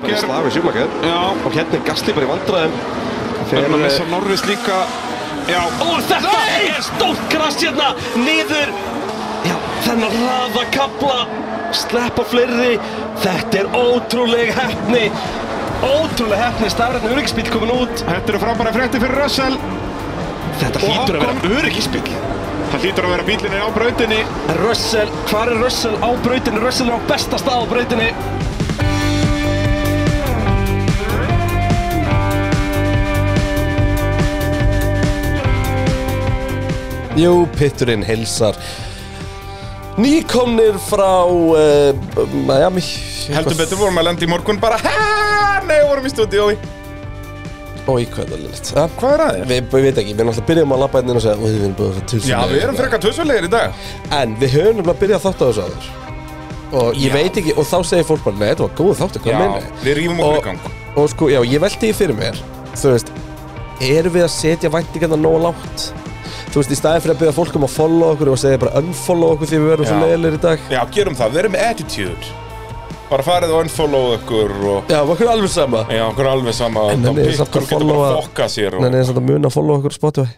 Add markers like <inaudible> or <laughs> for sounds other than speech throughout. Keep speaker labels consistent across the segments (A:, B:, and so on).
A: Þetta er slagur sjúmakar.
B: Já.
A: Og hérna er Gasly bara í vandræðum.
B: Það er að missa
A: eh,
B: Norris líka. Já,
C: Og þetta er stórt krass hérna niður Já, þennan hraða kapla sleppa fleiri Þetta er ótrúleg hefni Ótrúleg hefni, stafrætni öryggisbíl komin út
B: þetta eru frábæra frétti fyrir Russell.
C: Þetta
B: Og
C: hlýtur að
B: Ocon-
C: vera öryggisbíl
B: Það hlýtur að vera bílinni á brautinni.
C: Russell, hvar er Russell á brautinni? Russell er á besta stað á brautinni
D: Jú, pitturinn hilsar Nýkomnir frá uh, Miami
B: Heldur betur vorum að lenda í morgun bara Hæ, nei, vorum í stúdíói.
D: Og í hvað er lilt ja.
B: Hvað er að þér?
D: Við við veit ekki, við náttúrulega byrjum að labba hérna og segja "Ó, Við erum bara fyrir tilsynlega
B: Já, við erum frekar tvösvölegir í dag.
D: En við höfum nefnilega byrjað þátt á þessu aður Og ég veit ekki, og þá segir fólk bara Nei, þetta var góð þáttu,
B: Já,
D: hvað meina
B: við rýfum okkur í gang.
D: Og sko, já, ég velti því fyrir mér Þú veist, erum við að setja væntingarna nóg lágt? Þú veist, í staðið fyrir að byrja fólk um að follow okkur og segja bara unfollow okkur því við verum svo
B: Já.
D: leiðilegir í dag
B: Já, gerum það, við erum með attitude. Bara farið og unfollow okkur og...
D: Já, okkur er alveg sama
B: Já, okkur er alveg sama.
D: En
B: það
D: henni er
B: pikkur
D: samt að
B: getur bara
D: followa-
B: að fokka sér og...
D: Nei, nei, samt að muna að followa okkur á Spotify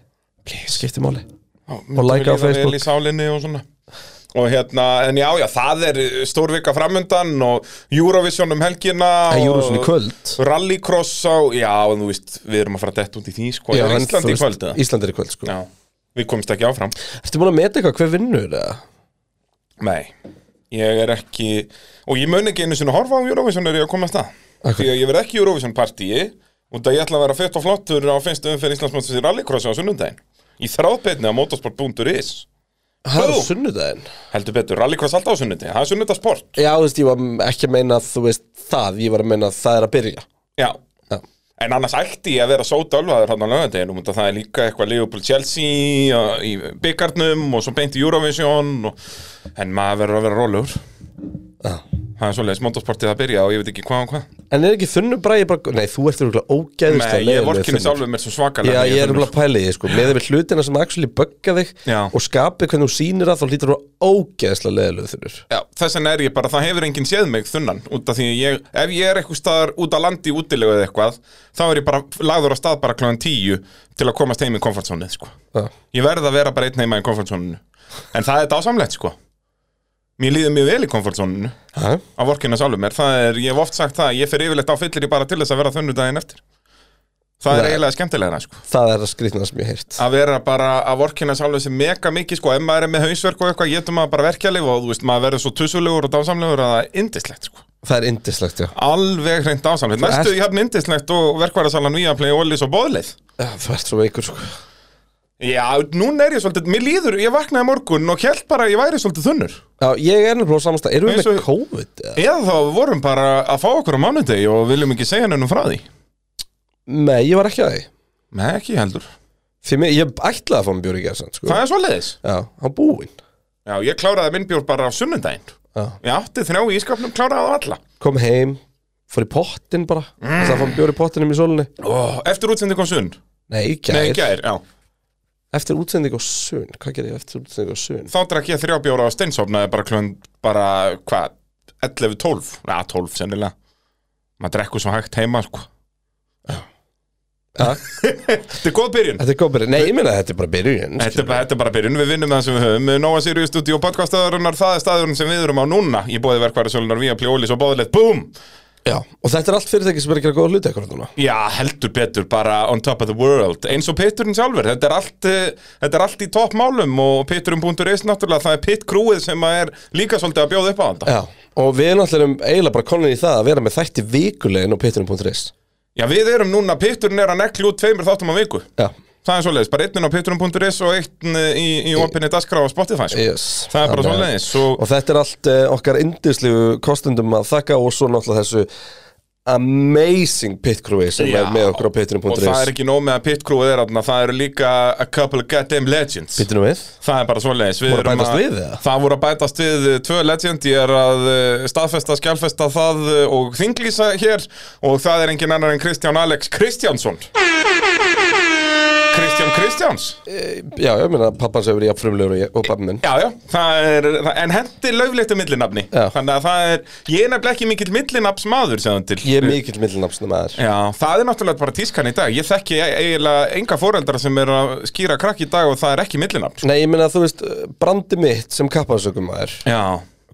D: Please, skipti máli
B: Já,
D: Og like á
B: mér líður vel
D: Facebook.
B: í sálinni og svona og hérna, en já, já, það er stór vika framundan og Eurovision um helgina
D: Það er
B: og
D: Júruvísson í kvöld
B: Rallycross á, já, en þú veist við erum að fara dett út í því, sko, er
D: en þú
B: Ísland í
D: veist,
B: kvöld eða?
D: Ísland er í kvöld, sko
B: Já, við komumst ekki áfram
D: Ertu búin að meta eitthvað hver vinnur, eða?
B: Nei, ég er ekki og ég mun ekki einu sinni horfa á Eurovision er ég að koma að stað,
D: Af hverju?
B: því að ég verð ekki í Eurovision partíi og það ég ætla að vera fett og flottur á finnstu umferð Íslandsmótsins í Rallycrossi á sunnundaginn í þráðbeinni á motorsport.is
D: Það er á
B: Boom.
D: sunnudaginn
B: heldur betur, Rallycross alltaf á sunnundi, það er sunnudasport
D: Já, þú veist, ég var ekki að meina, þú veist, það Ég var að meina að það er að byrja
B: Já,
D: Já,
B: en annars ætti ég að vera sótölvaður hann á lögadeginum og það er líka eitthvað Liverpool Chelsea uh, í byggarnum og svo beint í Eurovision og... en maður verður að vera rólegur
D: já
B: það er svoleiðis motorsportið að byrja og ég veit ekki hvað og hvað
D: En er ekki þunnu bræði bara Nei, þú ert örgulega ógæðislega
B: Nei, ég
D: leiðilegur
B: vorkinni
D: þunnur.
B: sjálfur mér svo svakalega
D: Já,
B: þegar
D: ég er
B: þunnur.
D: umlega pælið, sko Með við hlutina sem actually bugga þig
B: Já.
D: Og skapið hvernig þú sýnir að þá hlýtur þú að ógæðislega leiðilega þunnur
B: Já, þess vegna er ég bara, það hefur enginn séð mig þunnan út af því að ég, ef ég er eitthvað staðar út að landi útilegu eða eitthvað þá er ég bara lagður á stað bara kláðan tíu til að komast heim í komfortzónið, sko
D: Já.
B: Ég verð að vera bara einn heima í komfortzóninu En það er dásamlegt, sko Mér líður mjög vel í komfortzóninu
D: Ha?
B: að vorkina sjálfur mér, það er, ég hef oft sagt það ég fer yfirleitt á fyllir bara til þess að vera þunnu daginn eftir Það er
D: Nei.
B: eiginlega skemmtilega, sko
D: Það er að skrýtna sem ég hef heyrt
B: að vera bara að vorkina sjálfur sem mega mikið sko, ef maður er með hausverk og eitthvað getur maður bara verkjalið og þú veist, maður verður svo tussulegur og dásamlegur að það er indislegt sko
D: Það er indislegt, já
B: alveg hreint dásamlegt,
D: ert-
B: næstu í hafn indislegt og verkværasalan við að playa ólís og bóðleið
D: Já, Þú ert svo veikur, sko
B: Já, núna er ég svolítið, mér líður, ég vaknaði í morgun og held bara að ég væri svolítið þunnur
D: Já, ég er nefnilega á samasta Erum við
B: Eins
D: með
B: og-
D: COVID? eða?
B: eða þá við vorum bara að fá okkur á mánudegi og viljum ekki segja nefnum frá því
D: Nei, ég var ekki að því
B: Nei, ekki heldur,
D: Því mér, ég ætlaði að fá mér bjóri í gerðsan, sko
B: það er svolítið
D: Já, hann búinn
B: Já, ég kláraði minn bjór bara á sunnundaginn
D: Já.
B: Ég átti þrjá í ískapnum, kláraði á alla
D: Kom heim, fór í pottin bara
B: Mm.
D: Það fá mér bjóri í pottinum í sólunni
B: Ó, Eftir útsendi kom sunn
D: Nei, í gær
B: Nei, í gær, já
D: Eftir útsending og sunn, hvað gerði ég eftir útsending og sunn?
B: þá drakk ég þrjá bjóra á steinsofnaði bara klun, bara, hvað, 11, 12, ja, 12 sennilega. Maður drekku svo hægt heima, sko.
D: Ja.
B: þetta er góð byrjun.
D: Þetta er góð byrjun, nei, ég meina að þetta er bara byrjun
B: Þetta er, bara, þetta er bara byrjun, við vinnum með það sem við höfum. Nóa Sirius Studio podcastaðurinnar, það er staðurinn sem við erum á núna. Ég bóði verkværi sölunar, við að plja ólís og bóðilegt, búm!
D: Já, og þetta er allt fyrirtæki sem er að gera góða hluti ekkur núna
B: Já, heldur betur, bara on top of the world. Eins og pitturinn sjálfur, þetta er allt, eh, þetta er allt í toppmálum og pitturinn.is náttúrulega, það er pitkrúið sem að er líka svolítið að bjóða upp á þetta.
D: Já, og við erum alltaf eiginlega bara konin í það að vera með þætti vikulegin á pitturinn.is
B: Já, við erum núna, pitturinn er að nekli út tveimur þáttum á viku.
D: Já,
B: Það er svoleiðis, bara einn á pitturinn.is og einn eh, í, í opinni dasgra á Spotify. sko.
D: yes
B: Það er bara
D: Þannig að-
B: svoleiðis. Og,
D: Og þetta er allt uh, okkar indislegu kostendum að þakka og svo náttúrulega þessu amazing pit crew sem
B: Já.
D: er með okkur
B: og
D: á
B: það er
D: pitturinn.is
B: ekki nóg með að pitkrúið er þarna, það eru líka a couple of goddamn legends.
D: Pitturinn við
B: Það er bara svoleiðis. Við
D: Voru að
B: erum
D: bætast við, eða?
B: Það voru að bætast við eh, tvö legend, ég er að eh, staðfesta, skjálfesta það eh, og þinglýsa hér og það er engin annar en Kristján Alex Kristjánsson. Kristján Kristjáns
D: Eh, Já, ég meina pappans hefur ég frumlegur og ég- og pappi minn
B: Já, já, það er, það- en hendi löfleitt um millinafni
D: Já.
B: Þannig að það er, ég er nefnilega ekki mikill millinafns maður sjáðan til
D: Ég er mikill millnafsna maður
B: Já, það er náttúrulega bara tískan í dag Ég þekki eiginlega enga foreldra sem er að skýra krakk í dag og það er ekki millinafn sko.
D: Nei, ég meina þú veist, brandi mitt sem kappansökum maður
B: Já,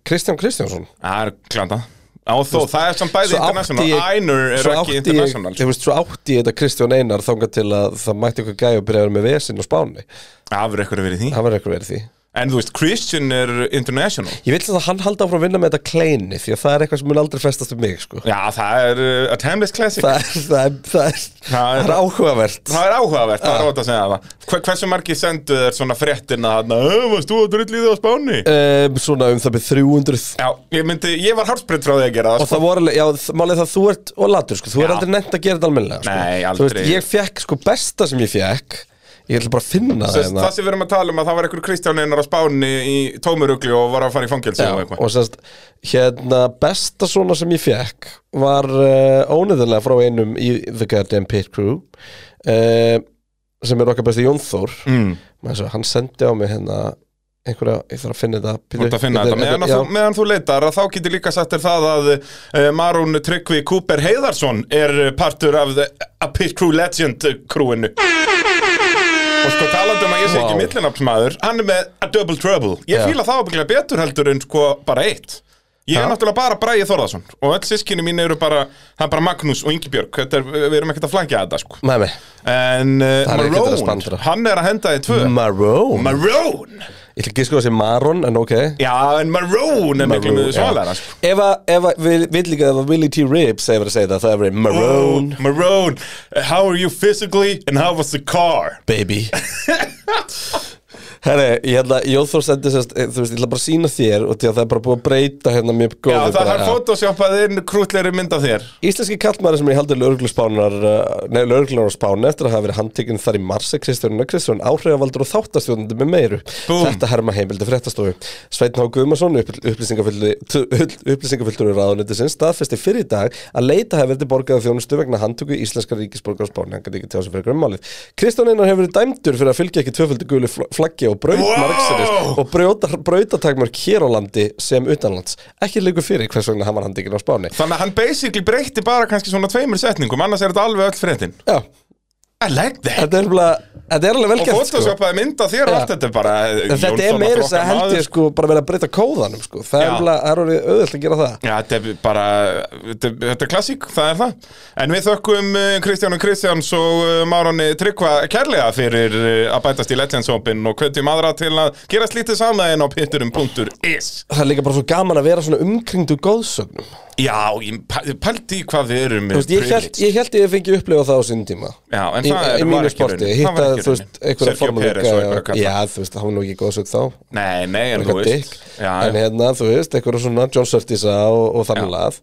D: Kristján Kristjánsson
B: það er klanda Já, og þó, það er samt bæði
D: Svo
B: international
D: átti ég-
B: Æner er
D: svo
B: ekki
D: átti
B: international sko.
D: ég, ég veist, Svo átti ég þetta Kristján Einar þangað til að það mætti ykkur gæja og byrjaði með vesinn og spáni
B: Afur ekkur að verið því
D: Það var eitthvað verið því
B: En þú veist, Christian er international
D: Ég vil að hann haldi áfram að vinna með þetta kleini Því að það er eitthvað sem mun aldrei festast um mig sko.
B: Já, það er uh, a timeless classic
D: það, er, það, er, það, er,
B: Það
D: það
B: er-
D: er áhugavert
B: Það er áhugavert, það er ótt að segja það Hver, Hversu margir sendu þér svona fréttina þarna "Ö, Varst þú að drullið á spáni?
D: um, Svona um það byrð 300
B: Já, ég myndi, ég var hálsbreytt frá því að gera það, sko.
D: Og það voru alveg, já, þ- málið er það þú ert og latur, sko, þú er
B: Já.
D: aldrei nefnt að gera þetta almennilega, sko.
B: Nei,
D: Þú
B: aldrei.
D: veist, ég fekk, sko, besta sem ég fekk, ég ætla bara að finna það hérna.
B: Sest, það sem við erum að tala um að það var einhver Kristján Einar á Spáni í tómurugli og var að fara í fangelsi og
D: Já,
B: eitthvað
D: og sérst, hérna, besta svona sem ég fekk var uh, óneðilega frá einum í The Goddamn Pit Crew uh, sem er okkar besti Jón Þór
B: mm.
D: Mensu, hann sendi á mig hérna einhverja, ég þarf að finna þetta
B: Þú ert að finna þetta, meðan, að þú, meðan þú leitar að þá getur líka sagt þér það að uh, Marún Tryggvi Cooper Heiðarsson er uh, partur af the, A Pit Crew Legend uh, crewinu Og sko talandi um að ég sé ekki
D: Vá.
B: millinafnsmaður, hann er með A Double Trouble Ég
D: Já.
B: fíla það ábyggilega betur heldur en sko bara eitt Ég er
D: Ha?
B: náttúrulega bara Bræði Þorðarsson og öll sískinni mín eru bara, það er bara Magnús og Ingibjörg, Þetta er, við erum ekkert að flækja þetta sko
D: Nei, nei,
B: En uh,
D: Það er ekkert að
B: Marone,
D: spandra.
B: hann er að henda í tvö
D: Marone
B: Marone
D: Ég ætla ekki að sko að sé Maron, en ok
B: Já, en Marone er miklu
D: Maroon,
B: mjög
D: já.
B: svalara sko.
D: Ef að, ef að, við við líka ef að Willy T. Ribs hefur að segja það, það hefur Maroon,
B: Oh, Marone, how are you physically and how was the car?
D: baby
B: <laughs>
D: Herri, ég held að Jóþór sendi sérst, eh, þú veist, ég ætla bara að sína þér og því að það er bara búið að breyta hérna mjög góð
B: Já, það er photoshoppað inn krútleiri mynd af þér
D: Íslenski kallmaður sem ég haldi lögregluspánar eh, Nei, lögreglunar á spáni eftir að hafa verið handtekinn þar í marse Kristján Kristján áhrifavaldur og þáttastjóðandi með meiru
B: Búm.
D: Þetta herma heimildi fréttastofu Sveitn Há Guðmarsson, upplýsingafullur í ráðunetisins staðfesti fyrir í dag að leita hefur verið borgaða þjónustu vegna handtöku íslenska ríkisborgar á spáni hann gæti ekki tjá sig fyrir grömmálið Kristján Einar hefur verið dæmdur fyrir að fylgja ekki tvöföldu gulu fl- flaggi og braut
B: Wow!
D: margsinnis og brjóta, brautatakmörk hér á landi sem utanlands ekki líku fyrir hvers vegna hann var handtekinn á spáni
B: Þannig að hann basically breytti bara kannski svona tveimur setningum Annars er þetta alveg öll fréttin
D: Já,
B: I like that
D: Þetta er, alveg, þetta er alveg vel
B: Og
D: gert sko.
B: photoshoppað mynd af þér og
D: Já.
B: allt þetta er bara eh,
D: En Þetta er
B: Jón Þorra
D: meira þess
B: Brokkar
D: að held
B: maður,
D: ég sko bara verið að breyta kóðanum sko Það er
B: Já.
D: alveg, það er orðið auðvöld að gera það
B: Já, þetta er bara, þetta er- þetta er klassík, það er það. En við þökkum eh, Kristján og Kristjáns og eh, Máronni Tryggva kærlega fyrir eh, að bætast í Legends-hópin og hvetjum aðra til að gera slítið samæðin á pitturum.is.
D: Það er líka bara svo gaman að vera svona umkringdu góðsögnum Þú
B: Já, ég pæ- pældi í hvað við erum
D: veist, ég held, ég held ég fengi upplega það á sinn tíma
B: Já, en
D: Í,
B: það er-
D: í
B: var
D: mínu
B: ekki
D: sporti,
B: raunin. Það var
D: hitta,
B: ekki
D: þú veist,
B: raunin.
D: einhverja
B: Sergio
D: formuleika
B: Perez og einhverja kalla.
D: Já, þú veist, það var nú ekki góðsögn þá
B: Nei, nei, en þú
D: Eitthvað
B: veist.
D: dikk
B: Já,
D: En
B: já.
D: hérna, þú veist, einhverja svona John Surtisa og, og þannig lað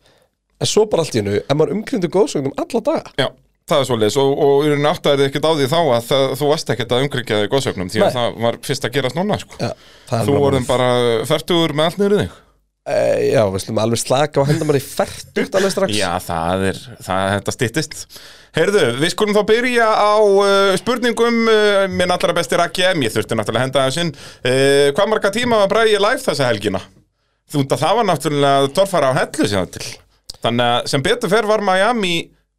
D: En svo bara allt í hennu, en maður umkringdu góðsögnum alla daga
B: já. Það er svolítið, og, og í rauninni áttaði ekkert á því þá að það, þú varst ekkert að umkringja þig góðsögnum því að
D: Nei.
B: það var fyrst að gerast núna, sko.
D: Já, það er
B: Þú
D: bara-
B: vorum bara fertugur með allt niður í þig.
D: Eh, Já, við slum alveg slaka og henda maður í fært alveg strax
B: Já, það er, það, þetta styttist Heyrðu, við skulum þá byrja á uh, spurningum uh, minn allra besti Raki M, ég þurfti náttúrulega að henda þessu inn uh, Hvað marga tíma var bræði live þessa helgina? Þú veit að það var náttúrulega torfara á hellu sem það til Þannig að sem betur fer var Miami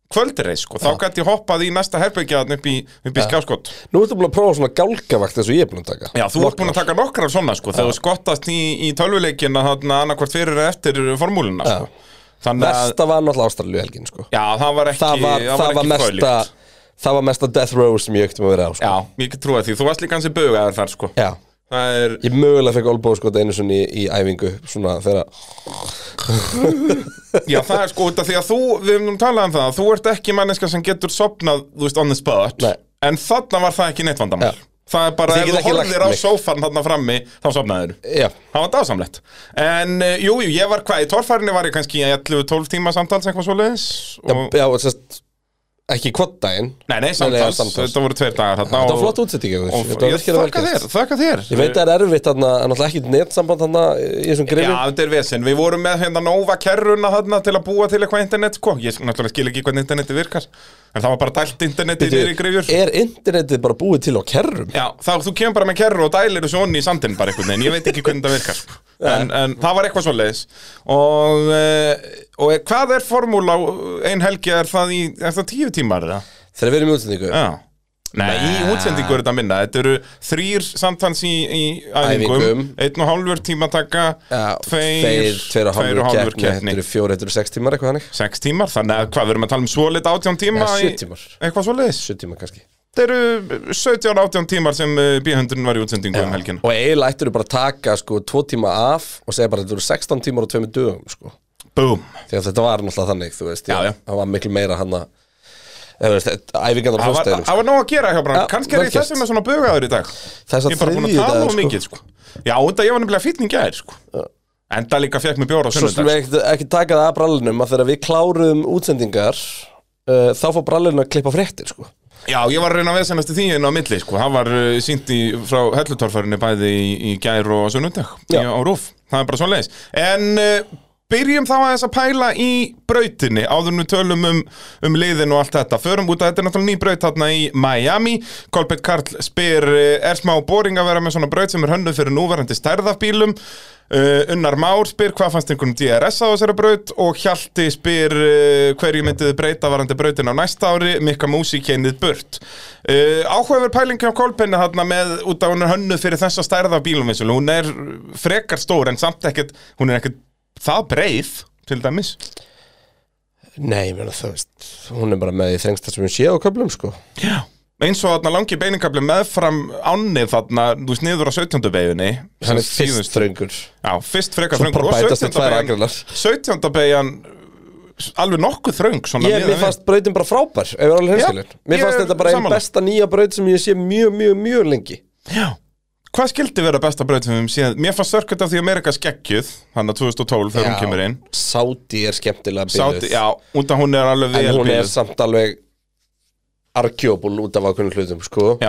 B: kvöldreis sko, þá gæti ég hoppað í næsta herbyggjaðan upp í, upp í skjáskott
D: Nú ertu búin að prófa svona gálgavakt eins og ég er búin að taka
B: Já, þú ert búin að taka nokkrar svona sko, þegar þú skottast í, í tölvuleikina þarna annarkvort fyrir eða eftir formúluna sko. Þannig að,
D: Versta var náttúrulega ástralju helgin sko
B: já, það var ekki
D: Það var, það var
B: ekki
D: mesta
B: fróðlegt.
D: Það var mesta death row sem ég auktum að vera á sko
B: Já, ég get trúið því, þú varst líka hansi bugaðar þar sko
D: Já.
B: Það er,
D: Ég mögulega fekk olbóð sko einu svona í, í æfingu Svona þegar
B: já það er sko út af því að þú, við höfum nú talað um það Þú ert ekki manneska sem getur sopnað, þú veist, on the spot
D: Nei.
B: En þarna var það ekki neitt vandamál
D: Já.
B: Það er bara,
D: Þið
B: ef
D: geta
B: þú
D: ekki lagt
B: horfðir á
D: mig.
B: sófan þarna frammi, þá sopnaður
D: Já,
B: Það var dásamlegt En, eh, jú, jú, ég var hvað, í torfærinni var ég kannski í 11-12 tíma samtals eitthvað svoleiðis
D: já,
B: og...
D: já sest, ekki kvot daginn
B: Nei, nei, samtals, þetta voru tveir dagar þarna
D: Þetta var
B: og-
D: flott útsetting
B: og-
D: Þetta var
B: Ég
D: virkilega
B: Þakka
D: velkjast
B: þér, þakka þér
D: Ég veit að það er erfitt þarna, en alltaf ekki netsamband þarna í þessum
B: Já,
D: grifi
B: þetta er vesen, við vorum með hérna Nova kerruna þarna til að búa til eitthvað internet sko, ég sk- náttúrulega skil ekki hvernig interneti virkar En það var bara dælt internetið niður í grifjur
D: er internetið bara búið til á kerrum?
B: Já, þá þú kemur bara með kerru og dælir þessu onni í sandin bara einhvern veginn, ég veit ekki hvernig það virkar
D: <laughs>
B: sko. en, en það var eitthvað svoleiðis og, eh, og er- hvað er formúla ein helgi, er það, í, er það tíu tímar eða?
D: Þegar við erum í útsendingu
B: Já Nei, í útsendingu er þetta minna, þetta eru þrýr samtans í, í æfingum,
D: Æfingum.
B: einn og hálfur tímataka
D: Já,
B: tveir,
D: tveir og hálfur keppni, Þetta
B: keppni
D: eru fjóri, þetta eru sex tímar eitthvað hannig
B: sex tímar, þannig að hvað, við erum að tala um svoleitt átján tíma
D: Já, sjö
B: í-
D: tímar.
B: eitthvað svoleiðis
D: Sjö tímar kannski
B: Þetta eru 17-18 tímar sem eh, B-hundurinn var í útsendingu um helgina
D: Og eiginlega ættir bara að taka sko tvo tíma af og segja bara að þetta eru 16 tímar og tveimur dögum sko
B: Búm
D: Því að þetta var náttúrulega þannig, þú veist
B: Já, já.
D: Það var miklu meira hann að eða, þú veist, Æfingarnar á
B: Það var,
D: föstudaginn,
B: það var nóg að gera hjá Brann,
D: sko. Já,
B: kannski er
D: vel
B: ég þess
D: gert.
B: vegna svona bugaður í dag
D: Þess
B: Ég
D: að
B: er bara búin að tala
D: þriðjudagur,
B: of
D: sko.
B: mikið sko. Já, þetta ég var nefnilega fýtning gæðir sko. Enda líka fekk mér bjóra á sko.
D: Svo sem
B: sunnundag
D: við ekki, ekki taka það að brallunum að þegar við kláruðum útsendingar uh, þá fór brallunum að klippa fréttir sko.
B: Já, ég var að reyna að vesenast í því inn á milli sko. Það var uh, sínt í, frá hellutorfarinni bæði í, í gær og á sunnundag
D: Já.
B: í- á rúf, það er bara svona leiðis En uh, byrjum þá að þess að pæla í brautinni áður en við tölum um, um liðin og allt þetta Förum út að þetta er náttúrulega ný braut þarna í Miami Kolbett Karl spyr, uh, er smá boring að vera með svona braut sem er hönnuð fyrir núverandi stærðafbílum Uh, Unnar Már spyr hvað fannst um einhverjum DRS á þessari braut og Hjalti spyr uh, hverju myndið þið breyta varandi brautin á næsta ári, mikka músíkennið burt. Uh, áhugaver pælingi á kolpenni þarna með út af hún er hönnuð fyrir þessa stærða af bílum eins og hún er frekar stór en samt ekkert, hún er ekkert það breið til dæmis.
D: Nei, mena, þú veist hún er bara með í þrengsta sem hún sé á köflum sko.
B: Já. Eins og þarna langi beiningabli meðfram ánið þarna, þú veist, niður á 17. beginni.
D: hann er fyrst þröngur
B: Já, fyrst frekar
D: Svo
B: þröngur
D: bara
B: og
D: bætast
B: 17.
D: við tvær
B: beigjan
D: agrilar.
B: 17. beigjan alveg nokkuð þröng svona
D: Ég,
B: miðað
D: mér
B: við.
D: fannst brautin bara frábær ef ég var alveg hinskilin
B: Já,
D: Mér
B: ég
D: fannst
B: er
D: þetta bara einn
B: sammála.
D: besta nýja braut sem ég sé mjög, mjög, mjög lengi
B: Já Hvað skildi vera besta braut sem við höfum séð? Mér fannst Circuit of the America skekkjuð Hann að 2012 þegar hún kemur inn
D: Sáti er skemmtilega bíluð
B: Sáti, Já, út að hún er alveg
D: En
B: vel
D: hún er
B: bíluð.
D: samt alveg argjóbul út af ákveðnum hlutum sko.
B: Já,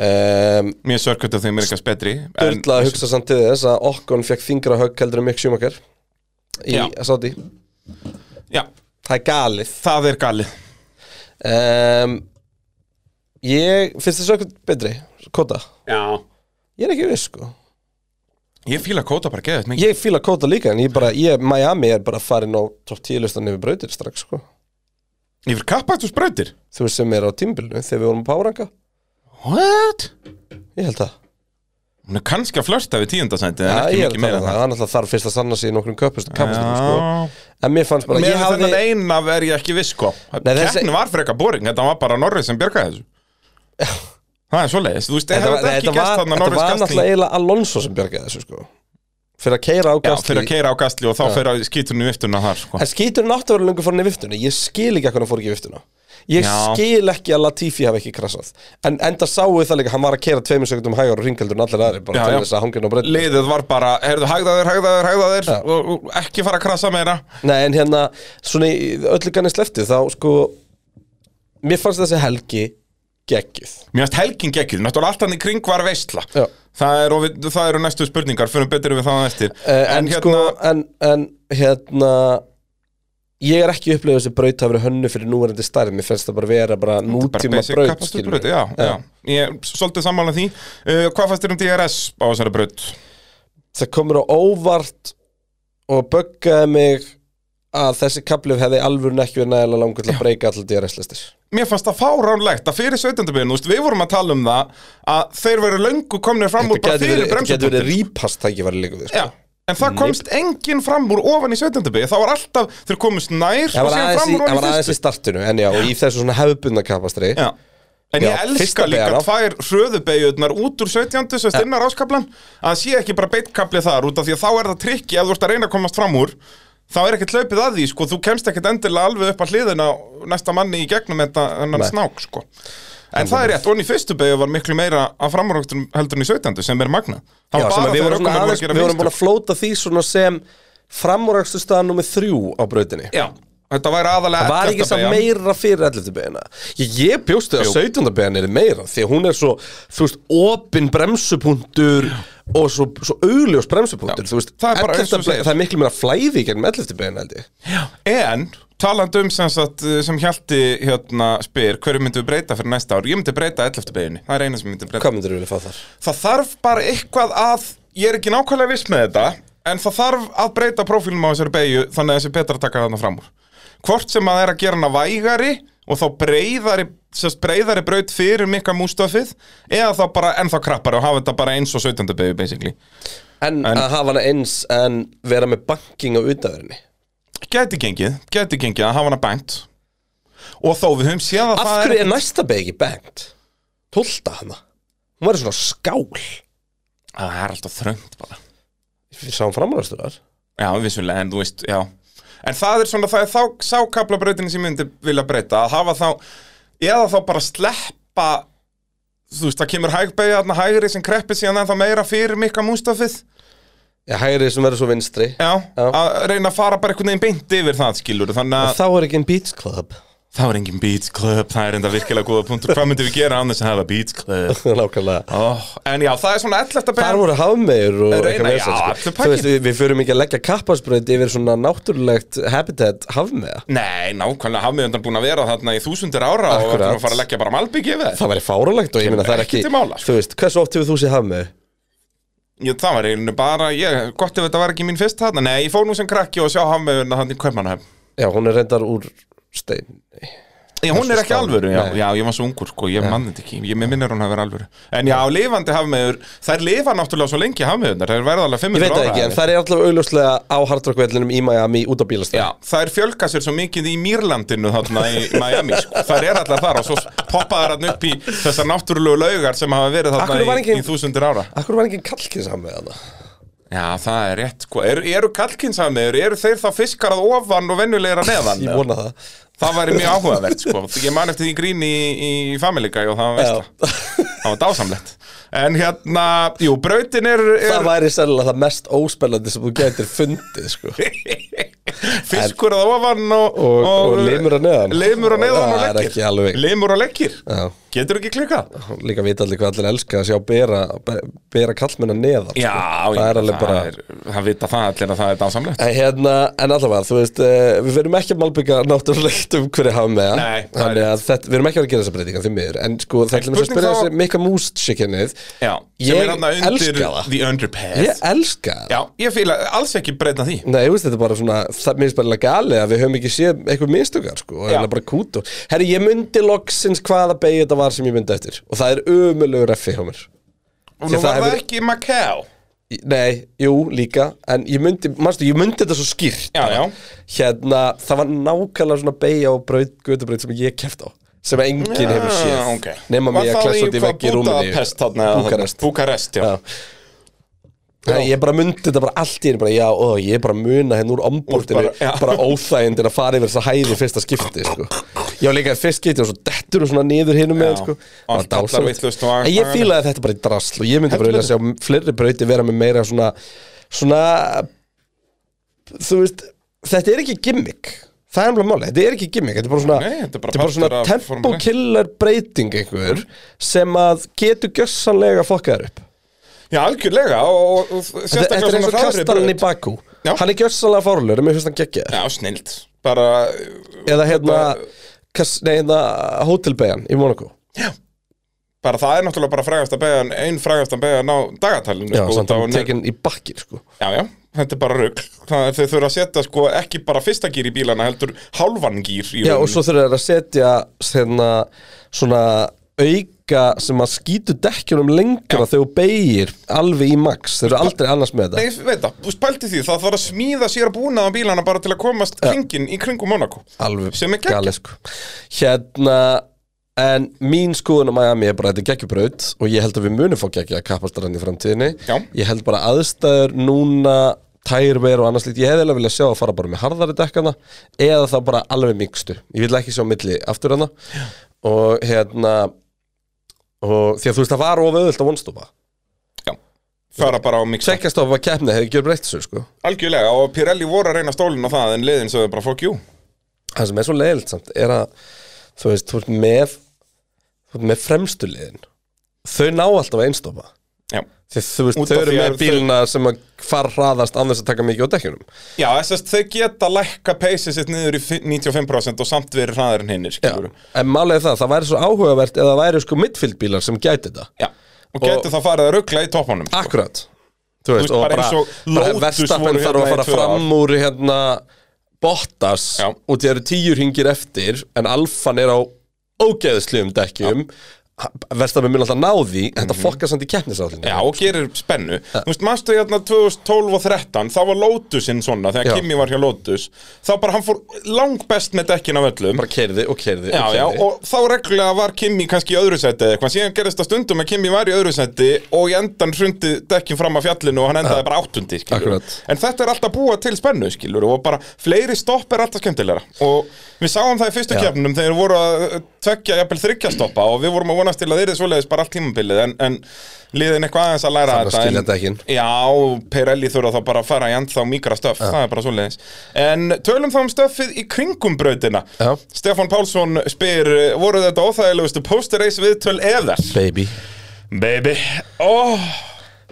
D: um,
B: mér er Circuit of the America betri en-
D: Dörla að hugsa samt til þess að Okkon fekk þingra högg heldur en Mick Schumacher í
B: Já.
D: Sáti
B: Já,
D: Það er galið
B: það er galið
D: um, Ég finnst þessu eitthvað betri Kota
B: Já
D: Ég er ekki viss sko
B: Ég fíla kóta bara geðið mikið
D: Ég fíla Kota líka en ég bara ég, Miami er bara farin á top 10 listan yfir brautir strax sko
B: Ég fyrir kappaðtús brautir
D: Þú veist sem er á tímbilinu þegar við vorum að páranga
B: What?
D: Ég held það
B: Hún er kannski að flörta við tíundasændi En
D: Já,
B: ekki
D: ég er að
B: mikið meira
D: tala um
B: en
D: það Hann alltaf þarf fyrst að sanna sig í nokkrum kapastum sko
B: Já.
D: En mér fannst bara
B: Með
D: ég hafði
B: þennan eina er ég ekki viss sko
D: Nei, þessi-
B: Keppnin var frekar boring, þetta var bara Norris sem bjargaði þessu Það er svoleiðis, þú veist,
D: Þetta
B: hefur
D: var,
B: þetta
D: þetta
B: ekki
D: var,
B: gæst þarna
D: þetta
B: Norris
D: var
B: Gastli
D: náttúrulega eiginlega Alonso sem bjargaði þessu sko Fyrir að keira á
B: Já,
D: Gastli
B: fyrir að keira á Gastli og þá fyrir að skýturinn í viftuna þar sko
D: En skíturinn átti að vera lengur forin í viftuna Ég skil ekki að hvernig hann fór ekki í viftuna Ég
B: Já.
D: skil ekki að Latifi hafi ekki krassað En enda sáu það líka, hann var að keira tveimur sekundum hægur og ringheldur en allir aðri bara
B: Já,
D: til
B: já.
D: þess að hangin á breytinu
B: Liðið var bara, heyrðu, hægðaðir, hægðaðir, hægðaðir og, og ekki fara að krasa meira
D: Nei, en hérna, svona í öllu kannið sleftu þá sko Mér fannst þessi helgi geggjuð
B: Mér finnst helgin gekkið, náttúrulega allt hann í kring var veistla
D: Já.
B: það, er, og við, það eru næstu spurningar, fyrir betur við það á eftir
D: uh, en, sko,
B: hérna-
D: en, en hérna Ég er ekki upplegað þessi braut hafi verið hönnu fyrir núverandi stærð Mér finnst það bara vera bara
B: bara
D: nútíma
B: basic
D: braut,
B: kappakstur
D: skilur
B: braut,
D: við.
B: já, já. Ég er svolítið sammála því uh, Hvað fannst þér um DRS á þessari braut?
D: það komur á óvart og böggaði mig að þessi kaplif hefði alvöru ekki verið nægilega langur til að breyka allir DRS-listir
B: mér fannst það fáránlegt að fyrir 17. byrjun, þú veist, við vorum að tala um það að þeir veru löngu komnir fram úr bara fyrir
D: Þetta getur verið
B: bremsupunktin
D: rípast tækifæri líka við, sko.
B: Já, en það komst enginn fram úr ofan í 17. byrjun, það var alltaf, þeir komust nær og
D: Það var
B: síðan
D: aðeins
B: fram
D: í,
B: úr
D: það var
B: ofan í
D: aðeins í
B: fyrstu
D: startinu en já, og í þessu svona hefðbundna kapastri
B: Já. En
D: Já,
B: ég
D: fyrsta
B: elska líka
D: beygjan á.
B: tvær hröðubegjurnar út úr 17. sem stinnar áskablan að sé ekki bara beittkabli þar út af því að þá er það trikki ef þú ert að reyna að komast fram úr þá er ekkert hlaupið að því, sko, þú kemst ekkert endilega alveg upp að hliðina á næsta manni í gegnum þetta hennan
D: Nei.
B: snák, sko En það er rétt, onni fyrstu beigju var miklu meira að framrögtum heldur en í 17. sem er magna Það
D: Já,
B: var
D: sem að
B: bara
D: við
B: þegar
D: vorum svona
B: ökumenn voru
D: aðeins,
B: að gera
D: við vorum búin
B: mistök
D: að flóta því svona sem framúrækstu staðan nummið þrjú á brautinni
B: Já, þetta væri aðalega
D: Var ekki samt meira fyrir 11. beina Ég, ég bjósti að
B: Jú.
D: 17. beina er meira Því að hún er svo, þú veist, opin bremsupunktur Og svo, svo augljós bremsupunktur
B: Já.
D: Þú veist,
B: Það er bara eins og þú
D: 11.
B: segir.
D: beina, það er miklu meira flæði Gennum 11. beina held ég
B: En Talandi um sem, sagt, eh, sem Hjalti hérna, spyr Hverju myndum við breyta fyrir næsta ár? Ég myndi breyta 11. beginni, það er eina sem ég myndi breyta
D: Hvað myndir þú vilja fá þar?
B: það þarf bara eitthvað að ég er ekki nákvæmlega viss með þetta en það þarf að breyta prófílum á þessari beigju þannig að þessi er betra að taka þarna fram úr hvort sem að það er að gera hana vægari og þá breyðari, sérst, breyðari braut fyrir mikka mústafið eða þá bara ennþá krappari og hafa þetta bara eins og 17. beigju basically
D: En,
B: En-
D: að hafa hana eins en vera með banking á utaverinni
B: gæti gengið, gæti gengið að hafa hana bænt og þó við höfum séð að
D: Af
B: það
D: hverju er næsta begi bengt? Tólta hana Hún var svona skál
B: Að það er alltaf þröngt bara
D: Við sáum framræsturar
B: Já, vissulega, en þú veist, já En það er svona, það er þá sákaplabrautinni sem ég myndi vilja breyta að hafa þá, eða þá bara sleppa þú veist, það kemur hægbeigja þarna hægri sem kreppir síðan ennþá meira fyrir mikka mústafið
D: Já, hægri sem verður svo vinstri
B: Já,
D: Já.
B: að reyna að fara bara einhvern veginn beint yfir það skilur þannig
D: En
B: að
D: Þá er ekki en Beats Club
B: það er engin Beats Club, það er enda virkilega góða punktur hvað myndum við gera án þess að hafa Beats Club
D: <laughs> Nákvæmlega
B: oh, En já, það er svona 11.
D: Þar
B: beigja
D: voru hafmeir og
B: Reyna, já,
D: eitthvað vesen,
B: allur
D: Þú
B: pakkinn.
D: veist, við, við förum ekki að leggja kappasbröð yfir svona náttúrulegt habitat hafmeða
B: Nei, nákvæmlega, hafum við undan búin að vera þarna í þúsundir ára og
D: Akkurat.
B: ætlum að fara að leggja bara malbyggi yfir það
D: Það væri fáralegt og ég meina það er
B: Ekki
D: ekki
B: til mála, sko.
D: Þú veist, hversu oft hefur þú séð hafmeðu?
B: Ég, það var einu bara, ég, gott ef þetta var ekki mín fyrst þarna Nei, ég fór nú sem krakki og sjá hafmeðurna hann í Kaupmannahöfn
D: Já, hún er reyndar úr stein
B: Já, hún er ekki
D: Þessu
B: alvöru, já,
D: staðar. Nei.
B: já, ég var svo ungur sko, ég mann þetta ekki, ég mér minnir hún hafi verið alvöru En já, lifandi hafmeður, þær lifa náttúrulega svo lengi hafmeðurnar, þær verða alveg 500
D: Ég veit það
B: ára
D: ekki, en
B: eða-
D: það er alltaf augljóslega á hardrockvellinum í Miami út á bílastæð
B: Já, þær fjölga sér svo mikið í Mýrlandinu þarna í
D: <laughs>
B: Miami, sko. þær er allar þar og svo poppa þær hann upp í þessar náttúrulegu laugar sem hafa verið
D: Af hverju
B: þarna
D: var
B: í,
D: engin-
B: í þúsundir ára
D: Akkur var enginn kalkins hann með hana
B: Já, það er rétt, sko, eru, eru kalkinshafmeður, eru þeir þá fiskar að ofan og venjulegir að neðan?
D: Ég
B: eða?
D: vona það
B: Það væri mjög áhugavert sko Ég man eftir því grín í, í Family Guy og það var veist <laughs> Það var dásamlegt En hérna, jú, brautin er,
D: Það
B: er
D: væri sérlega það mest óspennandi sem þú getur fundið sko.
B: fiskur að ofan og,
D: Og- og limur að neðan.
B: Limur að neðan og
D: Það er
B: leggir
D: ekki alveg.
B: Limur og leggir
D: Já.
B: Getur ekki klikkað?
D: Líka vita allir hvað allir elska að sjá bera, bera kallmenna neðar sko.
B: Já, ég
D: Það
B: meina,
D: er alveg bara
B: er, Það vita það allir að það er dásamlegt
D: En, hérna, en allavega, þú veist, uh, við verum ekki að malbyggja náttúrulegt um hverju hafa með það.
B: Nei, það er
D: Þannig að þetta, við verum ekki að gera þessa breytingar því miður En sko, það er til dæmis
B: spurning
D: að spyrja
B: þá-
D: þessi Mikka Moose chickenið
B: Já, sem er
D: Ég
B: þarna undir
D: elska það
B: The Underpass
D: Ég elska það
B: Já, ég fíla alls ekki breyta því
D: Nei, ég veist, þetta er bara svona, það minnst bara gali að við höfum ekki séð eitthvað mistökar, sko, og
B: Já.
D: það er bara kút og, herri, ég myndi loksins hvaða beigja þetta var sem ég myndi eftir, og það er ömulegu reffi hjá mér.
B: Og
D: Því
B: nú
D: það
B: var það
D: hefur-
B: ekki í Macau
D: Í- Nei, jú, líka, en ég myndi, manstu, ég myndi þetta svo skýrt.
B: Já, já.
D: Hérna, það var nákvæmlega svona beigja og braut, götubraut sem ég keft á, sem enginn hefur séð,
B: okay.
D: nema
B: Ah, Var
D: mig að
B: það
D: klessa út í
B: hvað,
D: veggi rúminni.
B: Budapest þarna, eða
D: Búkarest.
B: þarna? Búkarest, já.
D: Já. Nei, ég bara myndi þetta bara allt í einu bara, já, ó, ég bara muna henn úr ombordinu
B: Úr bara- já.
D: bara, óþægindin að fara yfir þessa hæði í fyrsta skipti, sko Já, líka í fyrst skipti og svo dettur og svona niður hinum með,
B: Já.
D: sko
B: Allt
D: Það var
B: allar
D: dásamlegt.
B: vitlaust og-
D: En ég fílaði þetta bara í drasl og ég myndi bara vilja sjá fleiri brauti vera með meira svona svona þú veist, þetta er ekki gimmick Það er alveg máli, þetta er ekki gimmick, þetta er bara svona,
B: Nei, þetta er bara
D: þetta er bara svona
B: partur af formúlunni.
D: tempokillar breyting einhver sem að getur gjössanlega fokkaður upp
B: Já, algjörlega og, og
D: Þetta
B: sérstaklega
D: þetta er eins og kastarinn í Bakú
B: Já.
D: Hann er gjössalega fárlur, mér finnst hann geggja
B: Já, snild Bara,
D: Eða hérna, kas, nei, hérna Hotelbejan í Monaco
B: bara það er náttúrulega bara frægasta beðan Einn frægasta beðan á dagatalinu
D: Já,
B: sko,
D: samt
B: út á
D: hann
B: hún er-
D: tekin í bakkir sko.
B: já, já, þetta er bara rugg Það er þau þurfa að setja sko ekki bara fyrsta gýr í bílana heldur hálfan gýr í
D: Já,
B: rauninni.
D: og svo þurfa þeir að setja hérna, svona auka sem að skýtu dekkjunum lengra þegar þú beigir alveg í max Þeir eru aldrei annars með
B: Nei,
D: þetta
B: veit það, þú spælti því, það þarf að smíða sér að búna á bílana bara til að komast kringin í kringum Monaco
D: Alveg
B: sem er geggjað.
D: galið, sko. Hérna En mín skoðun á Miami er bara að þetta er geggjubraut og ég held að við munum fá geggja kappastarinn í framtíðinni
B: Já.
D: Ég held bara aðstæður núna tærver og annars lít, ég hefði alveg vilja sjá að fara bara með harðari dekkana eða þá bara alveg mikstu, ég vil ekki sjá milli aftur hana og hérna og því að þú veist það var of auðvöld að vonstofa
B: Já, fara bara á miksa
D: Tvekkjastofa var keppni, hefði gjör breytt svo sko
B: Algjörlega, og Pirelli voru að reyna stólinn á það en leiðin sögðu bara fuck you
D: það sem er svo leiðilt samt er að þú veist, þú ert með þú ert með fremstu liðin þau ná alltaf að einstofa
B: Já,
D: Því, þú veist,
B: Út
D: þau
B: af
D: eru
B: því
D: með
B: að þau-
D: bílna sem að far hraðast án þess að taka mikið á dekkjunum
B: já þessast þau geta lækka peysið sitt niður í fi- 95% og samt verið hraðar en hinnir,
D: Já.
B: skilur
D: En málega það, það væri svo áhugavert eða það væri sko midfield bílar sem gæti þetta
B: Já, Ah. og getur það farið að ruggla í toppunum
D: Akkurat Þú veist,
B: veist,
D: og
B: bara
D: bara,
B: eins og
D: bara
B: Lotus
D: verstafinn
B: voru
D: þarf að
B: hérna í
D: fara
B: tvö ár.
D: fram úr hérna Bottas
B: Já.
D: og þið eru tíur hingir eftir en Alfan er á ógeðslegum dekkjum Verstafinn mun alltaf ná því en þetta fokkar samt í keppnisállinu
B: Mhm. Já, og gerir spennu Þú veist, manstu hérna 2012 og 13 þá var Lotusinn svona, þegar
D: Já.
B: Kimi var hjá Lotus þá bara hann fór langbest með dekkin af öllum
D: Bara keirði og keirði
B: Já,
D: og
B: já,
D: keirði
B: og þá reglulega var Kimi kannski í öðru seti eða eitthvað, síðan gerist það stundum að Kimi var í öðru seti og í endan hrundi dekkin fram af fjallinu og hann endaði bara áttundi, skilur
D: Akkurat.
B: En þetta er alltaf búa til spennu, skilur og bara fleiri stopp er alltaf skemmtilegra og við sáum það í fyrstu
D: Já.
B: kefnum þegar þeir voru að tvekja jafnvel þryggja stoppa og við vorum að vonast til að þeirri svoleiðis bara allt tímabilið en, en liðin eitthvað aðeins að læra
D: Þarf að
B: þetta
D: skilja
B: en-
D: dekkin.
B: Já, Pirelli þurfa þá bara að fara í andþá mikra stöf, það er bara svoleiðis En tölum þá um stöfið í kringum brautina
D: Já.
B: Stefán Pálsson spyr eh, Voru þetta óþægilegustu post-race viðtöl eða?
D: Baby
B: Baby oh,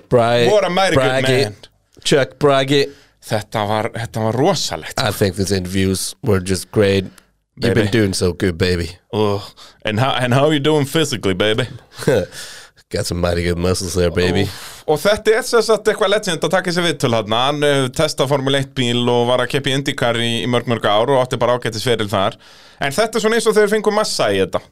D: Bragi
B: What a mighty good man.
D: Chuck Bragi
B: þetta, var, þetta var rosalegt
D: I think these interviews were just great You've
B: Baby.
D: been doing so good baby <laughs>
B: oh, and, how, and how you doing physically, baby?
D: Got some mighty good muscles there baby
B: Oh, Og þetta er sem sagt eitthvað legend að taka sér viðtöl hann Hann eh, testað Formule 1 bíl og var að keppi IndyCar í, í mörg mörg ár og átti bara ágættis fyrir þar En þetta er svona eins og þeir fengu massa í þetta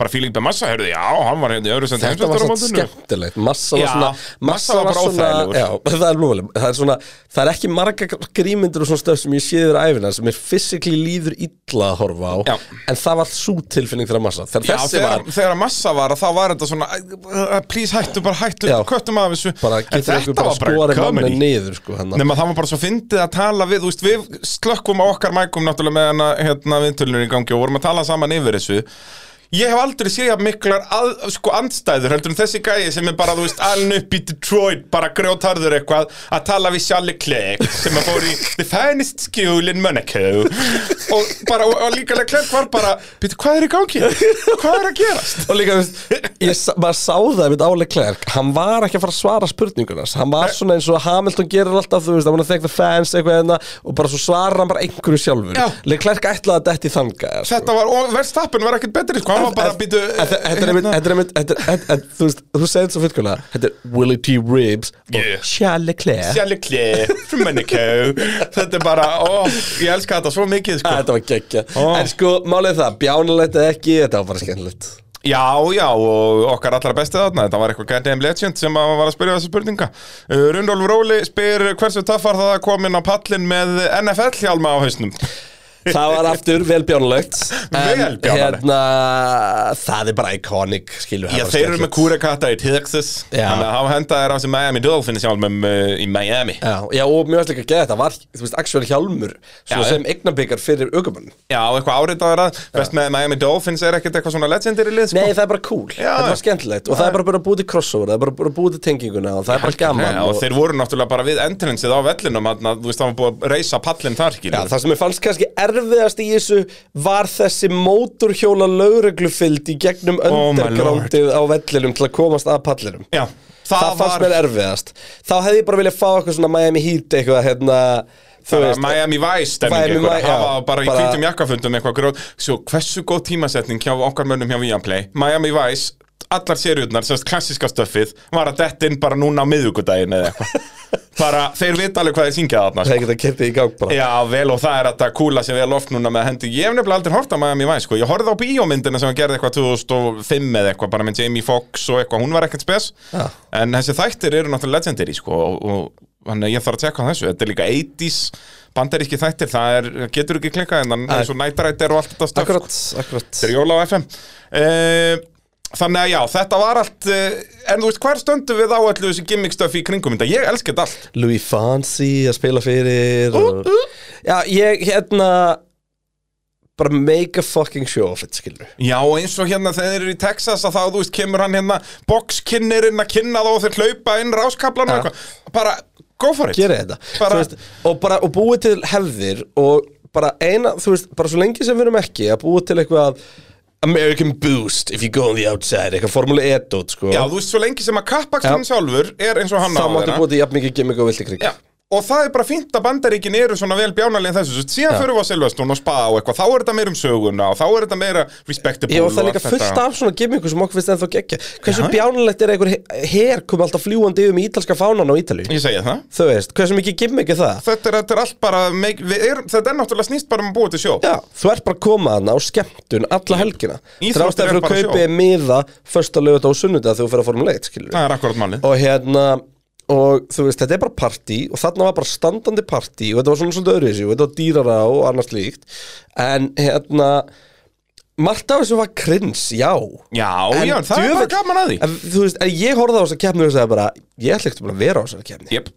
B: Bara Fílík Massa, heyrðu, já, hann var hérna í öðru sem
D: Þetta var svona skemmtilegt Massa var
B: Já,
D: svona
B: Massa var bara
D: svona-
B: óþægilegur.
D: Já, það er lúvaleg Það er svona Það er ekki marga grímyndur og svona stöf sem ég séður æfina sem er fysikli líður illa að horfa á
B: Já.
D: En það var svo tilfinning þegar Massa Þegar
B: Já,
D: þessi
B: þegar,
D: var
B: þegar massa var að þá var þetta svona "Æ, Please hættu, bara hættu,
D: Já.
B: köttum af þessu
D: bara
B: En
D: getur
B: þetta
D: einhver bara
B: var bara
D: skorið manni
B: comedy
D: niður sko hann
B: Nefn að það var bara svo fyndið að tala við, þú veist, við slökkum á okkar mækum náttúrulega með hana, hérna, viðtölunir í gangi og vorum að tala saman yfir þessu. Ég hef aldrei séð jafn miklar, að, sko, andstæður, heldur en þessi gæi sem er bara, þú veist, aln upp í Detroit, bara grjótarður eitthvað, að tala við Sjalli Klegg, sem að fór í The Finest School in Monaco. Og bara, og, og líka Klegg var bara, býttu, hvað er í gangi? Hvað er að gerast?
D: Og líka, þú veist, ég, sa- maður sá það við Áli Klerk, hann var ekki að fara að svara spurningunars, hann var svona eins og Hamilton gerir alltaf, þú veist, hann var að þekka fans eitthvað hérna og bara svo svarar hann bara einhverju sjálfur.
B: Já.
D: Leik Klerk ætlaði að detti þanga, sko.
B: Þetta var, og verðstappin var ekkert betri, sko, hann var bara, hérna."
D: En-
B: býttu,
D: en- Þetta þetta er einmitt, þetta er einmitt, þetta er- þetta- þetta- þú veist, þú segir þetta svo fullkvæmlega, þetta er Willie T. Ribs
B: Yeah.
D: og Charlie Klerk.
B: Sjalli Kli from Monaco Þetta er bara, ó, ég elska þetta svo mikið sko.
D: Þetta var geggja.
B: Ó.
D: En sko, málið er það, bjánulegt eða ekki, þetta var bara skemmtilegt.
B: Já, já, og okkar allra bestið þarna Þetta var eitthvað goddamn legend sem að var að spyrja þessi spurninga uh, Rundolf Róli spyr hversu töff var það að koma inn á pallin með NFL-hjálma á hausnum
D: Það var aftur vel bjánulegt. en,
B: <laughs> Vel bjánalegt.
D: Hérna, það er bara iconic, skilur það
B: Já,
D: var
B: þeir eru með
D: skemmtilegt.
B: kúrekata í Texas
D: Já.
B: Þannig að hafa henda þér á þessi Miami Dolphins hjálmum uh, í Miami
D: Já, já, og mjög ætla ekki að geða þetta var, þú veist, actual hjálmur svona
B: Já,
D: sem eignabikar fyrir aukumann Nei,
B: Já, eitthvað áritaður að Best með Miami Dolphins er ekkert eitthvað svona legendary lið sko.
D: það er bara cool,
B: Já.
D: þetta var skemmtilegt og það er bara bara búið til crossover, það er bara bara búið til tenginguna og það er bara gaman
B: Já, og þeir voru náttúrulega bara við entranceið á vellinum að, þú veist, það var búið að reysa pallin þar,
D: Já,
B: skilur
D: það sem ég fannst kannski erfiðast í þessu var þessi mótorhjóla lauruglufylld í gegnum
B: Oh my
D: undergroundið á vellinum til að komast að pallinum
B: Já,
D: Það, fannst mér erfiðast Þá hefði ég bara viljað fá eitthvað svona Miami Heat eitthvað hérna, þú
B: Bara
D: veist
B: Miami Vice
D: Miami
B: stemming ykkur að
D: Vice,
B: hafa
D: já,
B: bara í
D: bara-
B: hvítum jakkafundum eitthvað gróð Svo hversu góð tímasetning hjá okkar mönnum hjá Viaplay Miami Vice, allar seriurnar, sérst klassiska stöffið Var að detta inn bara núna á miðvikudaginn eða
D: <laughs>
B: eitthvað Bara, þeir vita alveg hvað þeir syngja þarna
D: Það
B: sko.
D: er ekki að kipta í gang bara
B: Já, vel og það er þetta kúla sem við erum oft núna með hendi Ég hef nefnilega aldrei hort á Miami Vice, sko Ég horfði á bíómyndina sem hann gerði eitthvað 2005 eða eitthvað Bara með Jamie Foxx og eitthvað, hún var ekkert spes
D: Já.
B: En þessi þættir eru náttúrulega legendary, sko Og, og hann, ég þarf að tjekka á þessu Þetta er líka 80s bandaríski þættir Það er, getur ekki klikkað En hann
D: Nei.
B: er svo nættarættir og allt þetta stöf
D: Akkurat, akkurat
B: Þetta er jóla á FM uh, Þannig að já, þetta var allt uh, En þú veist, hvar stöndum við á öllu þessu gimmick stöf í kringum þetta? Ég elska þetta allt
D: Louis Fancy að spila fyrir og... Já, ég hérna bara make a fucking show of it, skilur
B: Já, og eins og hérna þegar þeir eru í Texas að þá, þú veist, kemur hann hérna boxkinnirinn að kynna þá og þeir hlaupa inn ráskablan og
D: Já.
B: eitthvað. Bara, go for it.
D: gera þetta
B: Bara-
D: Þú veist, og, bara, og búið til hefðir og bara eina, þú veist, bara svo lengi sem við erum ekki að búið til eitthvað American boost if you go on the outside eitthvað formúli edót sko
B: Já, þú veist svo lengi sem að kappaksturinn
D: Já.
B: sjálfur er eins og hann
D: þá
B: á að
D: máttu
B: vera.
D: búið til jafn mikið gimmick og vilti krig
B: Já, og það er bara fínt að bandaríkin eru svona vel bjánalegin þessu, þú veist, síðan fyrir við á Silveston og spa og eitthvað, þá er þetta meira um söguna og þá er þetta meira respectable
D: Ég var það
B: og
D: líka
B: allt
D: fullt
B: þetta.
D: af svona gimmiku sem okkur finnst ennþá geggja Hversu bjánulegt er að einhver her kom alltaf fljúandi yfir með ítalska fánan á Ítalíu
B: Ég segi það
D: Þú veist, hversu mikið gimmick er það?
B: Þetta er, þetta er allt bara, meik, við er, þetta er náttúrulega snýst bara um að búa til sjó
D: Já, þú ert bara að koma þarna á skemmtun alla helgina
B: Íþróttir
D: Þrástæði
B: er
D: fyrir
B: bara
D: að kaupi
B: sjó.
D: miða Fösta lögut á sunnudag þegar þú fyrir að formulega eitt, skilur
B: Það er akkurat málið
D: og hérna og þú veist, þetta er bara partí og þarna var bara standandi partí og þetta var svona svolítið öðruvísi og þetta var dýrara og annars líkt en hérna margt af þessu var krins, já
B: Já, já, það er bara
D: djöfull-
B: gaman að því
D: en, þú veist, en ég horfði á þessa keppni og sagði bara ég ætla ekkert bara að vera á þessa keppni
B: Jep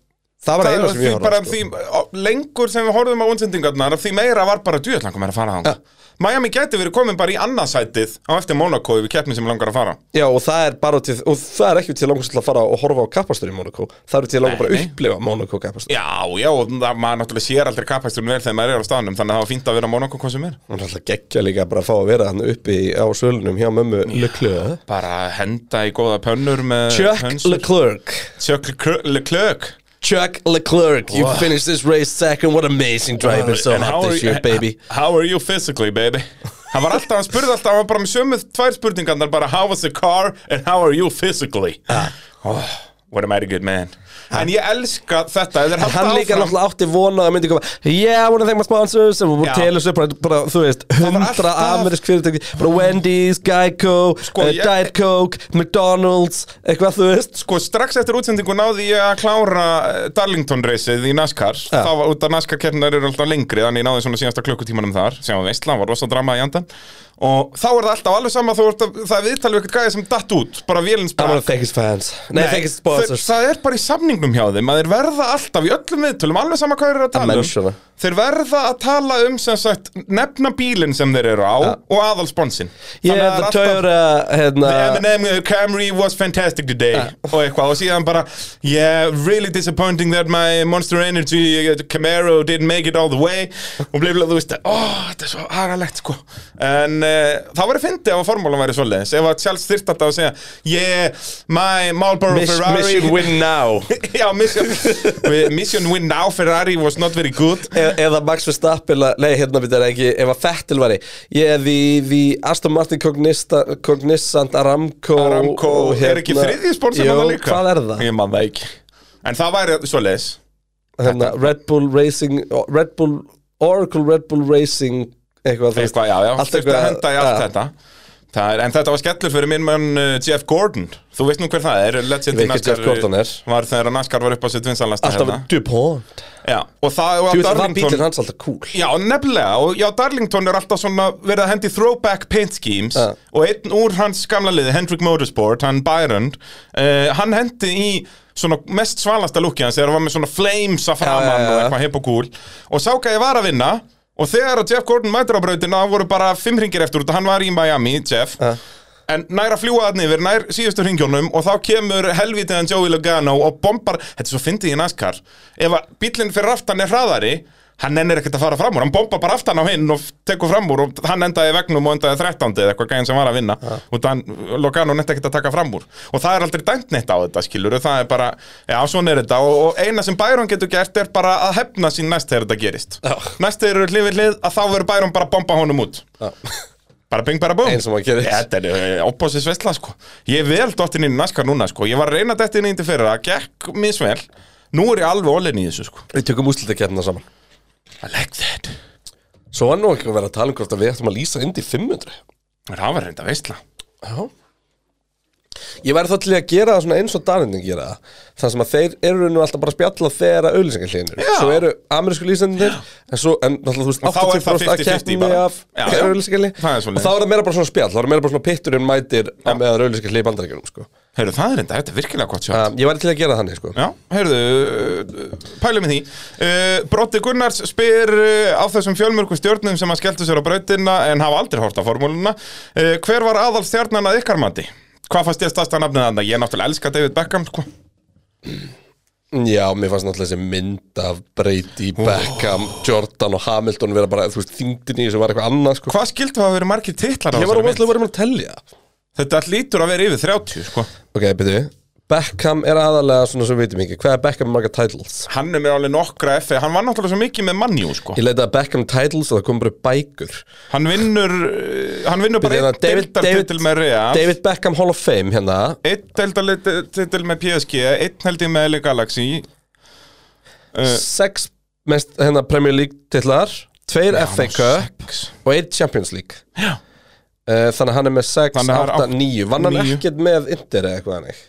D: það var
B: Það
D: eina
B: er
D: sem
B: því
D: ég
B: bara
D: horfði á, sko.
B: því, á- lengur sem við horfum á undsendingarnar því meira var bara djöðlan komið að fara á Miami gæti verið komin bara í annarsætið á eftir Monaco yfir keppni sem langar að fara
D: Já, og það er bara til, og það er ekki til langast til að fara og horfa á kappastur í Monaco það eru til langar bara
B: Nei,
D: að
B: nei.
D: upplifa Monaco kappastur
B: Já, já, og það, maður náttúrulega sér aldrei kapæsturinn vel þegar maður er á staðnum þannig að það var fínt að vera á Monaco hvað sem er
D: og náttúrulega geggja líka bara að fá að vera hann uppi á sölunum hjá mömmu Leclerc
B: Bara henda í góða pönnur með
D: Chuck
B: hönsur.
D: Leclerc
B: Chuck Leclerc- Leclerc
D: Chuck Leclerc, you finished this race second. What amazing driver, so
B: And how
D: hot
B: are
D: this
B: you-
D: year, baby.
B: How are you physically, baby? Hann var alltaf, hann spurði alltaf, hann var bara með sömu tvær spurningarnar bara How was the car and how are you physically? Oh, what a mighty good man En ég elska þetta, þeir halda
D: Hann líka
B: áfram
D: náttúrulega átti vona að það myndi koma Yeah, I wanna thank my sponsors og
B: Já.
D: bara telur sér bara, bara, þú veist,
B: var
D: hundra
B: alltaf-
D: amerisk fyrirtæki bara Wendy's, Geico, uh,
B: ég-
D: Diet Coke, McDonald's eitthvað, þú veist
B: Sko, strax eftir útsendingu náði ég að klára eh, Darlington-reysið í NASCAR
D: Já.
B: þá var út að NASCAR-keppnar eru alltaf lengri þannig ég náði svona síðasta klukkutímanum þar sem var veistla, var rosa drama í andan og þá er það alltaf alveg sama þú ert að það er viðtal við eitthvað gæði sem datt út bara vélins
D: I wanna thank his fans Nei, thank his sponsors
B: það er bara í samningnum hjá þeim að þeir verða alltaf í öllum viðtölum alveg sama hvað þeir eru að
D: Að
B: tala
D: mentiona.
B: um þeir verða að tala um sem sagt nefna bílinn sem þeir eru á og aðalsponsin
D: Yeah, the Toyota, uh, hérna
B: The M&M Camry was fantastic today
D: Uh.
B: <laughs> og eitthvað og síðan bara yeah, really disappointing that my Monster Energy uh, Camaro didn't make it all the way og bliflega þú veist að, oh, þetta er svo agalegt sko en uh, það var að fyndi ef að formúlan væri svoleiðis ef að Charles þyrft alltaf að segja yeah, my Marlboro
D: Miss-
B: Ferrari <laughs>
D: Mission win now
B: Já, mission, mission <laughs> win now Ferrari was not very good
D: E- eða Max Verstappen að- nei hérna við þetta ekki ef að Fettil væri ég er því, því Aston Martin Cognista, Cognizant Aramco
B: Aramco
D: og hérna-
B: er ekki þriðji sponsor
D: Jú,
B: þarna líka
D: hvað er það
B: Ég man það ekki En það væri svoleiðis
D: hérna, Red Bull Racing Red Bull Oracle Red Bull Racing eitthvað, þú veist.
B: eitthvað, já, já,
D: Allt
B: allt að
D: eitthvað-
B: henda í allt
D: já.
B: þetta Það er, en þetta var skellur fyrir minn mann uh, Jeff Gordon Þú veist nú hver það er Legend
D: Ég veit ekki Jeff Gordon er.
B: Var þegar NASCAR var upp á sitt vinsalasta
D: alltaf
B: hérna.
D: DuPont
B: Já, og það og
D: þú veist það
B: Darlington
D: bílinn hans alltaf cool
B: Já, nefnilega, og já, Darlington er alltaf svona verið að hendi throwback paint schemes
D: Já.
B: og einn úr hans gamla liði, Hendrick Motorsport, hann Byron uh, hann hendi í svona mest svalasta lukki hans þegar hann var með svona flames að framan
D: já, já.
B: og eitthvað hip og cool og sá hvað ég var að vinna og þegar að Jeff Gordon mætir á brautina það voru bara fimm hringir eftir út að hann var í Miami, Jeff
D: Já.
B: En nær að fljúa þannig yfir, nær síðustu ringjónum og þá kemur helvitiðan Joey Logano og bombar, þetta er svo fyndið í NASCAR ef að bíllinn fyrir aftan er hraðari hann ennir ekkert að fara fram úr, hann bombar bara aftan á hinn og tekur fram úr og hann endaði í vegnum og endaði 13. eða eitthvað gæðin sem var að vinna og þann Logano netta ekkert að taka fram úr og það er aldrei dæmt netta á þetta skilur það er bara, já svona er þetta og, og eina sem Bæron getur gert er bara að hefna sín næst þegar þetta gerist
D: Já.
B: næst þegar þeir eru hlið við hlið að þá verður Bæron bara að bomba honum út bara bing bara búm
D: Eins og maður gerir.
B: þetta er opposið svesla sko ég er vel dottin inn í naskar núna sko ég var að reyna þetta inn í þetta fyrir það gekk misvel nú er ég alveg ólein í þessu sko
D: við tökum úslitakefna saman
B: I like that
D: svo var nú ekki að vera að tala um hvort að við ættum að lýsa indi 500
B: það var reynda veistla
D: Já Ég væri þá til í að gera það svona eins og Daninni gera það Þannig sem að þeir eru nú alltaf bara að spjalla þegar að auðlýsingarhliðinu
B: Já.
D: Svo eru amerísku lýsendir En svo, en náttúrulega þú veist,
B: Og þá er það
D: 80% að
B: 50-50
D: keppni
B: bara.
D: af <laughs>
B: Já, já.
D: auðlýsingarhliðinu Og
B: Það er svoleiðis.
D: þá er það meira bara svona spjall Þá er það meira bara svona pitturinn mætir á meðan auðlýsingarhlið í bandaríkjunum sko.
B: heyrðu það er reynda þetta er virkilega gott sjá
D: um, Ég væri til í að gera það þannig sko.
B: Já, heyrðu, uh, pælum í því uh, Brotti Gunnars spyr uh, á þessum fjölmörku stjórnum sem að skelltu sér á brautina en hafa aldrei hort á formúluna uh, Hver var aðal stjarnan að ykkar mati? Hvað fannst ég að stasta nafnið þarna? Ég náttúrulega elska David Beckham, sko
D: Já, mér fannst náttúrulega þessi mynd af Brady, Beckham, Jordan og Hamilton vera bara, þú veist, þyngdin í þessu var eitthvað annað, sko.
B: Hvað skildu að hafa verið margir titlar á
D: Ég var
B: þessari mynd?
D: óvæslega verið með að telja.
B: Þetta lítur að vera yfir 30, sko
D: Ok, byrju, Beckham er aðalega svona sem við vitum ekki. Hvað er Beckham með marga titles?
B: Hann er með alveg nokkra FA, hann var náttúrulega svo mikið með mannjú, sko
D: Ég leitaði að Beckham titles og það kom bara upp bækur.
B: Hann vinnur, eh, hann vinnur bara
D: Byrju,
B: einn
D: hérna, David-
B: deildartitil
D: David-
B: með Real
D: David Beckham Hall of Fame hérna.
B: Einn deildartitil með PSG, einn held ég með LA Galaxy Eh,
D: Sex mest, hérna, Premier League titlar, tveir FA Cup
B: sex.
D: og einn Champions League.
B: Já.
D: Eh, Þannig að hann er með
B: Þannig
D: 6,
B: að það er
D: 8,
B: átt-
D: 9 Vann hann
B: níu.
D: ekkert með Inter eða eitthvað þannig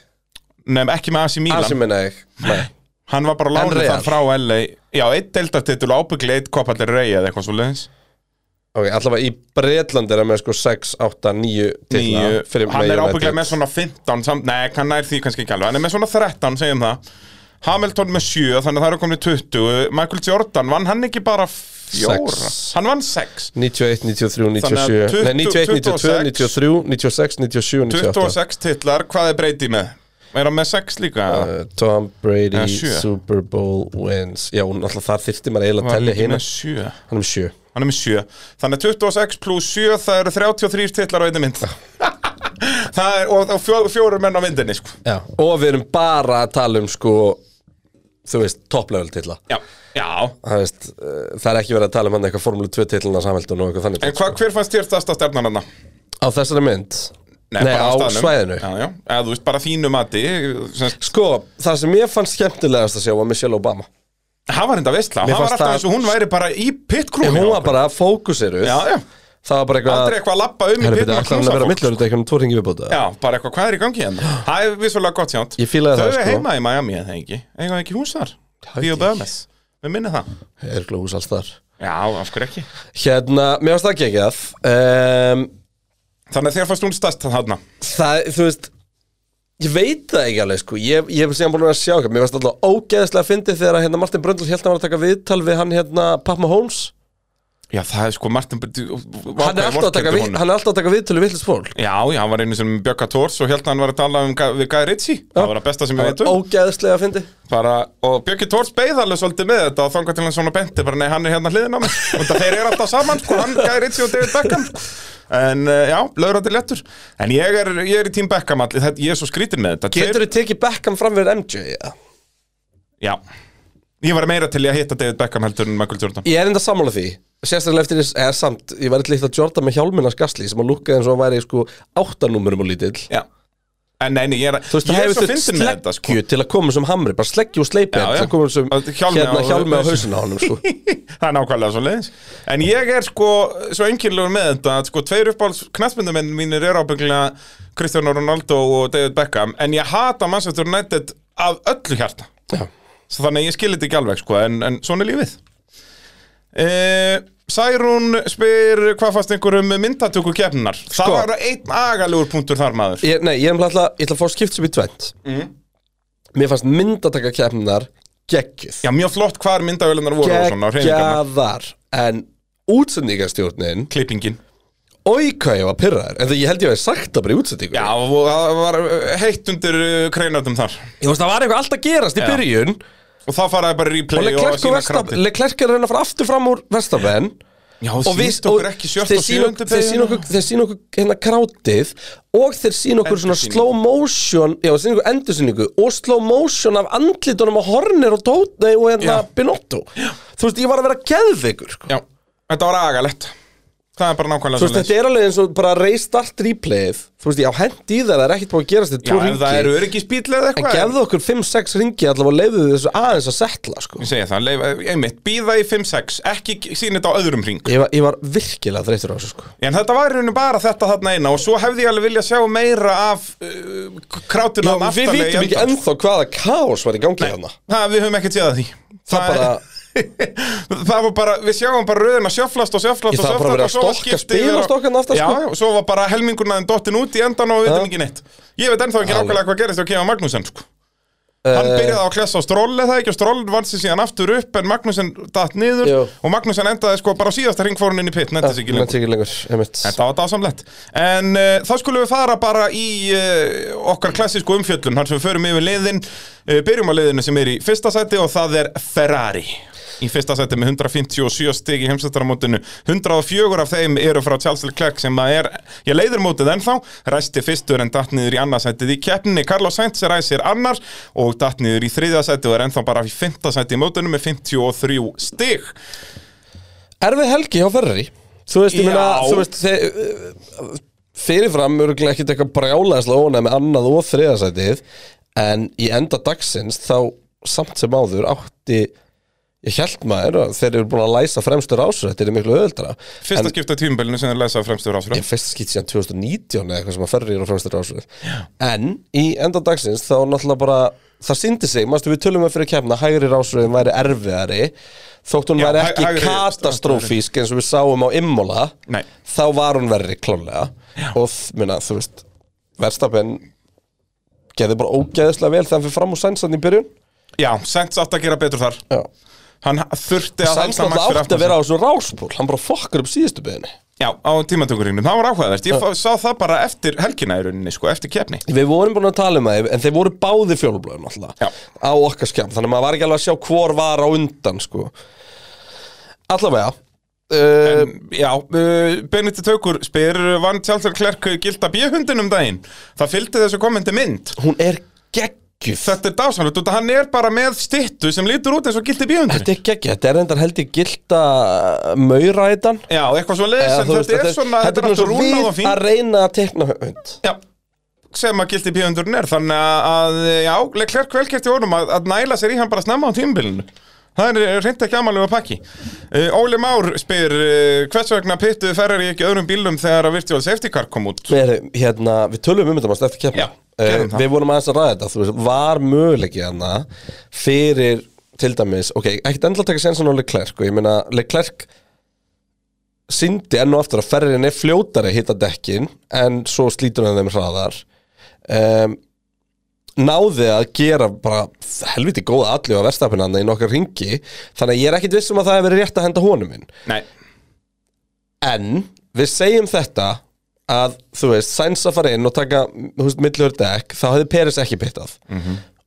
B: Nefn, ekki með AC Milan
D: Asi minna ég Nei
B: Hann var bara lánið
D: Real.
B: þar frá LA Já, einn deildartitil og ábyggli einn kopallir rey eða eitthvað svo leiðins
D: Ok, allavega í Breitlandi er hann með sko 6, 8, 9 titla fyrir
B: Hann er
D: United.
B: ábygglega með svona 15 samt, Nei, hann nær því kannski ekki alveg Hann er með svona 13, segjum það Hamilton með 7, þannig að það eru komin í 20 Michael Jordan, vann hann ekki bara 4
D: Sex.
B: Hann vann 6
D: 91, 93,
B: Þannig að
D: 97 Nei, 91, 92,
B: 26,
D: 93, 96, 97, 98
B: 26 titlar, hvað er Brady með? Er hann með 6 líka?
D: Uh, Tom Brady,
B: Eða sjö.
D: Super Bowl wins Já, hún alltaf þar þyrfti maður eiginlega að
B: hann
D: tellja
B: er
D: hérna
B: með 7
D: Hann er með 7
B: Hann er með 7 Þannig að 26 pluss 7 það eru 33 titlar á einni mynd <laughs> Það er, og, og fjó, fjóru menn á myndinni sko.
D: Já. Og við erum bara að tala um sko Þú veist, top level titla
B: Já, já
D: Það, veist, uh, það er ekki verið að tala um hann eitthvað Formule 2 titlana samhældun og eitthvað þannig
B: En hva, hver fannst þér þesta stefnan hann?
D: Á þessari mynd?
B: bara
D: á
B: staðnum.
D: svæðinu
B: Já, já, eða þú veist bara þínu mati sem,
D: Sko, það sem ég fannst skemmtilegast að sjá var Michelle Obama
B: Hann var enda veistla,
D: Mér
B: hann var
D: fannst
B: alltaf
D: það-
B: eins og hún væri bara í
D: En
B: pitkrúni
D: hún var bara fókusiruð
B: Já, já,
D: Það var bara eitthvað
B: aldrei eitthvað að lappa um í
D: Herra,
B: pitnum
D: byrja,
B: og
D: ætlaði hann
B: knúsa
D: að vera
B: fólk,
D: millur Þetta er eitthvað um tvo ringi viðbúta
B: Já, bara eitthvað, hvað er í gangi hérna? Það er vissulega gott sjánt
D: Ég fílaði
B: Þau
D: það,
B: er
D: sko.
B: heima í Miami, eða ekki? Eða ekki hús þar? Theo Bömes, við minni það
D: Er glús alls þar
B: Já, af hverju ekki
D: Hérna, mér varst það ekki ekki að um,
B: Þannig að þér fannst hún stast þarna
D: Það, þú veist Ég veit það ekki alveg, sko Ég, ég hef síðan búin að vera að sjá eitthvað Mér varst alltaf ógeðslega fyndið þegar að, hérna, Martin Bröndl Helt að var að taka viðtal við hann hérna Papma Holmes
B: Já, það er sko Martin
D: Hann
B: Hann
D: er alltaf að taka, við, hann er alltaf að taka viðtölu villist fólk
B: Já, já, hann var einu sem Bjögga Tórs og held að hann var að tala um Ga- við Guy Ritchie Það var að besta sem
D: Það
B: ég
D: var
B: veit um
D: ógeðslega fyndið
B: bara, Og Bjöggi Tórs beið alveg svolítið með þetta og þangar til hann svona benti bara nei, hann er hérna hliðin á mig og það þeir eru alltaf saman, sko, hann, Guy Ritchie og David Beckham sko. En eh, já, lögrandi lettur En ég er, ég er í tím Beckham allir, þetta, ég er svo skrítin með þetta Tveir-
D: Getur þið tekið Beckham fram fyrir MJ? Ja?
B: Já Ég var meira til í að hitta David Beckham heldur en Michael Jordan
D: Ég er enda sammála því Sérstaklega eftir þess, eða samt, ég var eitthvað Jordan með hjálminans gasli sem að lukkaði eins og hann væri sko áttanúmurum og lítill
B: Já En nei, nei, ég er,
D: Þú veist,
B: ég
D: það
B: er
D: hefur
B: svo
D: þurft
B: fyndin með þetta sko.
D: sleggju til að koma sem hamri, bara sleggju og sleipi
B: Já, já.
D: það komum sem
B: Að hjálmi
D: hérna
B: á-
D: hjálmi á
B: <laughs>
D: hausinu á honum sko.
B: það er nákvæmlega svo leiðis En ég er sko svo enginlegur með þetta að sko tveir uppáhalds knattmyndamenn mínir eru ábygglega Cristiano Ronaldo og David Beckham en ég hata Manchester United af öllu hjarta
D: Já.
B: Svo þannig að ég skil þetta ekki alveg sko en, en svona er lífið e, Særún spyr hvað fast einhverjum myndatöku kefninar
D: Sko.
B: Það var einn agalugur punktur þar maður
D: ég, Nei, ég er umhlega, ég ætla að fá skipt sem í tvent
B: Mhm.
D: Mér fannst myndataka kemnar geggjuð
B: Já, mjög flott hvar myndavélunar voru og svona hreyfingarnar
D: Geggjaðar En útsendingastjórnin
B: Klippingin
D: Oi, hvað ég var pyrraður En það ég held ég að sagt það bara í útsendingu
B: Já, og það var heitt undir kreinatum þar
D: Ég veist, það var eitthvað alltaf gerast í
B: Já.
D: byrjun
B: Og það faraði bara í
D: og
B: replay
D: Leclerc, og
B: sína
D: Verstappen-
B: kraddi.
D: Leclerc er að reyna að fara aftur fram úr Vestapen
B: Já, og sínt okkur ekki sjött og sjöndu
D: þeir sína okkur, þeir sína okkur hérna krátið og þeir sína okkur svona
B: Endursýningu.
D: slow motion já, þeir sína okkur endursýningu og slow motion af andlitunum á Horner og Tótnei og hérna
B: Já.
D: Binotto þú veist, ég var að vera geðveikur sko.
B: Já, þetta var agalegt Það er bara nákvæmlega
D: þú veist,
B: svoleiðis.
D: þetta er alveg eins og bara restart replayið þú veist, já, hendi í það, það er ekkert búið að gerast þetta
B: Já,
D: tvo
B: ef það eru
D: ringi,
B: öryggisbíl eða
D: en
B: eitthvað
D: gefðu okkur 5-6 ringi allavega og leiðu þessu aðeins að setla sko.
B: Ég segja það, leif, einmitt, býða í 5-6 Ekki sína þetta á öðrum ring
D: ég, var, ég var virkilega þreytur á þessu sko.
B: En þetta var í rauninu bara þetta þarna eina Og svo hefði ég alveg viljað sjá meira af uh, Krátinu
D: Já, við vitum ekki ennþá hvaða kaos var í gangi hérna
B: Það, við höfum ekkert séð að því
D: Það
B: er-
D: bara-
B: Það var bara, við sjáum bara röðina sjöflast og sjöflast
D: Ég,
B: og
D: það var bara
B: sjöflast og svo
D: verið að
B: var
D: stokka
B: skipti yfir á-
D: spilastokkan aftar,
B: Já,
D: sko.
B: og svo var bara helmingurnaðin dottin út í endan og við veitum ekki neitt Ég veit ennþá ekki
D: Alveg.
B: nákvæmlega hvað gerist og kefa Magnúsen sko. Hann
D: Eh,
B: byrjaði á að klessa á stról eða ekki og stról vann sér síðan aftur upp en Magnúsen datt niður
D: Jú.
B: og Magnúsen endaði sko bara á síðasta hring fór hann inn í pitt nefndi sig ekki lengur
D: Nennti ekki lengur einmitt.
B: Þetta var dásamlegt En eh, uh, þá skulum við fara bara í uh, okkar klassísku umfjöllun Þar sem við förum yfir liðin Eh, Byrjum á leiðinu sem er í fyrsta sæti og það er Ferrari Í fyrsta sæti með 157 stig í heimsættaramótinu 104 af þeim eru frá Charles Leclerc sem að er, ég leiðir mótið ennþá Ræsti fyrstur en datt niður í annarsætið í keppninni Carlos Sainz ræsir annar og datt niður í þriðasætið og er ennþá bara í fimmtasætið í mótinu með 53 stig
D: Erfið helgi hjá Ferrari Þú veist, ég
B: Já.
D: meina, þú veist þeir, uh, Fyrirfram örgulega ekkert eitthvað brjálæðislega ónæð með annað og þriðasætið En í enda dagsins þá samt sem áður átti Ég held maður að þeir eru búin að læsa fremstur ásur Þetta er miklu öðuldra
B: Fyrsta skipta tímubilinu sem er lesað fremstur ásfram
D: Ég fyrst skýt síðan 2019 eða eitthvað sem að ferri á fremstur ásvöð En í enda dagsins þá náttúrulega bara Það síndi sig, mástu við tölum að fyrir kemna Hægri rásröðin væri erfiðari Þótt hún
B: Já,
D: væri
B: hæ-
D: ekki
B: hægri-
D: katastrófísk eins og við sáum á Immola
B: Nei.
D: Þá var hún verri klálega Og þ- minna, þú veist Verstapen Gerði bara ógeðislega vel þegar hann fyrir fram úr sænsann í byrjun
B: Já, Sainz átt að gera betur þar
D: Já
B: Hann þurfti að halda Max fyrir
D: náttúrulega átti
B: aftan
D: að vera
B: sig.
D: á þessu ráspól Hann bara fokkar upp síðustu byrjunni
B: Já, á tímatökurinu, það var áhugavert Ég fá- sá það bara eftir helgina í rauninni, sko, eftir keppni
D: Við vorum búin að tala um það, en þeir voru báði fjólblöðum
B: Já.
D: alltaf á okkar skjám, þannig að maður var ekki alveg að sjá hvor var á undan, sko. Allavega, uh,
B: Já, uh, Benedikt Haukur spyr Vann Tjálsar Klerk gilda bíhundin um daginn Það fylgdi þessu kommenti mynd
D: hún er geggjuf.
B: Þetta er dásanlegt, út að hann er bara með styttu sem lítur út eins og gildi bíhundin
D: Þetta er geggjuf, þetta er endar held ég gilda mauræðan.
B: Já, eitthvað svo leiðis,
D: Eða
B: en
D: þú
B: þetta,
D: veist,
B: er svona Þetta er
D: bara
B: alltaf
D: svo
B: rúnað og
D: við að
B: fín
D: reyna að teikna hund.
B: Já sem að gildi píðundurinn er þannig að, að já, Leclerc velkert í orðum að, að næla sér í hann bara snemma á tímbilinu það er reynd ekki amalega pakki uh, Óli Már spyr uh, hvers vegna pittuðu ferrar í ekki öðrum bílum þegar að virtual safety car kom út
D: Við, erum, hérna, við tölum um þetta mást eftir keppna
B: Já, gerðum það.
D: Við vorum aðeins að ræða þetta Þú veist, var möguleiki hana fyrir til dæmis Ok, ekkert endla taka sénsinn á Leclerc og ég meina Leclerc síndi enn og aftur að ferðin er fljótari að hitta dekkin en svo slítur hann þeim hraðar um, náði að gera bara helviti góða allu á verstafinu í nokkar ringi þannig að ég er ekkit viss um að það hefur verið rétt að henda honum inn
B: Nei,
D: En við segjum þetta að, þú veist, Sainz að fara inn og taka, þú veist, millur dekk þá hefði Peres ekki pittað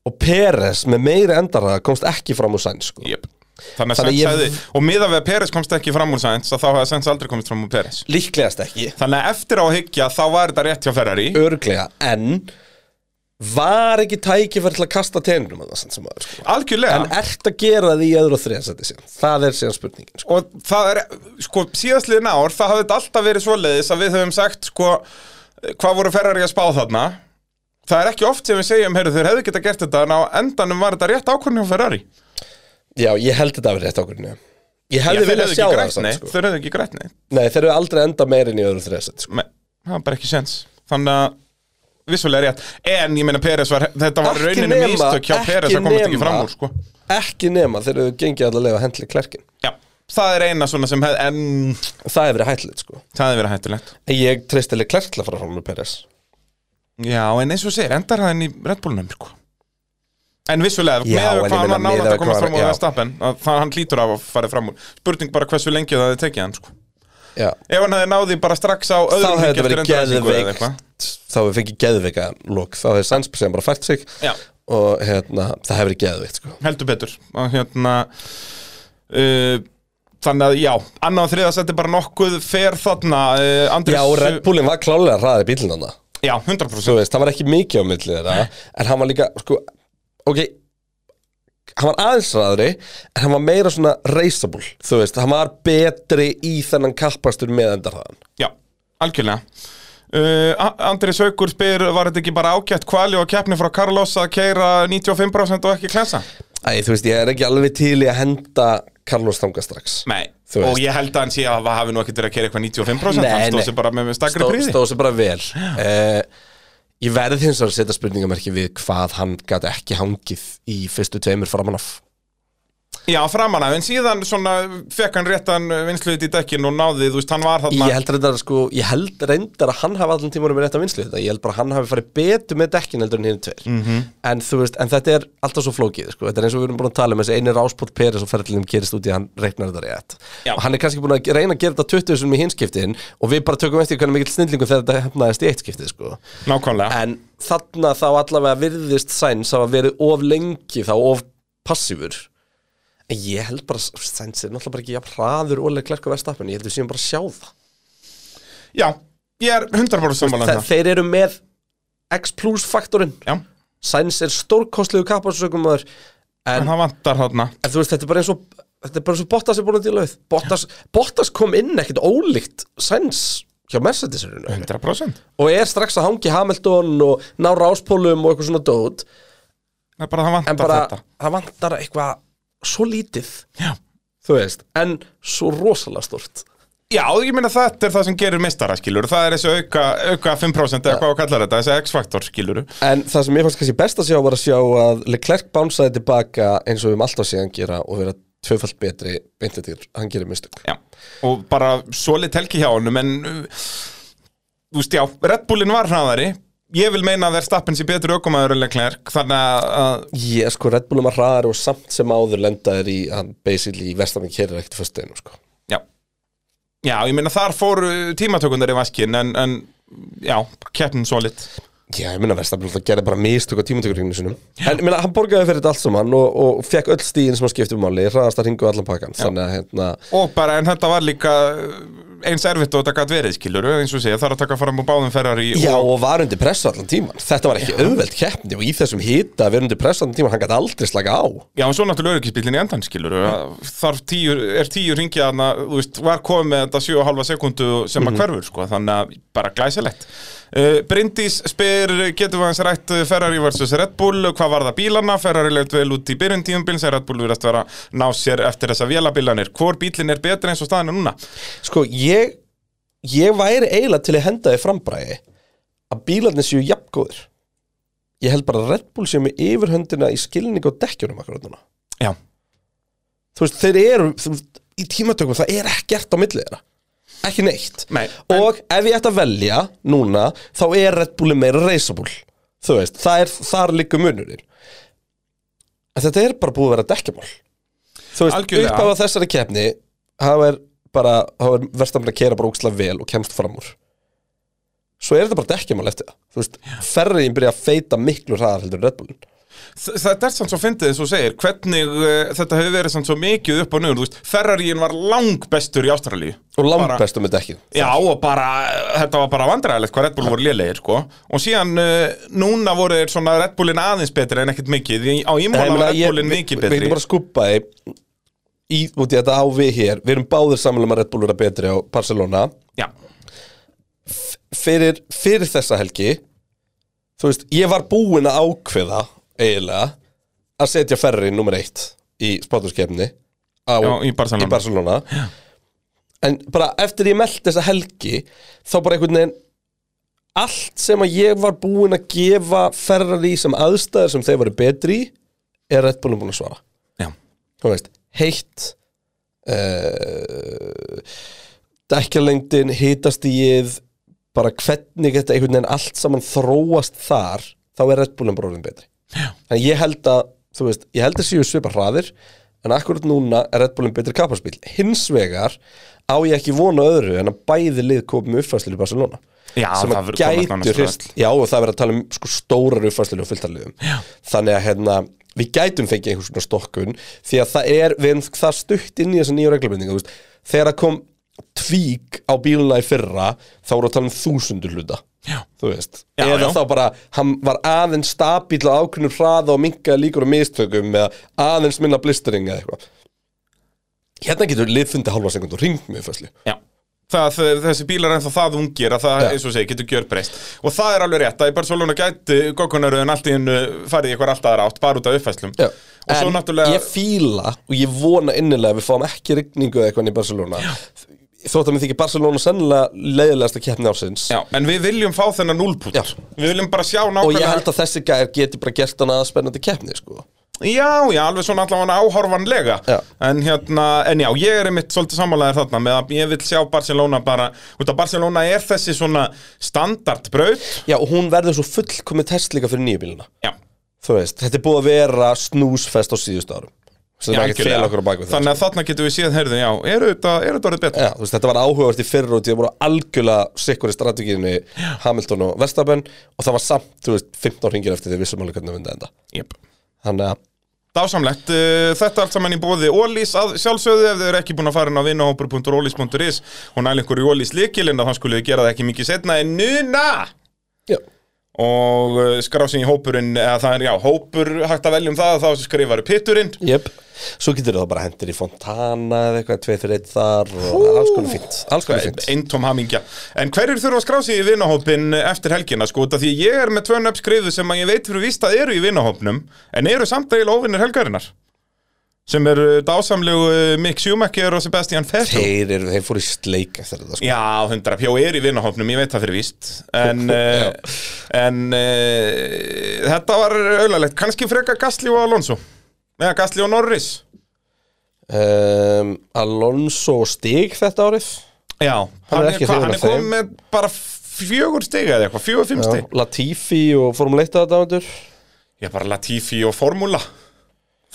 D: og Peres með meiri endara komst ekki fram úr Sainz, sko
B: jöp Þannig að
D: Þannig
B: Sainz
D: ég-
B: hefði, og miða við að Peres komst ekki fram úr Sainz að þá hefði Sainz aldrei komist fram úr Peres
D: Líklegast ekki
B: Þannig að eftir á að hyggja þá var þetta rétt hjá Ferrari
D: Örglega, en var ekki tækifæri til að kasta teinum að það sem maður, sko
B: Algjörlega
D: En ert að gera því í öðru og þriðasætti síðan Það er síðan spurningin, sko
B: og það er, sko, síðastliðin ár það hafði þetta alltaf verið svoleiðis að við höfum sagt, sko, hvað voru Ferrari að spá þarna það er ekki oft sem við segjum, heyrðu, þeir hefðu geta gert þetta en á endanum var þetta rétt ákvörðin hjá Ferrari
D: Já, ég held þetta að vera rétt ákvörðinu Ég hefði
B: þeir
D: viljað
B: hefðu
D: sjá
B: ekki
D: það
B: grætt
D: samt,
B: neitt,
D: sko
B: þeir hefðu ekki grætt neitt
D: Nei, þeir eru aldrei enda meiri en í öðru og þriðasætti, sko
B: Men, það var bara ekki sens þannig að vissulega rétt, en ég meina Peres var, þetta var
D: Ekki
B: rauninni
D: nema-
B: mistök hjá
D: ekki
B: Peres að komast ekki
D: nema.
B: fram úr, sko
D: Ekki nema þeir eru gengið allavega að leifa hendli klerkin
B: já, það er eina svona sem hefði, en
D: Það hefur verið hættilegt sko
B: það hefði verið hættulegt
D: En Ég treysti alveg klert til að fara frá með Peres
B: Já, en eins og segir, endar hann í Red Bullnum sko. En vissulega,
D: Já,
B: með
D: en ég
B: hvað hann
D: meina,
B: var nálægt
D: miðað
B: að
D: við
B: komast
D: hvað-
B: fram úr
D: já.
B: Verstappen að það hann hlýtur af að fara fram úr Spurning bara hversu lengi það hefði tekið hann sko.
D: Já
B: Ef hann hefði náði bara strax á
D: Þá
B: öðrum
D: hefði
B: leik
D: þetta verið
B: eftir endurræsingu eða eitthvað.
D: geðveikt Þá hefur fengið geðveika lók Þá hefur Sandsberg sem bara fært sig
B: Já.
D: Og hérna, það hefur verið geðveikt sko
B: Heldur betur að, hérna, uh, Þannig að já, annað og þriða seti bara nokkuð fer þarna uh, Andrés,
D: Já, og Red Bullin var klálega hraðar í bílinn hana
B: já,
D: Þú
B: 100%
D: veist, það var ekki mikið á milli þeirra En hann var líka, sko Ok Hann var aðeins hraðari En hann var meira svona raceable Þú veist, hann var betri í þennan kappastur með endarhraðan
B: Já, algjörlega Uh, A- Andrés Haugur spyr, var þetta ekki bara ágætt kvali og keppni frá Carlos að keira 95% og ekki klensa?
D: Æ, þú veist, ég er ekki alveg til í að henda Carlos þanga strax
B: Nei,
D: Þú
B: og
D: veist.
B: ég held að hann sé að það hafi nú ekkert verið að kera eitthvað 95%
D: Nei,
B: hann stóð
D: nei.
B: sér bara með, með stakri
D: Stó-
B: príði
D: Stóð sér bara vel uh, Ég verði hins vegar að setja spurningamerki við hvað hann gæti ekki hangið í fyrstu tveimur framan af
B: Já, framan af, en síðan svona fekk hann réttan vinsluðið í dekkin og náði, þú veist, hann var þarna
D: Ég held reyndar, sko, ég held reyndar að hann hafi allan tímanum með rétt að vinslu þetta Ég held bara að hann hafi farið betur með dekkin heldur en hinn tveir -hmm. en, þú veist, en þetta er alltaf svo flókið sko. Þetta er eins og við erum búin að tala um þessi eini ráspót Peres og ferðlinum gerist út í að hann reiknar þetta rétt
B: Já.
D: Og hann er kannski búin að reyna að gera þetta 20 sem í hinskiptin og við bara tökum eftir hvernig mikill snillingu þegar þetta hefnaðist í eitt skiptið sko.
B: Nákvæmlega,
D: En þarna þá allavega virðist Sainz hafa verið of lengi þá of passífur En ég held bara, Sainz er náttúrulega bara ekki jafn hraður ólega klerk á verðstappinu, ég held við séum bara að sjá það
B: já, ég er 100% sammála um
D: Þe-
B: það
D: Þeir eru með X plus faktorinn
B: Já,
D: Sainz er stórkostlegu kapasökumar en,
B: en hann vantar þarna
D: en þú veist, þetta er bara eins og þetta er bara eins og Bottas er búin að díla við Bottas, Bottas kom inn ekkert ólíkt Sainz hjá Mercedes
B: 100%
D: og er strax að hangi Hamilton og ná ráspólum og eitthvað svona dót
B: Það er bara að hann
D: en
B: vantar
D: bara,
B: þetta
D: það vantar eitthvað svo lítið
B: Já.
D: þú veist, en svo rosalega stort
B: Já, ég meina þetta er það sem gerir mistara, skilur Það er þessi auka, auka 5% eða hvað á kallar þetta, þessi X-faktor, skilur
D: En það sem ég fannst kannski best að sjá var að sjá að Leclerc bánsaði tilbaka eins og við um alltaf síðan gera og vera tvöfalt betri beintið til hann gerir mistök
B: Já, og bara svolít helgi hjá honum en uh, þú veist, já, Red Bullin var hraðari ég vil meina að Verstappen sé betur ökumæður en Leclerc, þannig að- að
D: Ég er sko Red Bullum að hraðar og samt sem áður lendaðir í, hann basically í verstamenn kerir ekkert fyrst einu sko
B: já, já ég meina þar fóru tímatökundar í vaskin en, en já, keppnin svolít
D: Já, ég meina verstamenn alltaf gerði bara mistök á tímatökurringinu sinum En ég meina, hann borgaði fyrir þetta allt saman og, og fekk öll stíðin sem hann skipti um máli hraðast að ringu allan pakkan Þannig að hérna,
B: og bara, en þetta var líka eins erfitt og þetta gætt verið, skilur eins og segja, það er að taka fram á báðum ferrari
D: Já
B: og,
D: og var undir pressu allan tíman Þetta var ekki auðveld keppni og í þessum hita að vera undir pressu allan tíman, hann gæti aldrei slaka á
B: já, en svo náttúrulega öryggisbílinn í endan, skilur þar tíu, er tíu ringja þarna, þú veist, var komið með þetta 7,5 sekundu sem að hverfur, sko, þannig að bara glæsilegt uh, Bryndís spyr, getum við hans rætt uh, Ferrari versus Red Bull, hvað var það bílana Ferrari leitt vel út í byrjun tíumbils en Red Bull verðast vera ná sér eftir þessa vélabilanir, hvor bílinn er betri eins og staðan er núna
D: Sko, ég, ég væri eiginlega til að henda þið frambræði að bílarnir séu jafngóðir. Ég held bara að Red Bull séu með yfirhöndina í skilning og dekkjunum akkur núna.
B: Já,
D: Þú veist, þeir eru, þú veist, í tímatökum það er ekkert á milli þeirra. Ekki neitt.
B: Nei,
D: og ef ég ætti að velja núna, þá er Red Bulli meira reisabúl. Þú veist, það er, þar liggur munurinn. En þetta er bara búið að vera dekkjamál. Þú veist,
B: Algjörlega.
D: upp á þessari keppni, það er bara, það er verðstamlega að kera bara óksla vel og kemst fram úr. Svo er þetta bara dekkjamál eftir það. Þú veist, ferriðin byrja að feita miklu hraðar heldur en Red Bullin.
B: Þ- Þetta er samt svo fyndið eins og þú segir hvernig uh, þetta hefur verið samt svo mikið upp og nöður, þú veist, Ferraríin var langbestur í Ástralíu.
D: Og
B: Bara-
D: langbestum með dekkin.
B: Já, og bara, þetta var bara vandræðilegt hvað Red Bull voru lélegir, sko. Og síðan, uh, núna voru þeir svona Red Bullin aðeins betri en ekkert mikið. Í- Á ímóla var Red Bullin mikið
D: Við
B: betri.
D: getum bara að skúpa þið í, út í þetta á við hér. Við erum báðir samanlega með Red Bull vera betri á Barcelona.
B: Já,
D: Fyrir, fyrir þessa helgi, þú veist, ég var búinn að ákveða eiginlega að setja ferri nummer eitt í spáturskefni á
B: já, í Barcelona.
D: í Barcelona en bara eftir ég meldi þessa helgi þá bara einhvern veginn allt sem að ég var búinn að gefa Ferrari sem aðstæður sem þeir voru betri í, er Red Bullum búin að svara
B: Já.
D: þú veist, heitt uh, dekkjalengdin hitastíð bara hvernig þetta einhvern veginn allt saman þróast þar þá er Red Bullum bara orðin betri Já. en ég held að, þú veist, ég held að séu svipa hraðir en akkurat núna er Red Bullum betri kapparspíl hins vegar á ég ekki vona öðru en að bæði lið komið uppfæslu í Barcelona
B: Já,
D: sem
B: það
D: að
B: verður komast nánast
D: gætu hrist
B: öll.
D: já og það verður að tala um sko, stórar uppfærslir og fylgtarliðum þannig að hérna, við gætum fengið einhvers svona stokkun því að það er, við erum það stutt inn í þessa nýju reglumendinga veist, þegar það kom tvík á bíluna í fyrra þá voru að tala um þúsundur hluta já. þú veist,
B: Já,
D: eða
B: já.
D: þá bara hann var aðeins stabíl á ákveðnum hraða og minkaði líkur á mistökum eða aðeins minna blistering eða eitthvað hérna getur liðfundi hálfa sekund og ringt með fæsli
B: Já. Það, þessi bílar ennþá það ungir að það,
D: Já.
B: eins og segja, getur gjör breyst og það er alveg rétt að í Barcelona gæti gokkunaröðin allt í hennu farið í eitthvað allt aðra átt bara út af uppfæslum
D: Já.
B: og svo
D: En
B: náttúrulega
D: Ég fíla og ég vona innilega að við fáum ekki rigningu eða eitthvað inn í Barcelona Þótt að mér þykir Barcelona sennilega leiðilegasta keppni ársins
B: Já, en við viljum fá þennan núlput
D: Já.
B: Við viljum bara sjá
D: Og
B: nákvæmlega
D: ég held að þessi gær geti bara gert hana að spennandi keppni sko.
B: Já, já, alveg svona allavega áhorfanlega
D: Já.
B: en, hérna, en já, ég er einmitt svolítið sammálaðir þarna með að ég vil sjá Barcelona bara út að Barcelona er þessi svona standardbraut
D: Já, og hún verður svo fullkomin test líka fyrir nýju bíluna
B: Já,
D: Þú veist, þetta er búið að vera snúsfest á síðustu árum Sem
B: já
D: er ekkert fel
B: algjörlega.
D: okkur á bakvið það sko.
B: Þannig að þarna getum við séð, heyrðu, já, eru þetta, er þetta orðið betra?
D: Já, þú veist, þetta var áhugavert í fyrra og því að voru algjörlega sikkur í strategíinni Hamilton og Verstapen og það var samt, þú veist, 15 ringir eftir því vissum alveg hvernig að mynda enda
B: Jep.
D: Þannig að,
B: Dásamlegt, uh, þetta allt saman í bóði Ólís að sjálfsögðu ef þau eru ekki búin að fara inn á vinnahópur.ólís.is og næla ykkur í Ólís líkilinn að þann skulle þið gera það ekki mikið setna en núna
D: já,
B: og uh, skrá sig í hópurinn eða það er, já, hópur, hægt að veljum það þá skrifaru pitturinn
D: jöp Svo getur það bara hendur í Fontana eða eitthvað, 2-3-1 þar og það er alls konar fínt Alls konar fínt
B: eintóm hamingja En hverjir þurfa að skrá sig í vinahópin eftir helgina sko, út af því ég er með tvö nöfn skrifu sem að ég veit fyrir víst að eru í vinahópnum en eru samt eiginlega óvinnir helgarinnar sem eru dásamlegu eh, Mick Schumacher og Sebastian Vettel
D: Þeir, eru, þeir fóru í sleik eftir þetta, sko
B: Já, hundra pjó er í vinahópnum, ég veit það fyrir víst En, uh, en uh, þetta var auðvitað kannski freka Gastli og Alonso Eða Gastli og Norris
D: um, Alonso stig þetta árið
B: Já, hann er,
D: ekki
B: hva-
D: hrifinn
B: hann
D: af
B: er komið
D: þeim.
B: með bara fjögur stiga eða eitthvað, fjögur fimm
D: Já,
B: stig
D: Latifi og fórum leita þetta ándur
B: Já, bara Latifi og Formúla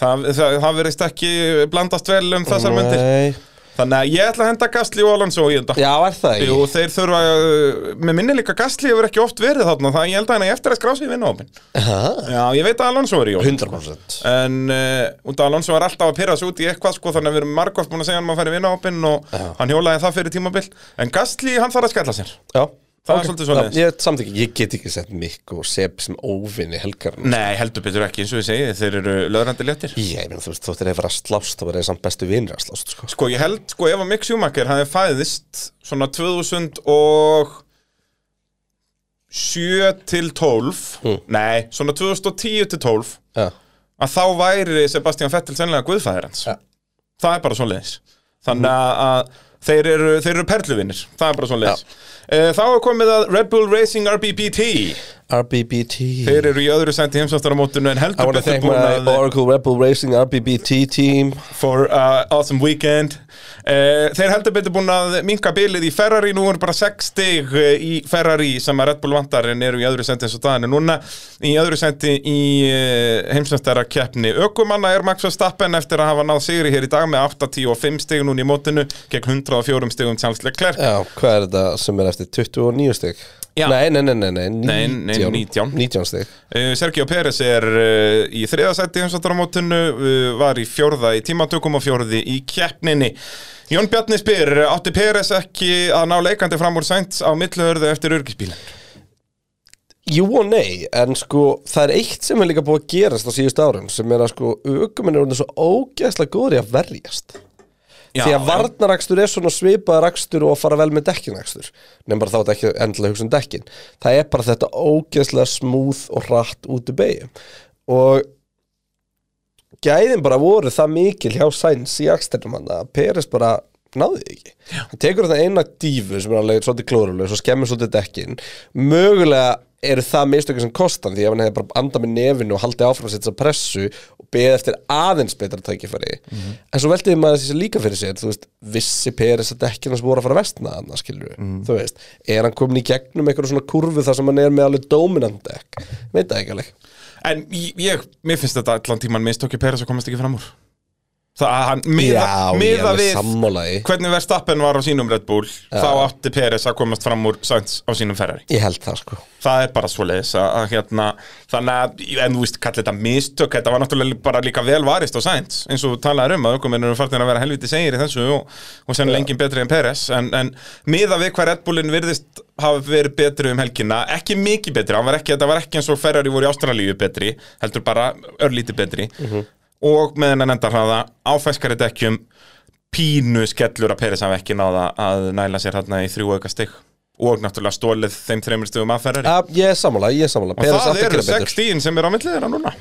B: Það, það, það verðist ekki blandast vel um þessar myndir
D: Nei.
B: Þannig að ég ætla að henda Gastli og Alonso í þetta
D: Já, er það ekki?
B: Jú, þeir þurfa, uh, með minni líka Gastli hefur ekki oft verið þarna Það ég held að hann eigi eftir að skrá sig í vinahópin
D: Ha?
B: Já, ég veit að Alonso er í hópin
D: 100%
B: En uh, út af Alonso var alltaf að pyrra sig út í eitthvað sko, þannig að við erum margóft búin að segja hann maður að færi vinahópin og hann hjólaði það fyrir tímabil en Gastli, hann þarf að skella sér
D: Já
B: Það er svolítið svoleiðis.
D: Já, Ég, samt ekki, ég get ekki sett Mikk og Sepp sem óvinni helgar
B: Nei, heldur betur ekki, eins og ég segi, þeir eru löðrandi léttir
D: Ég meina, þú veist, þú ættir að fara að slást þá verður það samt bestu vinnir að slást sko.
B: Sko, ég held, sko, ef að Mick Schumacher hafi fæðist svona 2000 og 7 til 12 Nei, svona 2010 til 12
D: Já,
B: að þá væri Sebastian Vettel sennilega guðfæðir hans
D: Ja.
B: það er bara svo leiðis þannig að þeir eru, þeir eru perluvinir það er bara svo leiðis þá er komið að Red Bull Racing RBBT
D: RBBT
B: þeir eru í öðru sæti heimsáttarmótinu en
D: I
B: heldur
D: want to
B: betur
D: thank
B: búin
D: my
B: að
D: Oracle Rebel Racing RBBT team
B: for uh, awesome weekend uh, þeir heldur betur búin að minka bilið í Ferrari, nú er bara 6 stig eh, í Ferrari sem að Red Bull vantar en eru í öðru senti eins og það en núna í öðru senti í uh, heimsnæstara keppni Ökumanna er Max Verstappen eftir að hafa náð sigri hér í dag með 85 stig núna í mótinu gegn 104 stigum Charles Leclerc
D: Já, hvað er þetta sem er eftir 29 stygg?
B: Já.
D: Nei, nei, nei, nei, nei, 19
B: Nei, nei, 19.
D: 19 stygg
B: Uh, Sergio Pérez er uh, í þriðasætti heimsvættaramótinu, uh, var í fjórða í tímatökum og fjórði í keppninni. Jón Bjarni spyr, átti Pérez ekki að ná leikandi fram úr sænt á milluhörðu eftir örgisbílinn?
D: Jú og nei, en sko það er eitt sem er líka búið að gerast á síðust árum sem er að sko aukumenn er orðin svo ógeðslega góður í að verjast því að varnarakstur er svona svipað rakstur og að fara vel með dekkinakstur nefn bara þá er þetta ekki endilega hugsa um dekkin það er bara þetta ógeðslega smúð og hratt út í beigum og gæðin bara voru það mikil hjá Sainz í aksternum hann að Peres bara náði því ekki. Hann tekur það eina dífu sem er alveg svolítið klórulega, svo skemmur svolítið dekkin. Mögulega eru það mistökir sem kostan því ef hann hefði bara andað með nefinu og haldið áfram að setja sig á pressu og beðið eftir aðeins betra tækifæri.
B: Mhm.
D: En svo veltiði maður þessi líka fyrir sér, þú veist, vissi Peres að dekkin hans voru að fara að vestna hann, skilur við.
B: Mhm.
D: Þú veist, er hann komin í gegnum eitthvað svona kurfu þar sem hann er með alveg dominant dekk? Veit það ekki alveg.
B: En ég, ég- mér finnst þetta allan tíman mistökki Pérez að komast ekki fram úr. Það að hann miða,
D: ég er
B: miða
D: alveg
B: við
D: sammálaði.
B: hvernig Verstappen var á sínum Red Bull, þá átti Pérez að komast fram úr sænt á sínum Ferrari.
D: Ég held það sko.
B: það er bara svoleiðis að, að hérna, þannig að, en þú veist, kallið þetta mistök, þetta var náttúrulega bara líka vel varist á sænt, eins og þú talaðir um að ökumennir eru fartin að vera helviti segir í þessu og, og sennilega enginn betri en Peres, en, en miða við hvað Red Bullin virðist hafa verið betri um helgina, ekki mikið betri, hann var ekki, þetta var ekki eins og Ferrari voru í Ástralíu betri, heldur bara örlítið betri, og með hennan enda hraða áfæskari dekkjum, pínu skellur að Peres hafa ekki náða að næla sér hérna í þrjú auka stig og náttúrulega stólið þeim þreymur stigum að Ferrari
D: Ja, ég er sammála, ég er sammála
B: Og
D: Peres
B: það
D: átti að
B: eru
D: gera betur
B: 16 sem er á millið þeirra núna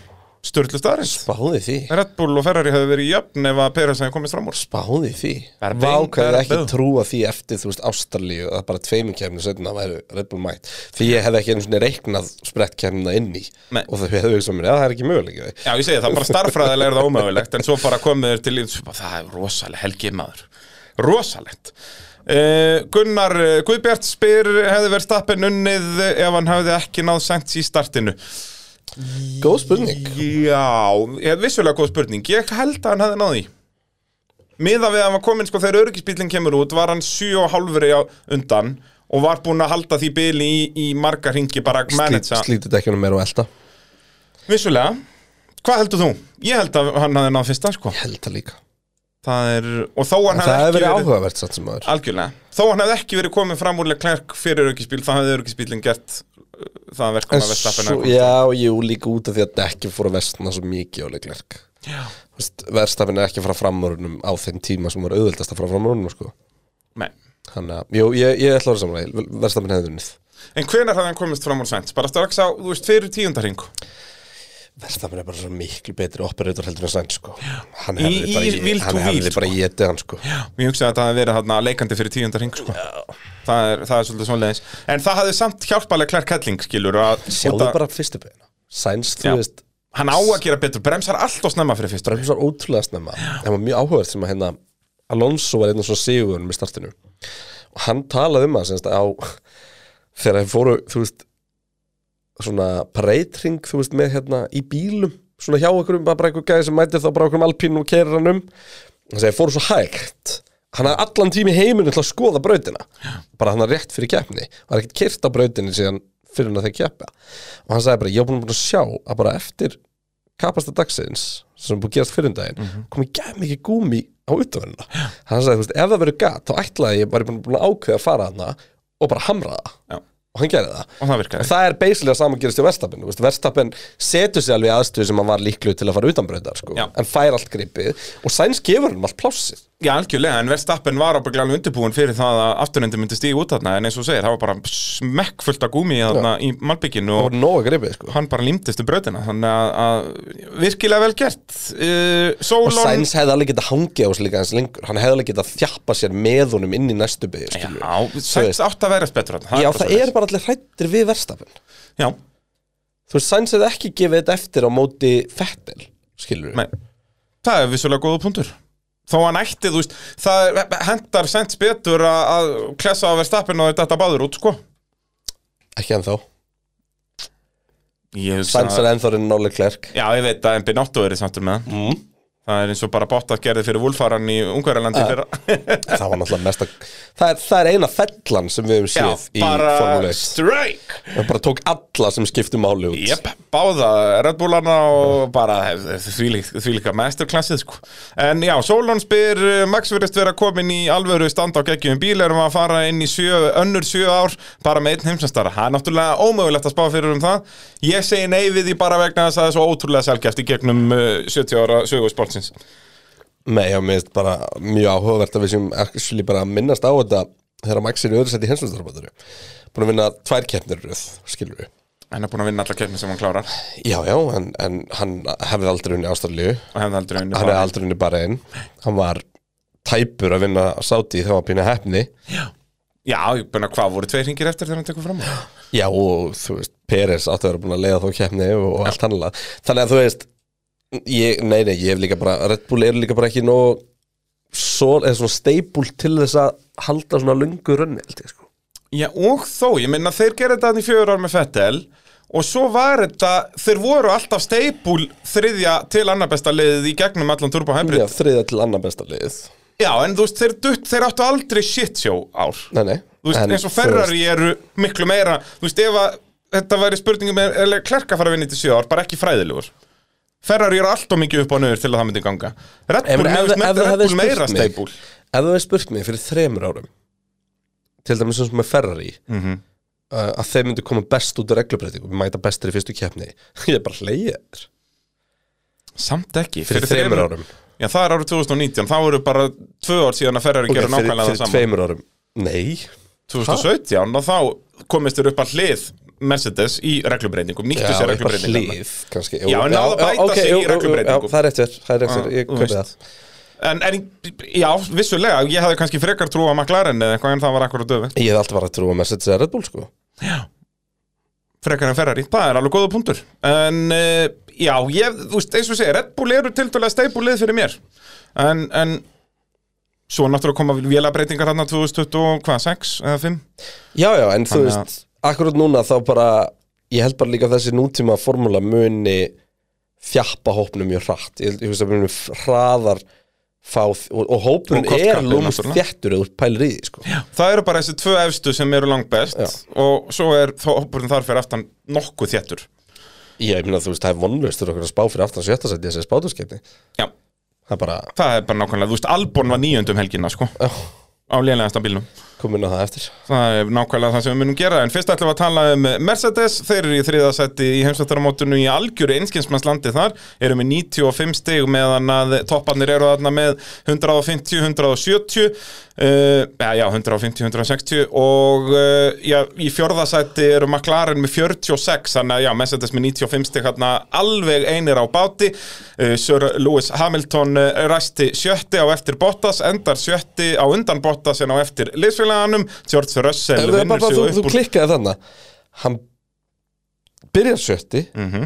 B: Sturlu staðarins
D: Spáði því
B: Red Bull og Ferrari hefðu verið í jöfn ef að Peres hefði komist fram úr
D: Spáði því
B: Bara bein,
D: Vákæði
B: bara
D: ekki
B: bein.
D: trúa því eftir þú veist Ástralíu að bara tveimur kemni setna væru Red Bull mætt Því ég hefði ekki einu svona reiknað sprett kemna inn í
B: Nei.
D: Og það hefði hugsað mér, já það er ekki möguleik
B: Já, ég segi það, bara starffræðilega er það ómögulegt en svo bara komið þér til líf, svo bara, það er rosalega helgið maður Rosalegt Uh, Gunnar eh, Guðbjart spyr hefði verið stappin unnið ef hann hefði ekki náð sent í startinu
D: Góð spurning
B: Já, ég hef vissulega góð spurning Ég held að hann hefði náði Miða við að hann var komin sko þegar örgisbílinn kemur út var hann 7,5 á undan og var búinn að halda því bili í, í marga ringi bara að
D: Slít,
B: manage Slít.
D: Slítið ekki hann meira og elda
B: Vissulega, hvað heldur þú? Ég held að hann hefði náð fyrsta sko
D: Held það líka
B: Það er, og þó hann
D: En það
B: hefði
D: hefði verið
B: ekki verið
D: áhugavert satt sem maður
B: Algjörlega, þó hann hefði ekki verið komin fram úrlega klærk fyrir örgisbíl, þá hefði örgisbílinn gert uh, það verkum
D: En
B: að verðstappin
D: svo, já, jú, líka út af því að dekki fór að vestna svo mikið á leiklerk Verstafin er ekki að fara framörunum á þeim tíma sem var auðvöldast að fara framörunum sko.
B: Nei
D: Þannig að, jú, ég, ég ætla að vera samanlega Verstafin hefði unnið
B: En hvenær hafði hann komist fram úr sænt? Bara strax á, þú veist, fyrir tíundarhingu
D: Verstafin er bara svo miklu betri operator heldur en sænt sko. Hann
B: Í-
D: hefði
B: í
D: bara, í-
B: vil to
D: hann hefði
B: vil, sko.
D: bara getið hann sko.
B: Ég hugsaði að það hefði verið þarna leikandi fyrir tíundar hring sko. það, er, það er svolítið svoleiðis En það hafði samt hjálpalega klær kelling skilur að,
D: Sjáðu
B: út að-
D: bara fyrstu beina Sæns,
B: Já.
D: þú veist,
B: Hann á að gera betur, bremsar allt og snemma fyrir fyrst
D: bara einhvers var ótrúlega snemma það var mjög áhugavert sem að hérna Alonso var einn og svo sigurinn með startinu og hann talaði um það semst á þegar þeir fóru þú veist svona pareitring þú veist með hérna í bílum svona hjá okkur um bara einhver gæði sem mætir þá bara okkur um alpínum og keirir hann um hann segi fóru svo hægt hann hafði allan tími heiminu til að skoða brautina bara hann hafði rétt fyrir keppni hann hafði ekkert keirt á brautinu síðan fyrir hann að þeir keppa og hann sagði bara ég var búin að sjá að bara eftir kapasta dagsins sem er búið að gerast fyrir um daginn mm
B: Mhm.
D: -hmm. komið gæð mikið gúmi á utanverðina hann sagði, þú veist, ef það verður gat þá ætlaði ég bara búin að ákveða að fara hana og bara hamra það
B: Já.
D: og hann gerði það
B: Og það
D: og
B: virkaði
D: það er basically að saman gerist hjá Verstappen þú veist, Verstappen setur sig alveg í aðstöðu sem hann var líklu til að fara utanbröðar sko.
B: Já.
D: en fær allt gripið og Sainz gefur hann allt plássið
B: Já, algjörlega, en Verstappen var ábygglega alveg undirbúin fyrir það að afturnendi myndi stíga út þarna En eins og þú segir, það var bara smekk fullt af gúmi þarna í malbygginu
D: það
B: og
D: var nóga gripið sko.
B: hann bara límtist um brautina Þannig að, að virkilega vel gert uh,
D: og
B: Solon
D: Sainz hefði alveg getað hangið á sig líka hans lengur hann hefði alveg getað þjappa sér með honum inn í næstu byggju
B: Já,
D: skilurðu. Þú
B: Sainz
D: veist.
B: átt að vera betur þarna,
D: Já,
B: bara
D: það
B: svoleiðis.
D: er bara allir hrættir við Verstappen
B: Já,
D: þú veist, Sainz hefði ekki gefið þetta eftir á móti Fettel, skilur við
B: Nei, það er vissulega góða punktur Þó hann ætti, þú veist, það hendar sent betur að, að klessa á verðstappin og þetta báður út, sko
D: ekki ennþá,
B: Ég hugsa-
D: Sainz er ennþá reyna nálega klerk
B: Já, ég veit að Benotto er í samtum með það
D: Mm.
B: Það er eins og bara bótt að gerði fyrir Wolfaran í Ungverjalandi fyrra
D: það var náttúrulega mesta það er, það er eina fellan sem við höfum
B: Já,
D: séð í
B: bara
D: Formule 1
B: strike
D: það bara tók alla sem skiptu máli út
B: Jep, báða Red Bullana og bara eh, þvílík- þvílíka masterklassið sko. En já, Solon spyr eh, Max verðist vera komin í alvöru stand á geggjum bíl, erum við að fara inn í sjö, önnur sjö ár bara með einn heimsastara Það er náttúrulega ómögulegt að spá fyrir um það Ég segi nei við því bara vegna þess að það er svo ótrúlega selgjast í gegnum eh, 70 ára sögu sportsins
D: Nei, já, mér finnst bara mjög áhugavert að við séum actually bara að minnast á þetta þegar Max er í öðru seti í hensumstarabaturu búin að vinna tvær keppnir í röð, skilur við
B: Hann er búin að vinna allar keppni sem hann klárar og
D: Já, já, en, en hann hefði aldrei unni ástralíu
B: hefði aldrei vinni
D: hann hefði aldrei unni bara einn hann var tæpur að vinna sáti þegar hann var pínu hefni
B: Já, ég búin að hvað voru tveir hringir eftir þegar hann tekur fram úr?
D: Já og þú veist, Peres átti að vera búin að leiða þá keppni og, og allt annað Þannig að þú veist ég, Nei, nei, ég hef líka bara, Red Bull er líka bara ekki nóg svo, eða svona steipul til þess að halda svona lungu rönni held ég sko
B: Já, og þó, ég minna þeir gerði þetta þannig fjör ár með Fettel og svo var þetta, þeir voru alltaf steipul þriðja til annar besta liðið í gegnum allan Turbo Hybrid.
D: Já, þriða til annar besta liðið
B: Já, en þú veist, þeir, dutt, þeir áttu aldrei shitsjó ár.
D: Nei, nei
B: Þú veist, eins og Ferrari eru miklu meira, þú veist, ef að þetta væri spurningum með, eller klerka fara að vinna í þessu ár, bara ekki fræðilegur. Ferrari eru alltaf mikið upp á nöður til að það myndi ganga. Red
D: Ef,
B: Bull,
D: ef,
B: ef,
D: ef, ef,
B: ef, Red
D: hefði
B: Bull meira
D: spurt mig,
B: steipul.
D: ef þú hefði spurt mig fyrir þremur árum til dæmis eins og með Ferrari -hmm.
B: Mhm.
D: að þeir myndu koma best út af reglubreitingum mæta bestir í fyrstu keppni <laughs> ég er bara hleyið þér
B: Samt ekki.
D: fyrir, þremur árum
B: Já, það er árið 2019, þá eru bara tvö ár síðan að Ferrari okay,
D: fyrir,
B: gerur nákvæmlega
D: fyrir
B: það saman.
D: tveimur árum Nei,
B: 2017 og þá komist þér upp að hlið Mercedes í reglubreitingum, nýttu
D: Já,
B: sér
D: eitthvað
B: reglubreitingum
D: hlið kannski
B: Já, en náðu að bæta sig í
D: jú, jú, jú,
B: reglubreytingum.
D: Já, það er eftir, það er eftir,
B: Já,
D: ég
B: þú
D: köpið
B: veist.
D: það
B: en, en já, vissulega, ég hafði kannski frekar trú á McLaren eða eitthvað en það var akkur að döfu
D: Ég hef alltaf bara að trúa Mercedes eða Red Bull sko
B: frekar en Ferrari, það er alveg góða punktur en uh, já, ég, þú veist, eins og segir Red Bull eru tildulega steipulið fyrir mér en, en svo náttúrulega koma vélabreitingar hann 2026 eða 5
D: Já, já, en þú
B: Þannig að-
D: veist, akkurat núna þá bara Ég held bara líka að þessi nútíma formúla muni þjappa hópnum mjög hratt Ég, ég veist að muni hraðar fá, og, og hópurinn
B: Og kollkappið,
D: er lúmst
B: náttúrulega.
D: þjættur eða pælir í því sko Já,
B: það eru bara þessi tvö efstu sem eru langbest
D: Já.
B: og svo er þó hópurinn þar fyrir aftan nokkuð þéttur
D: ég meina þú veist, það er vonlaust fyrir okkur að spá fyrir aftan sjötta sætti í þessi spáturskipni
B: já,
D: Það er bara,
B: það er bara nákvæmlega, þú veist, Albon var níundum helgina sko,
D: já,
B: á lélægasta bílnum
D: komin á það eftir
B: Það er nákvæmlega það sem við munum gera En fyrst ætlum við að tala um Mercedes Þeir eru í þriðasætti í heimsvættaramótinu í algjöru einskjensmannslandi þar Eru með 95 stig meðan að topparnir eru þarna með 150, 170 uh, Já, 150, 160 Og uh, já, í fjórðasætti eru McLaren með 46 Þannig að já, Mercedes með 95 stig hérna alveg einir á báti uh, Sir Lewis Hamilton uh, ræsti sjötti á eftir Bottas Endar sjötti á undan Bottas en á eftir liðsfélaganum George Russell
D: Ef það er
B: vinnur
D: bara
B: sig
D: þú,
B: upp
D: þú
B: úr
D: klikkaði þannig Hann byrjar sjötti
B: Mhm.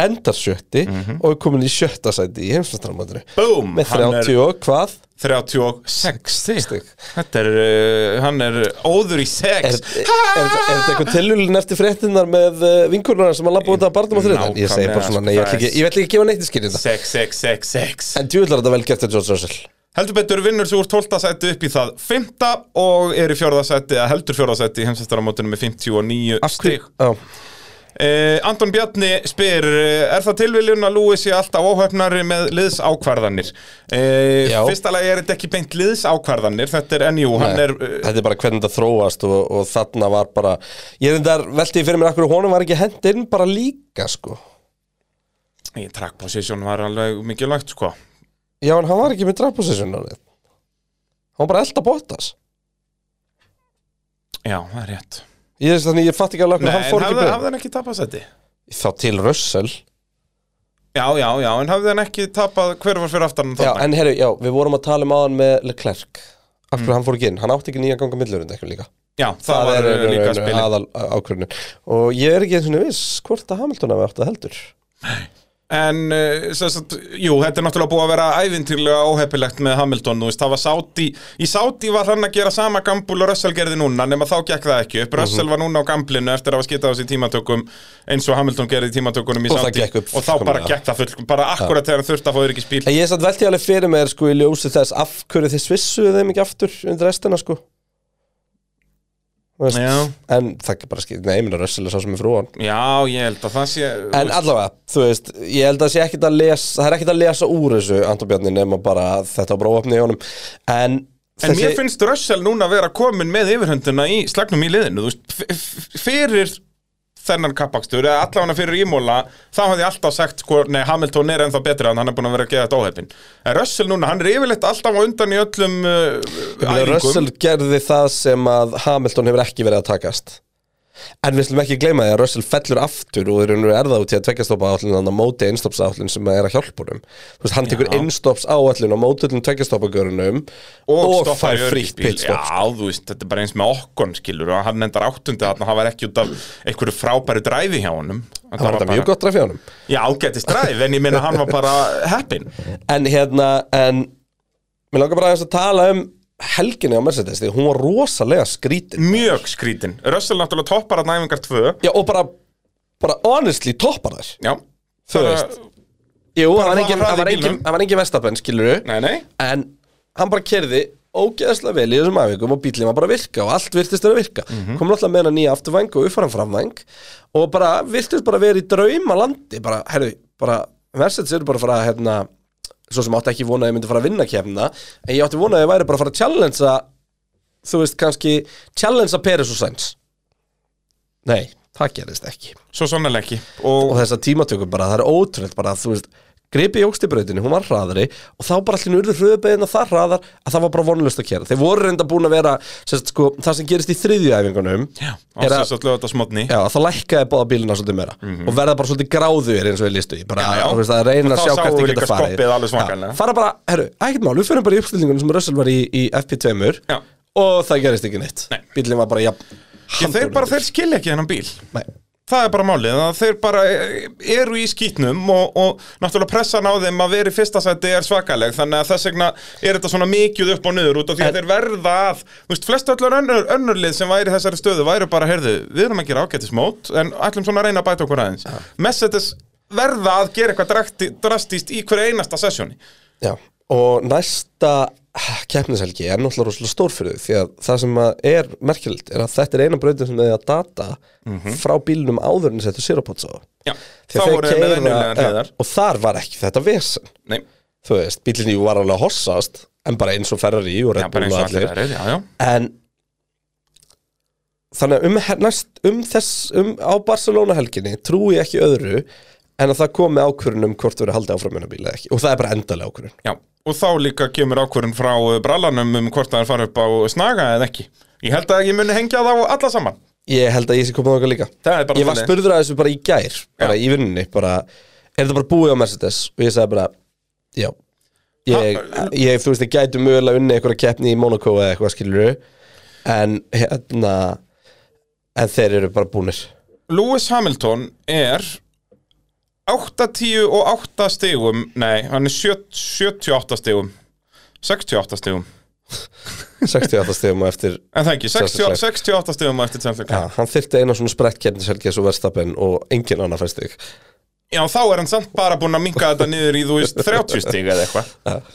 D: Endar sjötti Og er komin í sjötta sæti í heimsmyndarmöndinu
B: Boom,
D: Með
B: Mhm. hann er
D: 30 og hvað
B: 36
D: stig.
B: stig Þetta er, uh, hann er óður í
D: Er, er, er,
B: sex
D: þetta- er þetta eitthvað tilhjulin eftir fréttinnar með vinkurnar sem að labba út af barnum á þriðan? Ég segi bara
B: Nákvæmlega, sko,
D: svona, nei, ég ætla ekki, ég ætla ekki að gefa neitt í skýrinda
B: Sex, sex, sex, sex
D: En djúvillar þetta vel gert til George Russell
B: Heldur betur vinnur sig úr 12. sæti upp í það 5. og er í 4. sæti eða heldur 4. sæti í heimsvættaramótinu með 59 stig
D: Já,
B: Uh, Anton Bjarni spyr eh, Er það tilviljun að Lewis sé alltaf óhöfnari með liðsákvarðanir? Uh,
D: Já.
B: fyrsta lagi er þetta ekki beint liðsákvarðanir Þetta er enjú, hann
D: Nei,
B: er uh,
D: þetta er bara hvernig þetta þróast og, og þarna var bara Ég er þetta veltið fyrir mér akkur honum var ekki hent inn bara líka sko
B: í track position var alveg mikilvægt sko
D: Já, en hann var ekki með drafposession á neitt Hann var bara elda bóttas
B: Já, það er rétt
D: Ég þess þannig, ég fatt ekki alveg
B: Nei,
D: hvernig hann
B: en
D: fór ekki
B: hafði,
D: byrð
B: hafði hann ekki tapað sæti?
D: Þá til Russell
B: Já, já, já, en hafði hann ekki tapað hver var fyrir aftan hann
D: Já,
B: þarna?
D: en herru, já, við vorum að tala um áðan með Leclerc Af hverju hann fór ekki inn, hann átti ekki nýja ganga millurinn eitthvað líka
B: já það, Mm. var
D: er
B: er, líka
D: er-
B: spilið
D: aðal ákvörðunin Og ég er ekki eins og viss hvort að Hamilton hafi átt að heldur
B: En, uh, sem sagt, jú, þetta er náttúrulega búið að vera ævintýrlega óheppilegt með Hamilton, þú veist, það var Sáti, í Sáti var hann að gera sama gambul og Russell gerði núna, nema þá gekk það ekki upp,
D: Mhm.
B: Russell var núna á gamblinu eftir að hafa skitað á sig í tímatökum eins og Hamilton gerði í tímatökunum í
D: Og það
B: Sáti
D: gekk upp
B: og þá bara
D: fullkomlega.
B: gekk það full, bara akkurat þegar hann þurfti að fá yfir ekki spíl.
D: En ég er satt veltið alveg fyrir mér sko í ljósi þess af hverju þið svissuðu þeim ekki aftur undir restina sko Þú veist,
B: Já.
D: En það er bara skil, nei, ég minna Russell er sá sem er frúan
B: Já, ég held að það sé,
D: En allavega, þú veist, ég held að það sé ekkit að lesa, það er ekkit að lesa úr þessu Anton Bjarni nema bara að þetta var bara óöfni í honum En,
B: en mér finnst Russell núna vera komin með yfirhöndina í slagnum í liðinu, þú veist, f- f- fyrir þennan kappakstur eða allavega fyrir ímóla þá hafði ég alltaf sagt sko, nei Hamilton er ennþá betri en hann er búin að vera að geða þetta óheppin en Russell núna, hann er yfirleitt alltaf á undan í öllum uh,
D: Meina,
B: æfingum
D: Russell gerði það sem að Hamilton hefur ekki verið að takast En við slum ekki gleyma því að Russell fellur aftur og þeir er það út í að tveggjastoppa áallin þannig að móti einstopps áallin sem er að hjálpa honum Þú veist, hann tekur einstopps áallin og móti allir tveggjastoppa-görunum og, og
B: stoppar í
D: fær frítt sko.
B: öryggisbíl.
D: pitstop
B: Já, þú veist, þetta er bara eins með okkon skilur og hann endar áttundi þarna, það var ekki út af einhverju frábæru dræfi hjá honum
D: Það var þetta mjög gott ræf hjá honum
B: Já, ágætist dræf, en ég minna hann var bara heppin
D: En hérna, en Mér langar bara aðeins að tala um helginni á Mercedes Því hún var rosalega skrítin
B: Mjög skrítin, Russell náttúrulega toppar að næfingar tvö
D: Já, og bara, bara honestly toppar þær
B: Já,
D: Þú veist. Jú, það var
B: það
D: engin,
B: var
D: það var
B: hraði í
D: engin,
B: bílnum.
D: það var engin vestapenn, skilur við
B: Nei, nei
D: En hann bara kerði ógeðslega vel í þessum afvikum og bílinn var bara að virka og allt virtist vera að virka mm -hmm. kom alltaf með hennar nýja afturvæng og uppfæran framvæng og bara virtist bara verið í draumalandi bara, herru, bara Mercedes eru bara að fara að hérna, svo sem átti ekki vona að ég myndi fara að vinna kemna en ég átti vona að ég væri bara að fara að challengea þú veist kannski challengea Peres og Sainz Nei, það gerist ekki
B: Svo sannlega ekki og,
D: og þessa tímatöku bara, það er ótrúlega bara, þú veist gripi jókst í brautinni, hún var hraðari og þá bara allir urður hröðbeðina það hraðar að það var bara vonlust að kera. Þeir voru reynda búin að vera sem sagt, sko, það sem gerist í þriðju æfingunum
B: Já,
D: er að,
B: ásins að lögða þetta smotni
D: já, að það lækkaði báða bílina svolítið meira og verða bara svolítið gráðuðir eins og við listu í bara
B: Mhm. Já, já.
D: þú veist, að reyna
B: Þá
D: að sjá
B: sáum
D: hvert
B: við
D: þið geta
B: líka
D: farið
B: skoppið alveg svakalega.
D: Já, fara bara, herru, ekkert mál, við fyrir bara í uppstillingunum sem Russell var í, í FP2
B: Já.
D: og það gerist ekki neitt
B: Nei.
D: bílinn var bara jafn
B: Ég, þeir bara, þeir skilja ekki hennan bíl
D: Nei.
B: Það er bara málið, að þeir bara eh, eru í skýtnum og, og náttúrulega pressan á þeim að vera í fyrsta sæti er svakaleg þannig að þess vegna er þetta svona mikið upp og niður út af því að
D: En-
B: þeir verða að þú veist, flest öllur önnur, önnurlið sem væri í þessari stöðu væri bara, heyrðu, við erum að gera ágætis mót en ætlum svona að reyna að bæta okkur aðeins Messetes verða að gera eitthvað drakti- drastíst í hverju einasta sessjóni
D: Já, og næsta ah, keppnishelgi er náttúrulega rosalega stór fyrir þau því að það sem að er merkjöld er að þetta er eina brautin sem þau að data frá bílunum áður en setja sérapods á
B: Já, Mhm.
D: Því
B: þá
D: að þeir
B: voru þeir með
D: keyra-
B: venjulegar hliðar
D: Já, og þar var ekki þetta vesen
B: Nei,
D: þú veist, bílinni var alveg að hossast en bara eins og Ferrari
B: já,
D: og Red
B: bara
D: Bull
B: eins
D: og
B: og allir
D: allir
B: aðrir, já, já
D: en þannig að um, he- næst, um þess um, á Barcelona helginni trúi ég ekki öðru en að það komi ákvörun um hvort þau eru haldið áfram minna bíla ekki og það er bara endalega ákvörun
B: Já, og þá líka kemur ákvörðin frá uh, brallanum um hvort það er fara upp á snaga eða ekki. Ég held að ég muni hengja þá alla saman.
D: Ég held að ég sé komið þangað líka
B: Það er bara
D: Ég var
B: þannig.
D: spurður að þessu bara í gær bara í vinnunni, bara Er þetta bara búið á Mercedes? Og ég sagði bara, já Ég, ég þú veist, ég gæti mögulega unni einhverja keppni í Monaco eða eitthvað skilur En hérna En þeir eru bara
B: <laughs>
D: búnir
B: Lewis Hamilton er 80 og 8 stigum, nei, hann er 70 78 stigum, 68 stigum,
D: 68 stegum og eftir
B: en það ekki, 60,
D: Charles
B: 68 stigum á eftir
D: ja,
B: tjálfleika.
D: Hann þyrfti eina svona sprettkeppnishelgi svo verðstappin og engin annar fæst þig
B: Já, þá er hann samt bara búin að minka þetta niður í, þú veist, 30 stig eða eitthvað.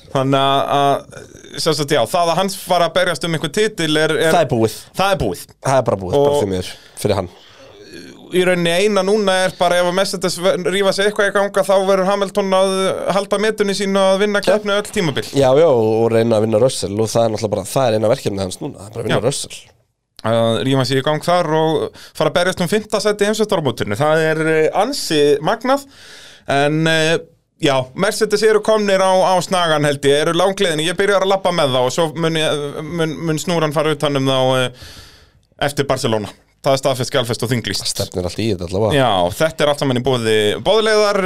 B: Þannig að, að, sem sagt, já, það að hans fara að berjast um einhver titil er, er
D: Það er búið,
B: það er búið.
D: það er bara búið,
B: Og-
D: bara því miður Fyrir hann
B: í rauninni eina núna er bara ef að Mercedes ver- rífa sig eitthvað í ganga þá verður Hamilton að halda metunni sín og að vinna keppni öll tímabil
D: Já, já, og reyna að vinna Russell og það er náttúrulega bara, það er eina verkefni hans núna, það er bara að vinna
B: Já.
D: Russell
B: að rífa sig í gang þar og fara að berjast um 5. seti heimsveitarmóturinu það er eh, ansi magnað en eh, já, Mercedes eru komnir á, á snagan held ég, eru langleðinu, ég byrjar að lappa með þá og svo mun, ég- mun, mun snúran fara utanum þá eh, eftir Barcelona, það er staðfest, galfest og þinglýst
D: stefnir allt í þetta allavega
B: Já, þetta er allt saman í bóði bóðleiðar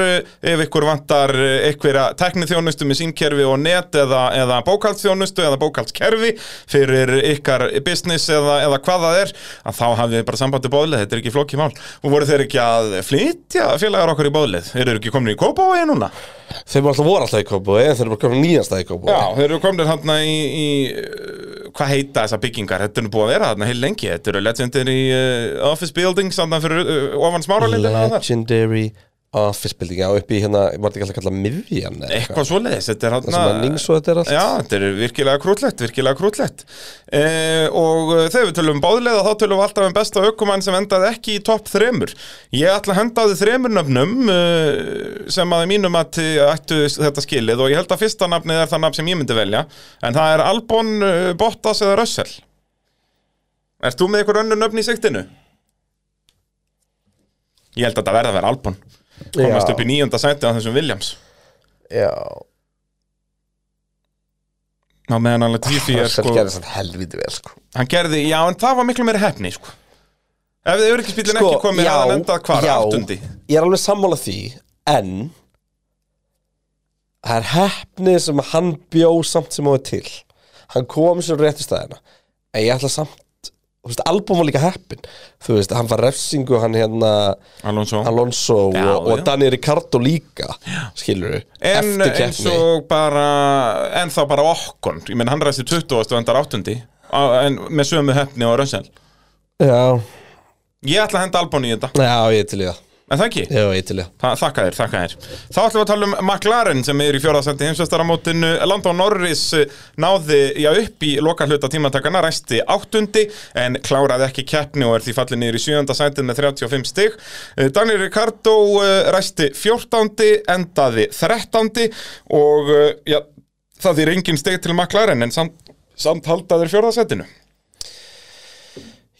B: ef ykkur vantar eh, einhverja tekniþjónustu með sínkerfi og net eða, eða bókaldsþjónustu eða bókaldskerfi fyrir ykkar business eða, eða hvað það er að þá hafið þið bara sambandi bóðleið, þetta er ekki flókið mál og voru þeir ekki að flytja félagar okkur í bóðleið, eru þeir ekki komin í Kópavogi núna?
D: Þeir voru alltaf voru alltaf í kópu en þeir eru bara komin nýjan stað í kópu
B: Já, þeir eru komin hann í, í uh, hvað heita þessa byggingar, þetta er nú búið að vera þarna heil lengi, þetta eru legendary uh, office buildings þarna fyrir uh, ofan smáralindina og það
D: Legendary Office Building Já, upp í hérna, var þetta ekki alltaf kallað Miðjan eða eitthvað
B: eitthvað svoleiðis, þetta er hann
D: Það sem að Ning svo þetta er allt
B: Já, þetta er virkilega krútlegt, virkilega krútlegt eh, Og eh, þegar við tölum um báðlega þá tölum við alltaf um besta aukumann sem endaði ekki í topp þremur Ég ætla að henda á því þremur nöfnum eh, sem að í mínum að ættu þetta skilið og ég held að fyrsta nafnið er það nafn sem ég myndi velja en það er Albon, eh, Bottas eða Russell Ert þú með einhver önnur nöfn í siktinu? Ég held að þetta verða að vera Albon komast
D: Já.
B: upp í nýjönda sæti á þessum Williams
D: Já,
B: Ná meðan alveg Tifi er
D: Russell
B: sko
D: gerði þetta helviti vel sko
B: Hann gerði, já en það var miklu meira hefni sko Ef þið öryggisbílinn ekki komið að hann endað hvar
D: Sko, já,
B: áttundi
D: Ég er alveg sammála því, en Það er hefnið sem að hann bjó samt sem á er til Hann kom sér rétt í staðina En ég ætla samt Þú veist, album var líka heppin Þú veist, hann var refsingu, hann hérna
B: Alonso
D: Alonso
B: Já,
D: og, og
B: já.
D: Dani Ricardo líka skilur við,
B: En
D: eftir
B: eins
D: keppni
B: og bara En þá bara okkon Ég menn hann ræsti 20 og endar áttundi Á- En með sömu hefni og rönsel
D: já,
B: Ég ætla að henda Albon í þetta
D: já, ég til í það
B: En það ekki
D: já, ég til í það
B: Þa, þakka þér, þakka þér. Þá ætlum við að tala um McLaren sem er í fjórðasendi heimsvestaramótinu. Landon Norris eh, náði já, upp í loka hluta tímatakana, ræsti áttundi en kláraði ekki keppni og er því fallið niður í sjönda sætið með 35 stig. Eh, Daniel Ricardo eh, ræsti fjórtándi, endaði þrettándi og eh, já, það er engin stig til McLaren en samt, samt haldaðir fjórðasettinu.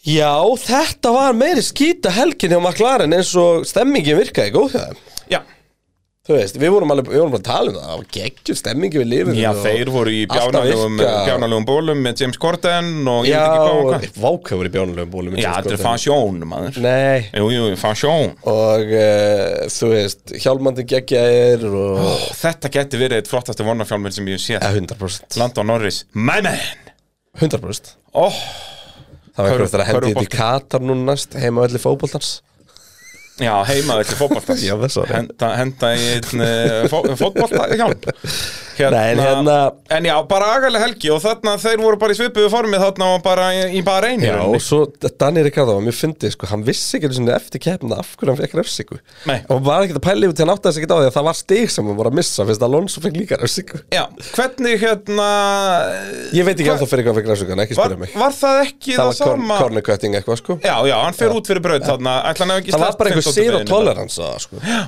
D: já, þetta var meiri skýta helgin hjá McLaren eins og stemmingin virkaði góð hjá þeim
B: Já,
D: Þú veist, við vorum alveg, við vorum bara að tala um það Það var geggjur stemmingi við lifum
B: Já, þeir voru í bjánalegum, bjánalegum bólum með James Corden og ég
D: Já,
B: veit ekki hvað og hvað.
D: váka voru í bjánalegum bólum
B: Já, þetta er fasjón, maður.
D: Nei
B: Jú, jú, fasjón.
D: Og uh, þú veist, hjálmandi geggjaðir og Eh,
B: Ó, Þetta geti verið eitt flottasti vonarfjálmur sem ég hef
D: Ja,
B: séð.
D: 100%
B: Landon Norris, my man!
D: 100%
B: Ó,
D: Það var
B: Körfu-
D: eitthvað eftir að hendi þetta í Katar núna næst heima öllu fótboltans
B: já, heimaður til fótboltans.
D: <laughs> Já, það er svo.
B: Henda, henda í einn eh, fó, fótboltahjálm. Hérna,
D: Nei, en hérna-
B: En já, bara agalega helgi og þarna þeir voru bara í svipuðu formið þarna og bara í, í bara einu.
D: Já, og svo Dani Ricardo var mjög fyndið sko, hann vissi ekki einu sinni eftir keppna af hverju hann fekk refsingu
B: Nei.
D: og var ekkert að pæla yfir til hann átti þess ekki á því að það var stig sem hann voru að missa fyrst að Alonso fekk líka refsingu
B: já, hvernig hérna...
D: Ég veit ekki
B: Hva-
D: ennþá fyrir hvað hann fekk refsingu, hann ekki
B: Var,
D: spyrja mig
B: var það ekki það,
D: Það var corn-
B: sama?
D: corner cutting eitthvað sko
B: Já, já, hann fer út fyrir braut þarna ætla hann hafi ekki
D: Það var
B: sleppt
D: bara einhver
B: 15.
D: zero
B: beginni.
D: tolerance að það sko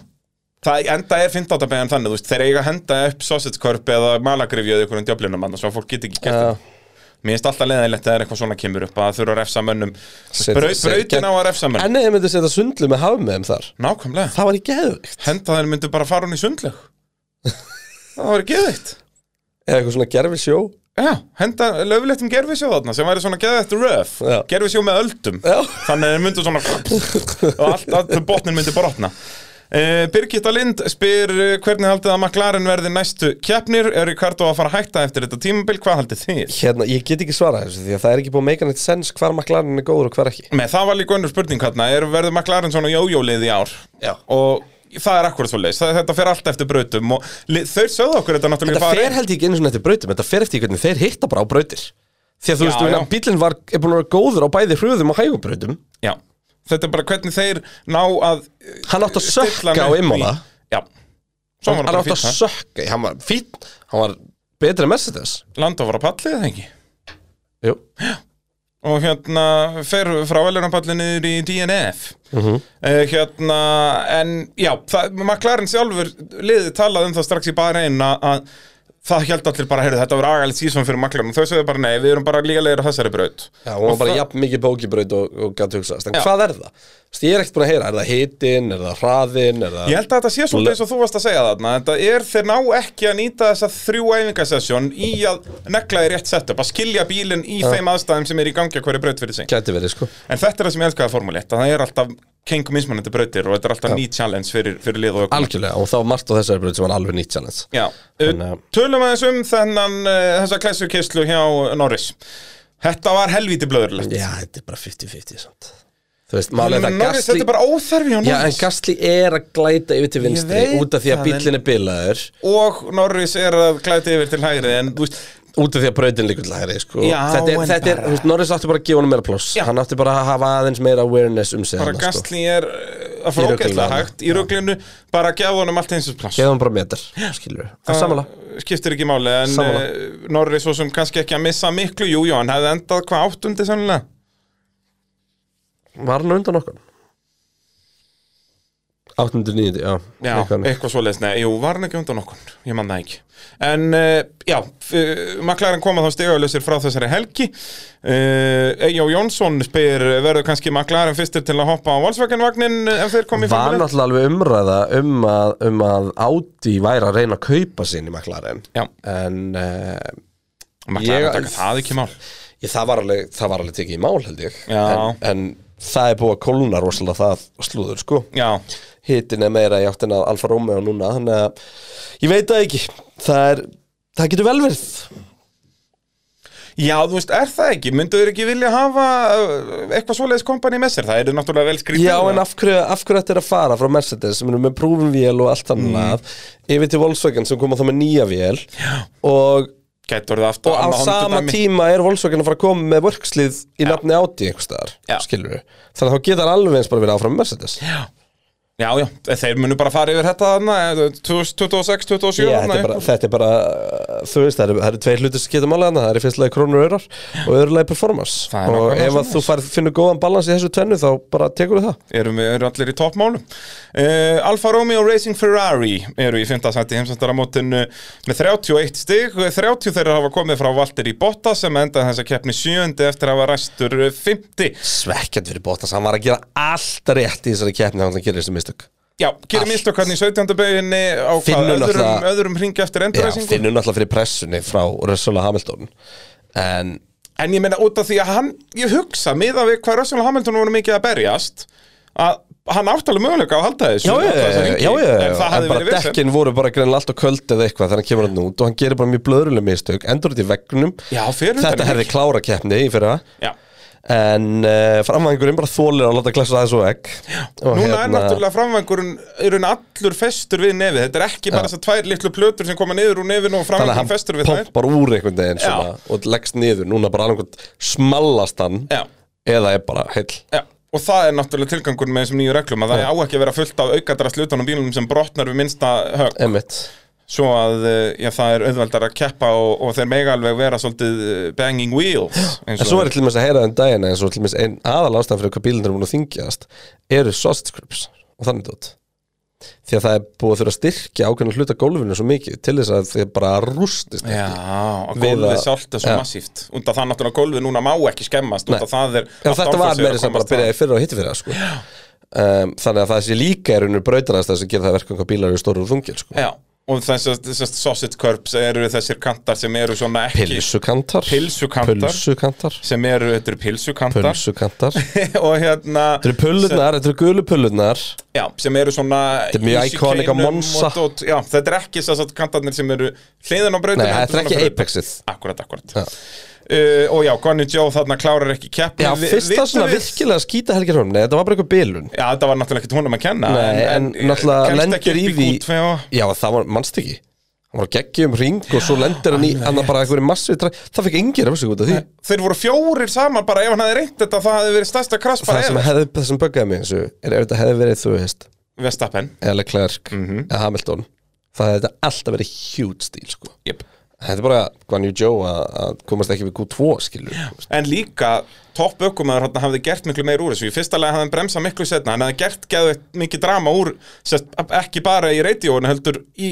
B: Það enda er 15. beðan þannig, þú veist, þeir eiga að henda upp sausagekörp eða malagrifju eða einhverjum djöflinum annars og fólk getur ekki gert
D: Já.
B: þetta Mér finnst alltaf leiðilegt að það er eitthvað svona kemur upp að þurfa að refsa mönnum
D: Set-
B: Braut,
D: set-
B: Brautin á að refsa mönnum
D: En ef þið myndu setja sundlu með hafum með þeim þar
B: Nákvæmlega,
D: Það var í geðvikt
B: henda þeir myndu bara fara hún í
D: <laughs>
B: sundleg Það var geðvitt
D: Eða eitthvað svona gerfi sjó
B: Já, henda löflegt um gerfisjó þarna sem væri svona geðvitt röf
D: Já.
B: Gerfisjó með öldum
D: Já.
B: Þannig að þeir myndu svona og allt, allt botnin myndi brotna Uh, Birgitta Lind spyr eh, hvernig haldið að McLaren verði næstu keppnir er Ricardo að fara að hætta eftir þetta tímabil hvað haldið þið?
D: Hérna, ég get ekki svarað þessu því að það er ekki búið að make any sense hvar maklarinn er góður og hvar ekki
B: Með það var líka önnur spurning hérna er verður McLaren svona jójólið í ár
D: Já.
B: og það er akkurat svo leis þetta fer allt eftir brautum og li- þau sögðu okkur þetta náttúrulega í
D: Þetta fer
B: Bahrein.
D: held ég ekki einu svona eftir brautum Þetta fer eftir í hvernig þeir hitta bara á brautir Því að þú
B: Já,
D: veist,
B: já.
D: já. bílinn var, er búin að vera góður á bæði hröðum og hægubrautum
B: Já. þetta er bara hvernig þeir ná að eh,
D: Hann átt að
B: stilla
D: sökka á
B: hann upp í-
D: Imola
B: Já, svo var
D: Hann
B: bara
D: átt
B: fínt
D: að sökka, hann var fín Hann var betri en Mercedes
B: það Landa var að pallið eða ekki
D: Jú,
B: og hérna fer frá veljónapallinu niður í DNF uh
D: Mhm.
B: hérna en já, það, McLaren sjálfur liði talað um það strax í bara einn að það held allir bara, heyrðu, þetta verður agalegt síðan fyrir McLaren og þau segðu bara nei, við erum bara líka leiðir á þessari braut
D: já, hún var bara
B: það-
D: jafn mikið bókibraut og, og gæti hugsaðast En
B: Já.
D: hvað er það? Þú veist, Ég er ekkert búin að heyra, er það hitin, er það hraðin, er það
B: Ég held að þetta sé svolítið eins og þú varst að segja þarna Þetta er þeir ná ekki að nýta þessa þrjú æfingasessjón í að negla í rétt setup að skilja bílinn í þeim aðstæðum sem er í gangi að hverju braut fyrir sig
D: Gæti verið, sko
B: En þetta er það sem ég elskaði formúli 1 að það er alltaf kengum mismunandi brautir og þetta er alltaf ný challenge fyrir, fyrir lið og ökum
D: Algjörlega, og þá var margt á þessari braut sem var alveg nýtt challenge
B: Já,
D: Þannig
B: uh,
D: að-
B: tölum aðeins um þennan uh, þessa klessukyslu hjá Norris Þetta var helvíti blöðurlegt
D: Já, þetta er bara 50-50 samt Þú veist, málið er
B: Norris,
D: að Gasly
B: þetta er bara óþarfi hjá
D: Já, en
B: Norris
D: Gasly er að glæta yfir til vinstri
B: veit
D: út af því að
B: það,
D: bíllinn er bilaður
B: Og Norris er að glæta yfir til hægri en þú veist,
D: út af því að brautin líkur til hægri sko.
B: Já,
D: þetta er,
B: en
D: þetta er,
B: bara-
D: þú veist, Norris átti bara að gefa honum meira pláss
B: Já.
D: hann átti bara að hafa aðeins meira awareness um sig
B: bara
D: þarna, sko.
B: Gastli er uh, að
D: Í
B: fara
D: ruglinu
B: ógeðslega
D: þarna.
B: hægt í rauglinu, bara gefðu honum allt eins og plass
D: gefa hann bara metar, skilur við það er samanlega
B: skiptir ekki máli en
D: Sammála.
B: uh, Norris svo sem kannski ekki að missa miklu jú, jú, hann hefði endað hvað áttundi sennilega
D: var hann á undan okkur 890, já,
B: Já,
D: Eitthvað þannig.
B: eitthvað svoleiðis, nei, jú, var hann ekki undan okkur, ég man það ekki En, uh, já, uh, McLaren koma þá stigauðlösir frá þessari helgi uh, Eyjó Jónsson spyr, verður kannski McLaren fyrstir til að hoppa á Volkswagen-vagnin ef þeir komið
D: var náttúrulega alveg umræða um að, um að Audi væri að reyna að kaupa sinni McLaren
B: Já.
D: en uh,
B: McLaren
D: Ég-
B: taka það ekki mál
D: Ég, það, var alveg, það var alveg tekið í mál held ég
B: Já.
D: en, en það er búið að kóluna rosalega það slúður sko
B: Já,
D: Hittin er meira í áttin að Alfa Romeo núna Þannig að ég veit það ekki Það, er, það getur vel verið
B: já, þú veist, er það ekki, myndu þeir ekki vilja hafa uh, eitthvað svoleiðis kompani með sér Það eru náttúrulega vel skrítið
D: Já en af hverju, af hverju þetta er að fara frá Mercedes sem eru með prúfinvél og allt
B: Mm.
D: annað Yfir til Volkswagen sem koma þá með nýja vél Já. Og
B: Gætur það aftur
D: og á
B: annað
D: sama
B: Honda-dæmi.
D: tíma er Volkswagen að fara að koma með vörkslið í nafni Audi einhvers staðar,
B: Já.
D: skilur við þannig að þá geta hann alveg eins bara verið áfram með Mercedes já,
B: Já, já, þeir munu bara fara yfir þetta þarna, eh, 2026, 2027
D: þetta, er bara, þetta er bara uh, þú veist, það eru, það eru tveir hlutir sem getum alveg það eru fyrstlega krónur og örar og öðrulega performance
B: Það er
D: og
B: nákvæmlega
D: ef að þú fær, finnur góðan balans í þessu tvennu þá bara tekur þú það
B: erum við erum allir í toppmálum uh, Alfa Romeo Racing Ferrari eru í 5. seti heimsandaramotin uh, með 31 stig 30 þeirra hafa komið frá Valtteri Botta sem endaði þessa keppni 7. eftir að hafa ræstur eh, 50
D: svekkjand fyrir Bottas, hann var að gera allt rétt í þessari keppni þannig að hann gerir þessu mistök
B: Já, gerir
D: Allt.
B: mistök hann í 17. beginni á hvað
D: Finnur
B: öðrum,
D: náttúrulega-
B: öðrum hringi eftir
D: Já,
B: endurræsingu
D: finnur náttúrulega fyrir pressunni frá Russell og Hamilton en
B: En ég meina út af því að hann, ég hugsa miða við hvað Russell og Hamilton voru mikið að berjast að hann átti alveg möguleika á að halda þessu
D: já,
B: alla
D: já,
B: þessa
D: já,
B: hringi,
D: já, já,
B: en það
D: en
B: hafði
D: bara
B: verið vissum
D: dekkin voru bara greinlega alltaf köld eða eitthvað þannig að kemur hann út og hann gerir bara mjög blöðruleg mistök endur út í vegnum
B: Já, fyrir utan
D: þetta
B: í
D: herði
B: bíl.
D: klára keppni í fyrra
B: Já.
D: en uh, framvæðingurinn bara þólir að láta klessa aðeins og egg og hérna,
B: Núna er náttúrulega framvængurinn er hann allur festur við nefið þetta er ekki bara þessar tvær litlu plötur sem koma niður úr nefinu og
D: þannig að
B: framvængurinn festur
D: hann
B: við þær
D: poppar úr einhvern veginn svona, og leggst niður, núna bara annað smallast hann
B: Já.
D: eða er bara heill
B: Já, og það er náttúrulega tilgangur með þessum nýju reglum að það á ekki að vera fullt af aukadrast utan á bílum sem brotnar við minnsta högg
D: Emmett
B: svo að eh, já, það er auðveldar að keppa og, og þeir mega alveg vera svolítið eh, banging wheels eins
D: En svo er til dæmis að heyra um daginn eins og til dæmis ein aðal ástæðan fyrir hvað bílunir er búin að þingjast eru sausage grips og þannig dótt því að það er búið að þurfa að styrkja ákveðna hluta gólfinu svo mikið til þess að þið bara rústist
B: Já,
D: ekki
B: og
D: Við
B: gólfið
D: að-
B: sált er svo
D: Já.
B: massíft und að það náttúrulega gólfið núna má ekki skemmast und
D: Nei.
B: að það er
D: En
B: allt
D: þetta
B: árfoss
D: var
B: er
D: meira sem bara
B: komast
D: að byrja í fyrra og hitti fyrra sko. um, Þannig að það sé líka er unnur brautarasta sem gera það verkum hvað bílar eru stóru og þungir sko.
B: að- Já, og þessast þessast sausage curbs eru þessir kantar sem eru svona ekki
D: Pilsukantar
B: Pylsukantar.
D: Pilsukantar
B: sem eru, þetta eru pilsukantar
D: Pilsukantar Þetta
B: <laughs> og hérna
D: eru pullunar, þetta eru gulu pullunar
B: Já, sem eru svona
D: Þetta er mjög
B: í
D: iconic á
B: chicanum
D: Monza.
B: og dót- Já, þetta er ekki þess að kantarnir sem eru hliðan á brautinu
D: Nei, þetta er
B: heldur
D: ekki
B: svona fyrir-
D: Apexið
B: Akkurat, akkurat uh, Og já, Conny Joe þarna klárar ekki keppni
D: Já,
B: Vi-
D: fyrsta
B: vitum
D: svona
B: við-
D: virkilega skýta helgarhörnum Nei, þetta var bara eitthvað bilun
B: Já, þetta var náttúrulega ekkert honum að kenna
D: Nei, en, náttúrulega lendir í því
B: því
D: Já, það var, mannst ekki Hann var að geggja um ring og svo lendir hann í Hann bara eitthvað massu Það fekk engir af sig út af því
B: Þeir voru fjórir saman bara ef hann hefði reynt þetta það hefði verið stærsta krass
D: Það
B: bara
D: sem,
B: eða
D: hefði, það sem böggaði mig eins og er ef þetta hefði verið þú veist
B: Vestapen
D: eða Leclerc eða Hamilton það hefði þetta alltaf verið huge stíl sko.
B: yep.
D: Þetta er bara Guan Yu Zhou að að komast ekki við Q2 skilur yeah.
B: En líka topp ökumæður hann hafði gert miklu meir úr þessu Í fyrsta lega hafði hann bremsað miklu setna Hann hafði gert geðveikt mikið drama úr sest, Ekki bara í radióinu heldur í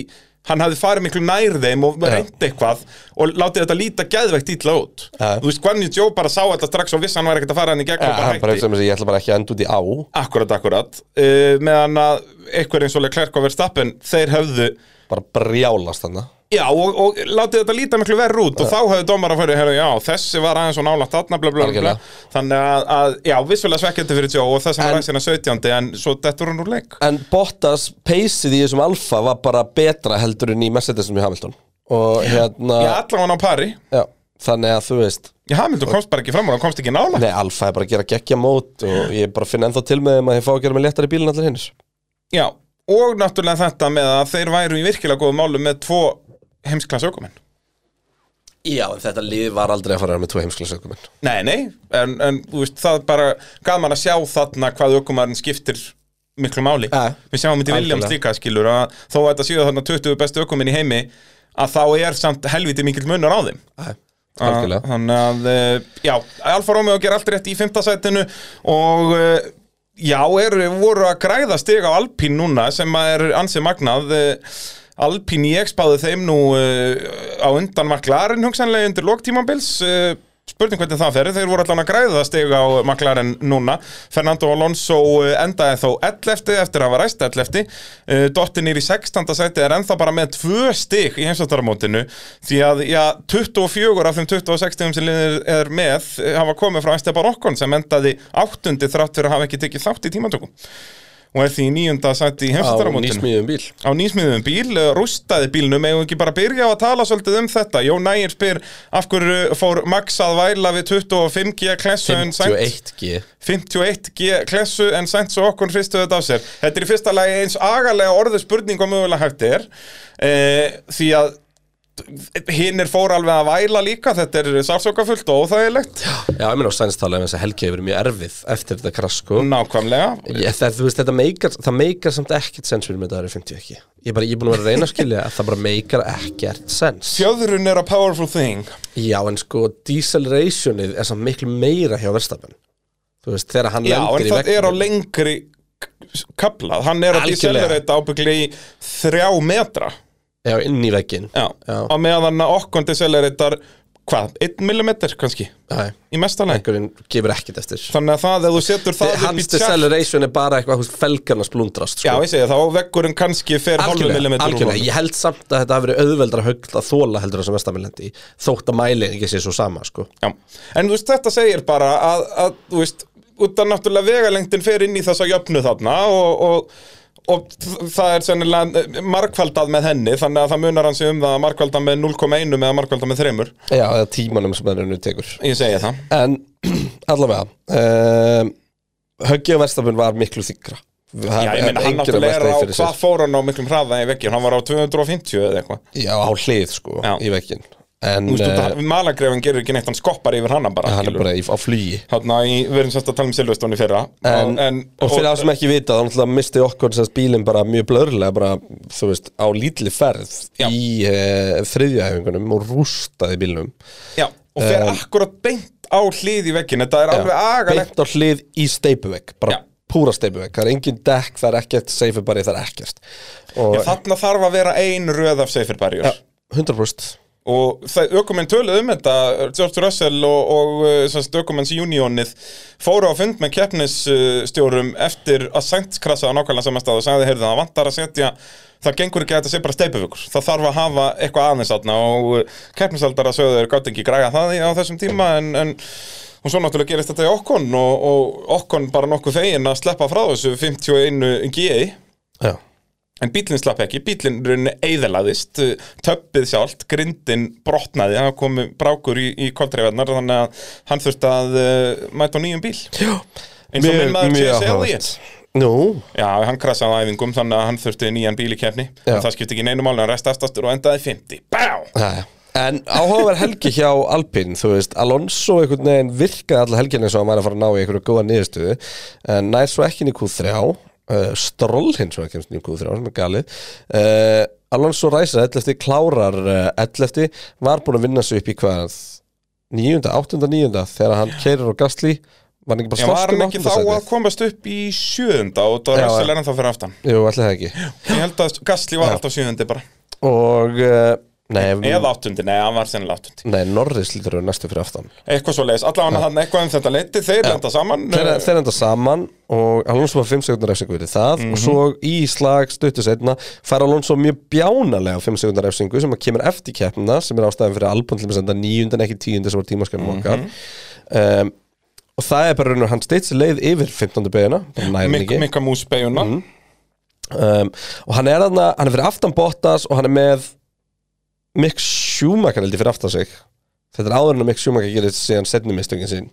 B: Hann hafði farið miklu nær þeim og
D: Já.
B: reyndi eitthvað og látið þetta líta geðveikt ítla út
D: Já.
B: Þú veist, Gwanyu Joe bara sá þetta strax og vissi að hann var ekkert að fara hann í gegn
D: ja,
B: og bara
D: Hann bara um-
B: hætti
D: hefði sem ég ætla bara ekki að enda út í á
B: Akkurat, akkurat uh, meðan að einhver eins og Leclerc og Verstappen þeir höfðu
D: bara brjálast þannig
B: Já, og, og látið þetta líta miklu verru út og þá hefðu dómar að færi, herra, já, þessi var aðeins og nálægt þarna, bla, bla, bla, bla
D: Algjörlega.
B: Þannig að, að, já, vissulega svekkjandi fyrir tjó og þess að
D: En-
B: hann ræsir hann 17. en svo dettur hann úr leik
D: En Bottas peysið í þessum alfa var bara betra heldur en í Mercedesum í Hamilton og hérna
B: Já, allan hann á pari
D: Já, þannig að þú veist
B: Já, Hamilton komst bara ekki fram og hann komst ekki nálægt
D: Nei, Alfa er bara að gera geggja mót og ég bara finn ennþá til með þeim að ég fá að gera mig léttari bílinn allir hinnir
B: Já, og náttúrulega þetta með að þeir væru í virkilega góðum málum með tvo heimsklassa ökumenn
D: Já, en þetta lið var aldrei að fara með tvo heimsklasökuminn
B: Nei, nei, en, en þú veist, það bara gaman að sjá þarna hvað ökumarinn skiptir miklu máli
D: Ja.
B: Við sjáum þetta í Williams
D: Algjörlega.
B: líka skilur að þó að þetta séu þarna 20 bestu ökuminn í heimi að þá er samt helviti mikill munur á þeim Ah,
D: Algjörlega
B: Að- Þannig að, eh, já, Alfa Romeo ger allt rétt í fimmta sætinu og eh, já, er, voru að græða stig á Alpín núna sem að er ansið magnað eh, Alpín ég spáði þeim nú eh, á undan maklarinn hugsanlega undir Eh, loktímambils spurning hvernig það fer, þeir voru allan að græða stig á maklarinn núna Fernando Alonso eh, endaði þó 11 eftir að hafa ræst 11 Eh, Dottin er í 16. sæti er ennþá bara með tvö stig í heimsvartarmótinu því að já, 24 af þeim 26 stigum sem liðir er með eh, hafa komið frá Esteban Okkon sem endaði áttundi þrátt fyrir að hafa ekki tekið þátt í tímatökum og er því í nýjunda sæti í
D: Á
B: heimsvartarmótinu
D: nýsmíðum bíl
B: á nýsmiðum bíl, eh, rústaði bílnum eigum ekki bara að byrja á að tala svolítið um þetta Jón Ægir spyr af hverju fór Max að væla við 25G klessu en Sainz-
D: 51G
B: 51G klessu en sænt svo okkur hristu þetta af sér. Þetta er í fyrsta lagi eins agalega orðu spurning og mögulega hægt er e, því að hinn er fór alveg að væla líka þetta er sársokafullt og óþægilegt
D: Já, ég meina á sænstala ef þess að helgi hefur verið mjög erfið eftir þetta krasko
B: Mm. nákvæmlega
D: Ég, það, þú veist, þetta meikar, það meikar samt ekkert sens fyrir mig þetta eru 50 ekki Ég er bara, ég er búin að vera að reyna að skilja að það bara meikar ekkert sens
B: Fjöðrun er a powerful thing
D: Já, en sko, dieselrationið er samt miklu meira hjá verstafan Þú veist, þegar hann
B: Já, en
D: lendir í
B: það er á
D: vegna
B: lengri kaplað, hann er að
D: Algjörlega.
B: deselerata ábyggli í þrjá metra
D: Já, inn í veggin
B: Já,
D: Já.
B: á meðan að okkur deseleretar hvað, 1 mm kannski
D: Nei.
B: í mesta lagi
D: einhverjum gefur ekkit eftir
B: þannig að það, ef þú setur það upp í
D: hans
B: tjall-
D: deceleration er bara eitthvað hús felgarna splundrast
B: já,
D: sko.
B: ég segja, þá veggurinn kannski fer hálfu
D: algjörlega,
B: millimetr úr
D: algjörlega,
B: honum.
D: ég held samt að þetta hafi verið auðveldra högl að þóla heldur en sem vestamillendi þótt að mæli ekki sé svo sama sko.
B: Já, en þú veist, þetta segir bara að, að þú veist, út af náttúrulega vegalengdin fer inn í þessa jöfnu þarna og, og, og þ- það er sennilega markvaldað með henni, þannig að það munar hans um það að markvalda með 0,1 eða markvalda með 3
D: já, eða tímanum sem það er nú tekur
B: ég segi það,
D: en <clears throat> allavega um, höggið á vestaminn var miklu þykra það
B: já, ég meina hann náttúrulega er á hvað fór hann á miklum hraða í veggjum, hann var á 250 eða eitthvað,
D: já, á hlið sko,
B: Já.
D: í vekkin en
B: þú veist,
D: eh,
B: uh, malagrefin gerir ekki neitt, hann skoppar yfir hana bara,
D: hann er
B: skilur.
D: bara í, á flugi
B: Þarna í, við erum sérst að tala um Silvestóni fyrra
D: En, og fyrir það sem ekki vita, þá náttúrulega misti okkur sem bílinn bara mjög blörlega bara, þú veist, á lítli ferð
B: Já.
D: í e, þriðjahæfingunum og rústaði bílnum
B: Já, og fer akkurat beint á hlið í veggin Þetta er alveg agalegt
D: beint á hlið í steipuvegg bara
B: Já.
D: púra steipuvegg, það er engin dekk, það er ekkert safe bara, það er ekkert og
B: Já, þarna þarf að vera ein röð af safer barriers
D: ja, 100%
B: og það, ökumenn töluðu um þetta George Russell og, og uh, sem sagt, ökumenns unionið fóru á fund með keppnisstjórum eftir að Sainz krasaði á nákvæmlega samast að og sagði, heyrðu, það vantar að setja það gengur ekki að þetta sé bara steipufökur það þarf að hafa eitthvað aðeins aðna og keppnisaldara sögðu þeir gátt ekki græga það í- á þessum tíma en, en og svo náttúrulega gerist þetta í Okkon og, og Okkon bara nokkuð fegin að sleppa frá þessu 51 GI
D: Já.
B: En bílinn slapp ekki, bílinn rauninni eðalaðist, töppið sjálft, grindin brotnaði, það komu brákur í, í koltreifarnar, þannig að hann þurfti að uh, mæta á nýjum bíl. Já, eins og minn maður sé að segja því.
D: Nú,
B: Já, hann krasaði á æfingum, þannig að hann þurfti nýjan bíl í kefni,
D: Já.
B: en það skipti ekki neinu máli, hann rest aftastur og endaði 50. Bá!
D: Jæja. En áhugaverð helgi hjá Alpin, þú veist, Alonso einhvern veginn virkaði alla helgina eins og hann væri að fara að ná í einhverju góða niðurstöðu, en nær svo ekki inn í Q3, uh, Stroll hins vegar kemst inn í Q3, sem er galið, uh, Alonso ræsir 11. klárar uh, 11. var búin að vinna sig upp í hvað, 9. 8. 9. þegar hann keirir á Gastli, var hann ekki bara
B: Já, var
D: slast um
B: hann ekki
D: 8.
B: þá að
D: sætið?
B: komast upp í sjöðunda og það
D: Já,
B: var Russell
D: já.
B: er ennþá fyrir aftan.
D: Jú, allir það ekki.
B: Ég held að Gastli var alltaf sjöðundi bara.
D: Og, uh, nei,
B: Eða áttundi, nei, hann var sennilega áttundi.
D: nei, Norris lítur að næstu fyrir aftan.
B: Eitthvað svo leiðis, allavega hann eitthvað um þetta leiti, þeir lenda saman.
D: þeir,
B: eh,
D: þeir enda saman og Alonso var 5 sekundar refsingu fyrir það og svo í slag stuttu setna fær Alonso mjög bjánalega 5 sekundar refsingu sem að kemur eftir keppnina sem er ástæðan fyrir að Albon til að senda níundan ekki tíundan sem var tímaskjörnum okkar um, og það er bara raunar hann steytsi leið yfir 15. beiguna
B: Mik Mikka Mús beiguna
D: um, og hann er þarna, hann er fyrir aftan Bottas og hann er með Mick Schumacher heldur fyrir aftan sig þetta er áður en að Mick Schumacher gerir síðan setni mistöngin sín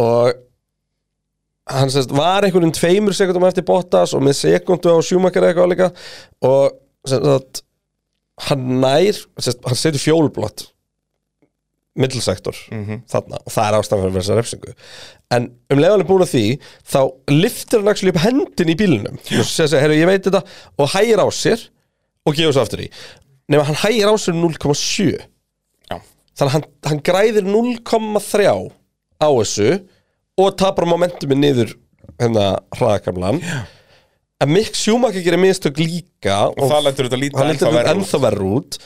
D: og hann sérst var einhverjum tveimur sekundum eftir Bottas og með sekundu á Schumacher eitthvað líka og sérst að hann nær, sérst, hann setur fjólblott middlesektor þarna og það er ástæðan fyrir þessa refsingu en um leiðanlega búin að því þá liftir hann actually upp hendin í bílunum og segja segja, herru ég veit þetta og hægir á sér og gefur svo aftur í nema hann hægir á sér um 0,7
B: Já.
D: þannig að hann, hann græðir 0,3 á þessu og tapar momentuminn niður hérna hraðakamlan en Mick Schumacher gerir mistök líka og,
B: það lætur þetta líta
D: hann
B: ennþá
D: lítur þetta
B: verra út.
D: ennþá verður út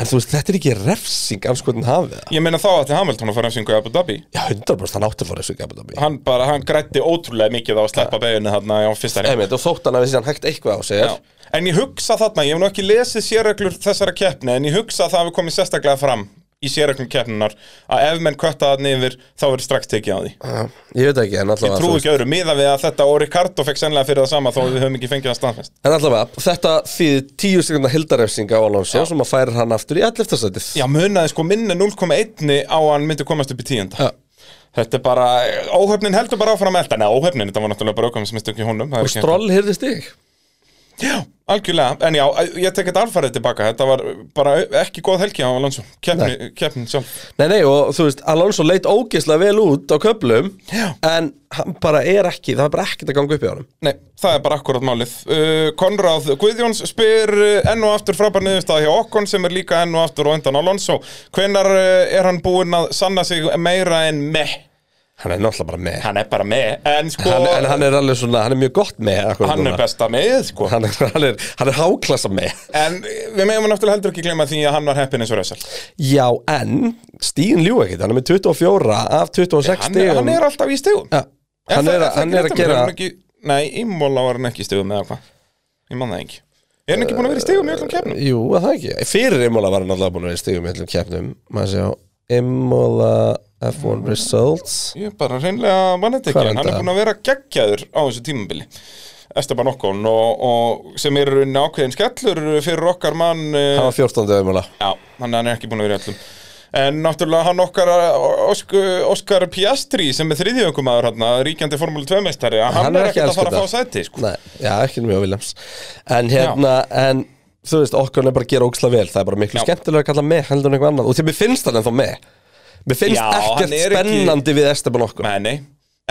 D: en þú veist þetta er ekki refsing anskotin hafið það
B: Ég meina þá ætti Hamilton að fara refsingu í Abu Dhabi
D: Já, 100% hann átti að fara þessu Gabu Dhabi
B: Hann bara, hann grætti ótrúlega mikið á að sleppa beiguna þarna á fyrsta reynd
D: Einmitt, og þótt hann að þessi hann hægt eitthvað á sig
B: Já. En ég hugsa þarna, ég hef nú ekki lesið sérreglur þessara keppni En ég hugsa að það hafi komið sérstaklega fram í sérreglum keppninar Að ef menn kvötta þarna yfir, þá verður strax tekið á því
D: Ég veit ekki, en
B: Ég
D: allavega,
B: trú
D: þú veist-
B: ekki öðru, miða við að þetta og Ricardo fekk sennilega fyrir það sama Þó að við höfum ekki fengið að staðfest
D: en allavega þetta þýði tíu sekundar hildarefsing á Alonso sem að færa hann aftur í 11. sætið
B: Já, munaði sko minni 0,1 á að hann myndi komast upp í tíunda
D: Já.
B: Þetta er bara, óhöfnin heldur bara áfram að elda Nei, óhöfnin, þetta var náttúrulega bara aukum sem mistu ekki húnum
D: og Stroll hyrðist þig
B: Já, algjörlega, en já, ég tek þetta alfarið tilbaka Þetta var bara ekki góð helgi á Alonso Keppni, keppni sjálf
D: Nei, nei, og þú veist, Alonso leit ógeðslega vel út á köplum
B: Já.
D: en hann bara er ekki, það er bara ekkert að ganga upp í honum
B: Nei, það er bara akkurat málið uh, Konráð Guðjóns spyr uh, enn og aftur frábær niðurstað hjá Okkon sem er líka enn og aftur og undan Alonso Hvenar uh, er hann búinn að sanna sig meira en meh?
D: Hann er náttúrulega bara með
B: Hann er bara með En sko
D: hann, En hann er alveg svona, hann er mjög gott með akkurat
B: hann
D: núna.
B: er besta með sko
D: hann er, hann er, hann er háklassa með
B: En við meðum náttúrulega heldur ekki glemma því að hann var heppin eins og rössal
D: Já, en Stíðin ljú ekkert, hann er með 24 af 26
B: hann, er- hann er alltaf í stegum
D: ja, hann, er, hann er að gera
B: ekki, Nei, í móla var hann ekki í stegum eða hvað Ég man það ekki Er hann ekki búin að vera í stegum í öllum kefnum?
D: Jú, að það ekki Fyrir Imola var hann alltaf búin að vera í stigum í öllum keppnum Maður sé á Imola F1 Results
B: Ég bara reynlega mann þetta
D: Hvar
B: ekki
D: er
B: Hann er
D: þetta?
B: búin að vera geggjaður á þessu tímabili Esteban Okkon og, og sem er í rauninni ákveðin skellur fyrir okkar mann eh,
D: Hann var 14. Imola
B: Já, hann hann er ekki búin að vera í öllum En náttúrulega hann okkar Ósk, Óskar Piastri sem er þriðjöngumæður hann, ríkjandi Formúlu 2 meistari hann, er ekki að fara að fá
D: elskenda.
B: sæti sko.
D: Nei, já, ekki mjög Williams En hérna, en þú veist, okkur hann er bara að gera óksla vel Það er bara miklu
B: Já.
D: skemmtilega að kalla með heldur en eitthvað annað Og því að mér finnst hann ennþá með Mér finnst
B: Já, hann
D: ekkert
B: er ekki-
D: spennandi við Esteban okkur
B: Nei, nei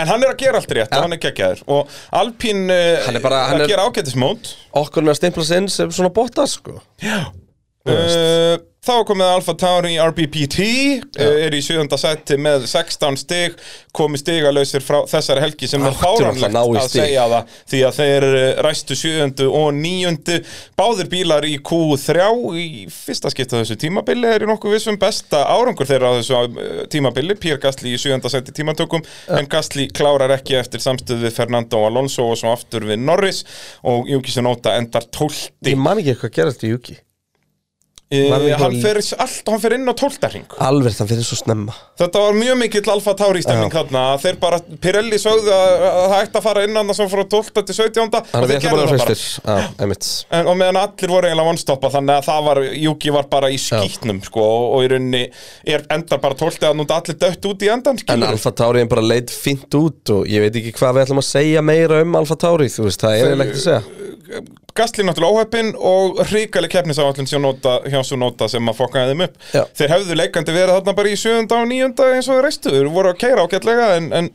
B: En hann er að gera allt rétt og hann er geggjaður Og Alpín
D: Hann er bara- hann
B: að
D: er-
B: gera ágætismót
D: Okkur hann er að stimpla sig inn sem svona botta, sko
B: uh, Þá er komið að Alfa Tauri RBPT uh, er í sjöfunda sæti með 16 stig komið stigalausir frá þessari helgi sem er
D: Áttu náttúrulega
B: fáránlegt
D: að ná í
B: að
D: stig.
B: segja það því að þeir uh, ræstu sjöfundu og níundu báðir bílar í Q3 í fyrsta skipta á þessu tímabili er í nokkuð vissum besta árangur þeirra á þessu uh, tímabili Pér Gastli í sjöfunda sæti í tímatökum en Gastli klárar ekki eftir samstöð við Fernando Alonso og svo aftur við Norris og Júki Sinóta endar 12
D: Ég man ekki hvað gerast í Juki
B: Eh,
D: Var það ekki
B: hann
D: í-
B: fer, allt, hann fer inn á tóltaring
D: Alveg, hann fyrir svo snemma
B: Þetta var mjög mikill Alfa Tauri stemming þarna að Þeir bara, Pirelli sögðu að, að það ætti að fara inn annars frá 12. til 17.
D: Hann
B: og
D: er
B: þeir
D: við ætlum
B: gerðu
D: bara
B: það bara
D: fyrstir Já, einmitt
B: En, og meðan allir voru eiginlega vonstoppa þannig að það var, Juki var bara í skýtnum sko, og, og í rauninni er, endar bara 12. að núnda allir dött út í endan
D: En
B: skilurðu.
D: Alfa Tauri er bara leit fint út og ég veit ekki hvað við ætlum að segja meira um Alfa Tauri, þú veist, það er eiginlega ekkert að segja
B: Gastli náttúrulega óheppin og ríkali keppnisáallin hjá svo nota sem að fokkaði þeim upp
D: Já.
B: Þeir hefðu leikandi verið þarna bara í 7. og 9. eins og þeir reistu Þeir voru að keira ágætlega en, en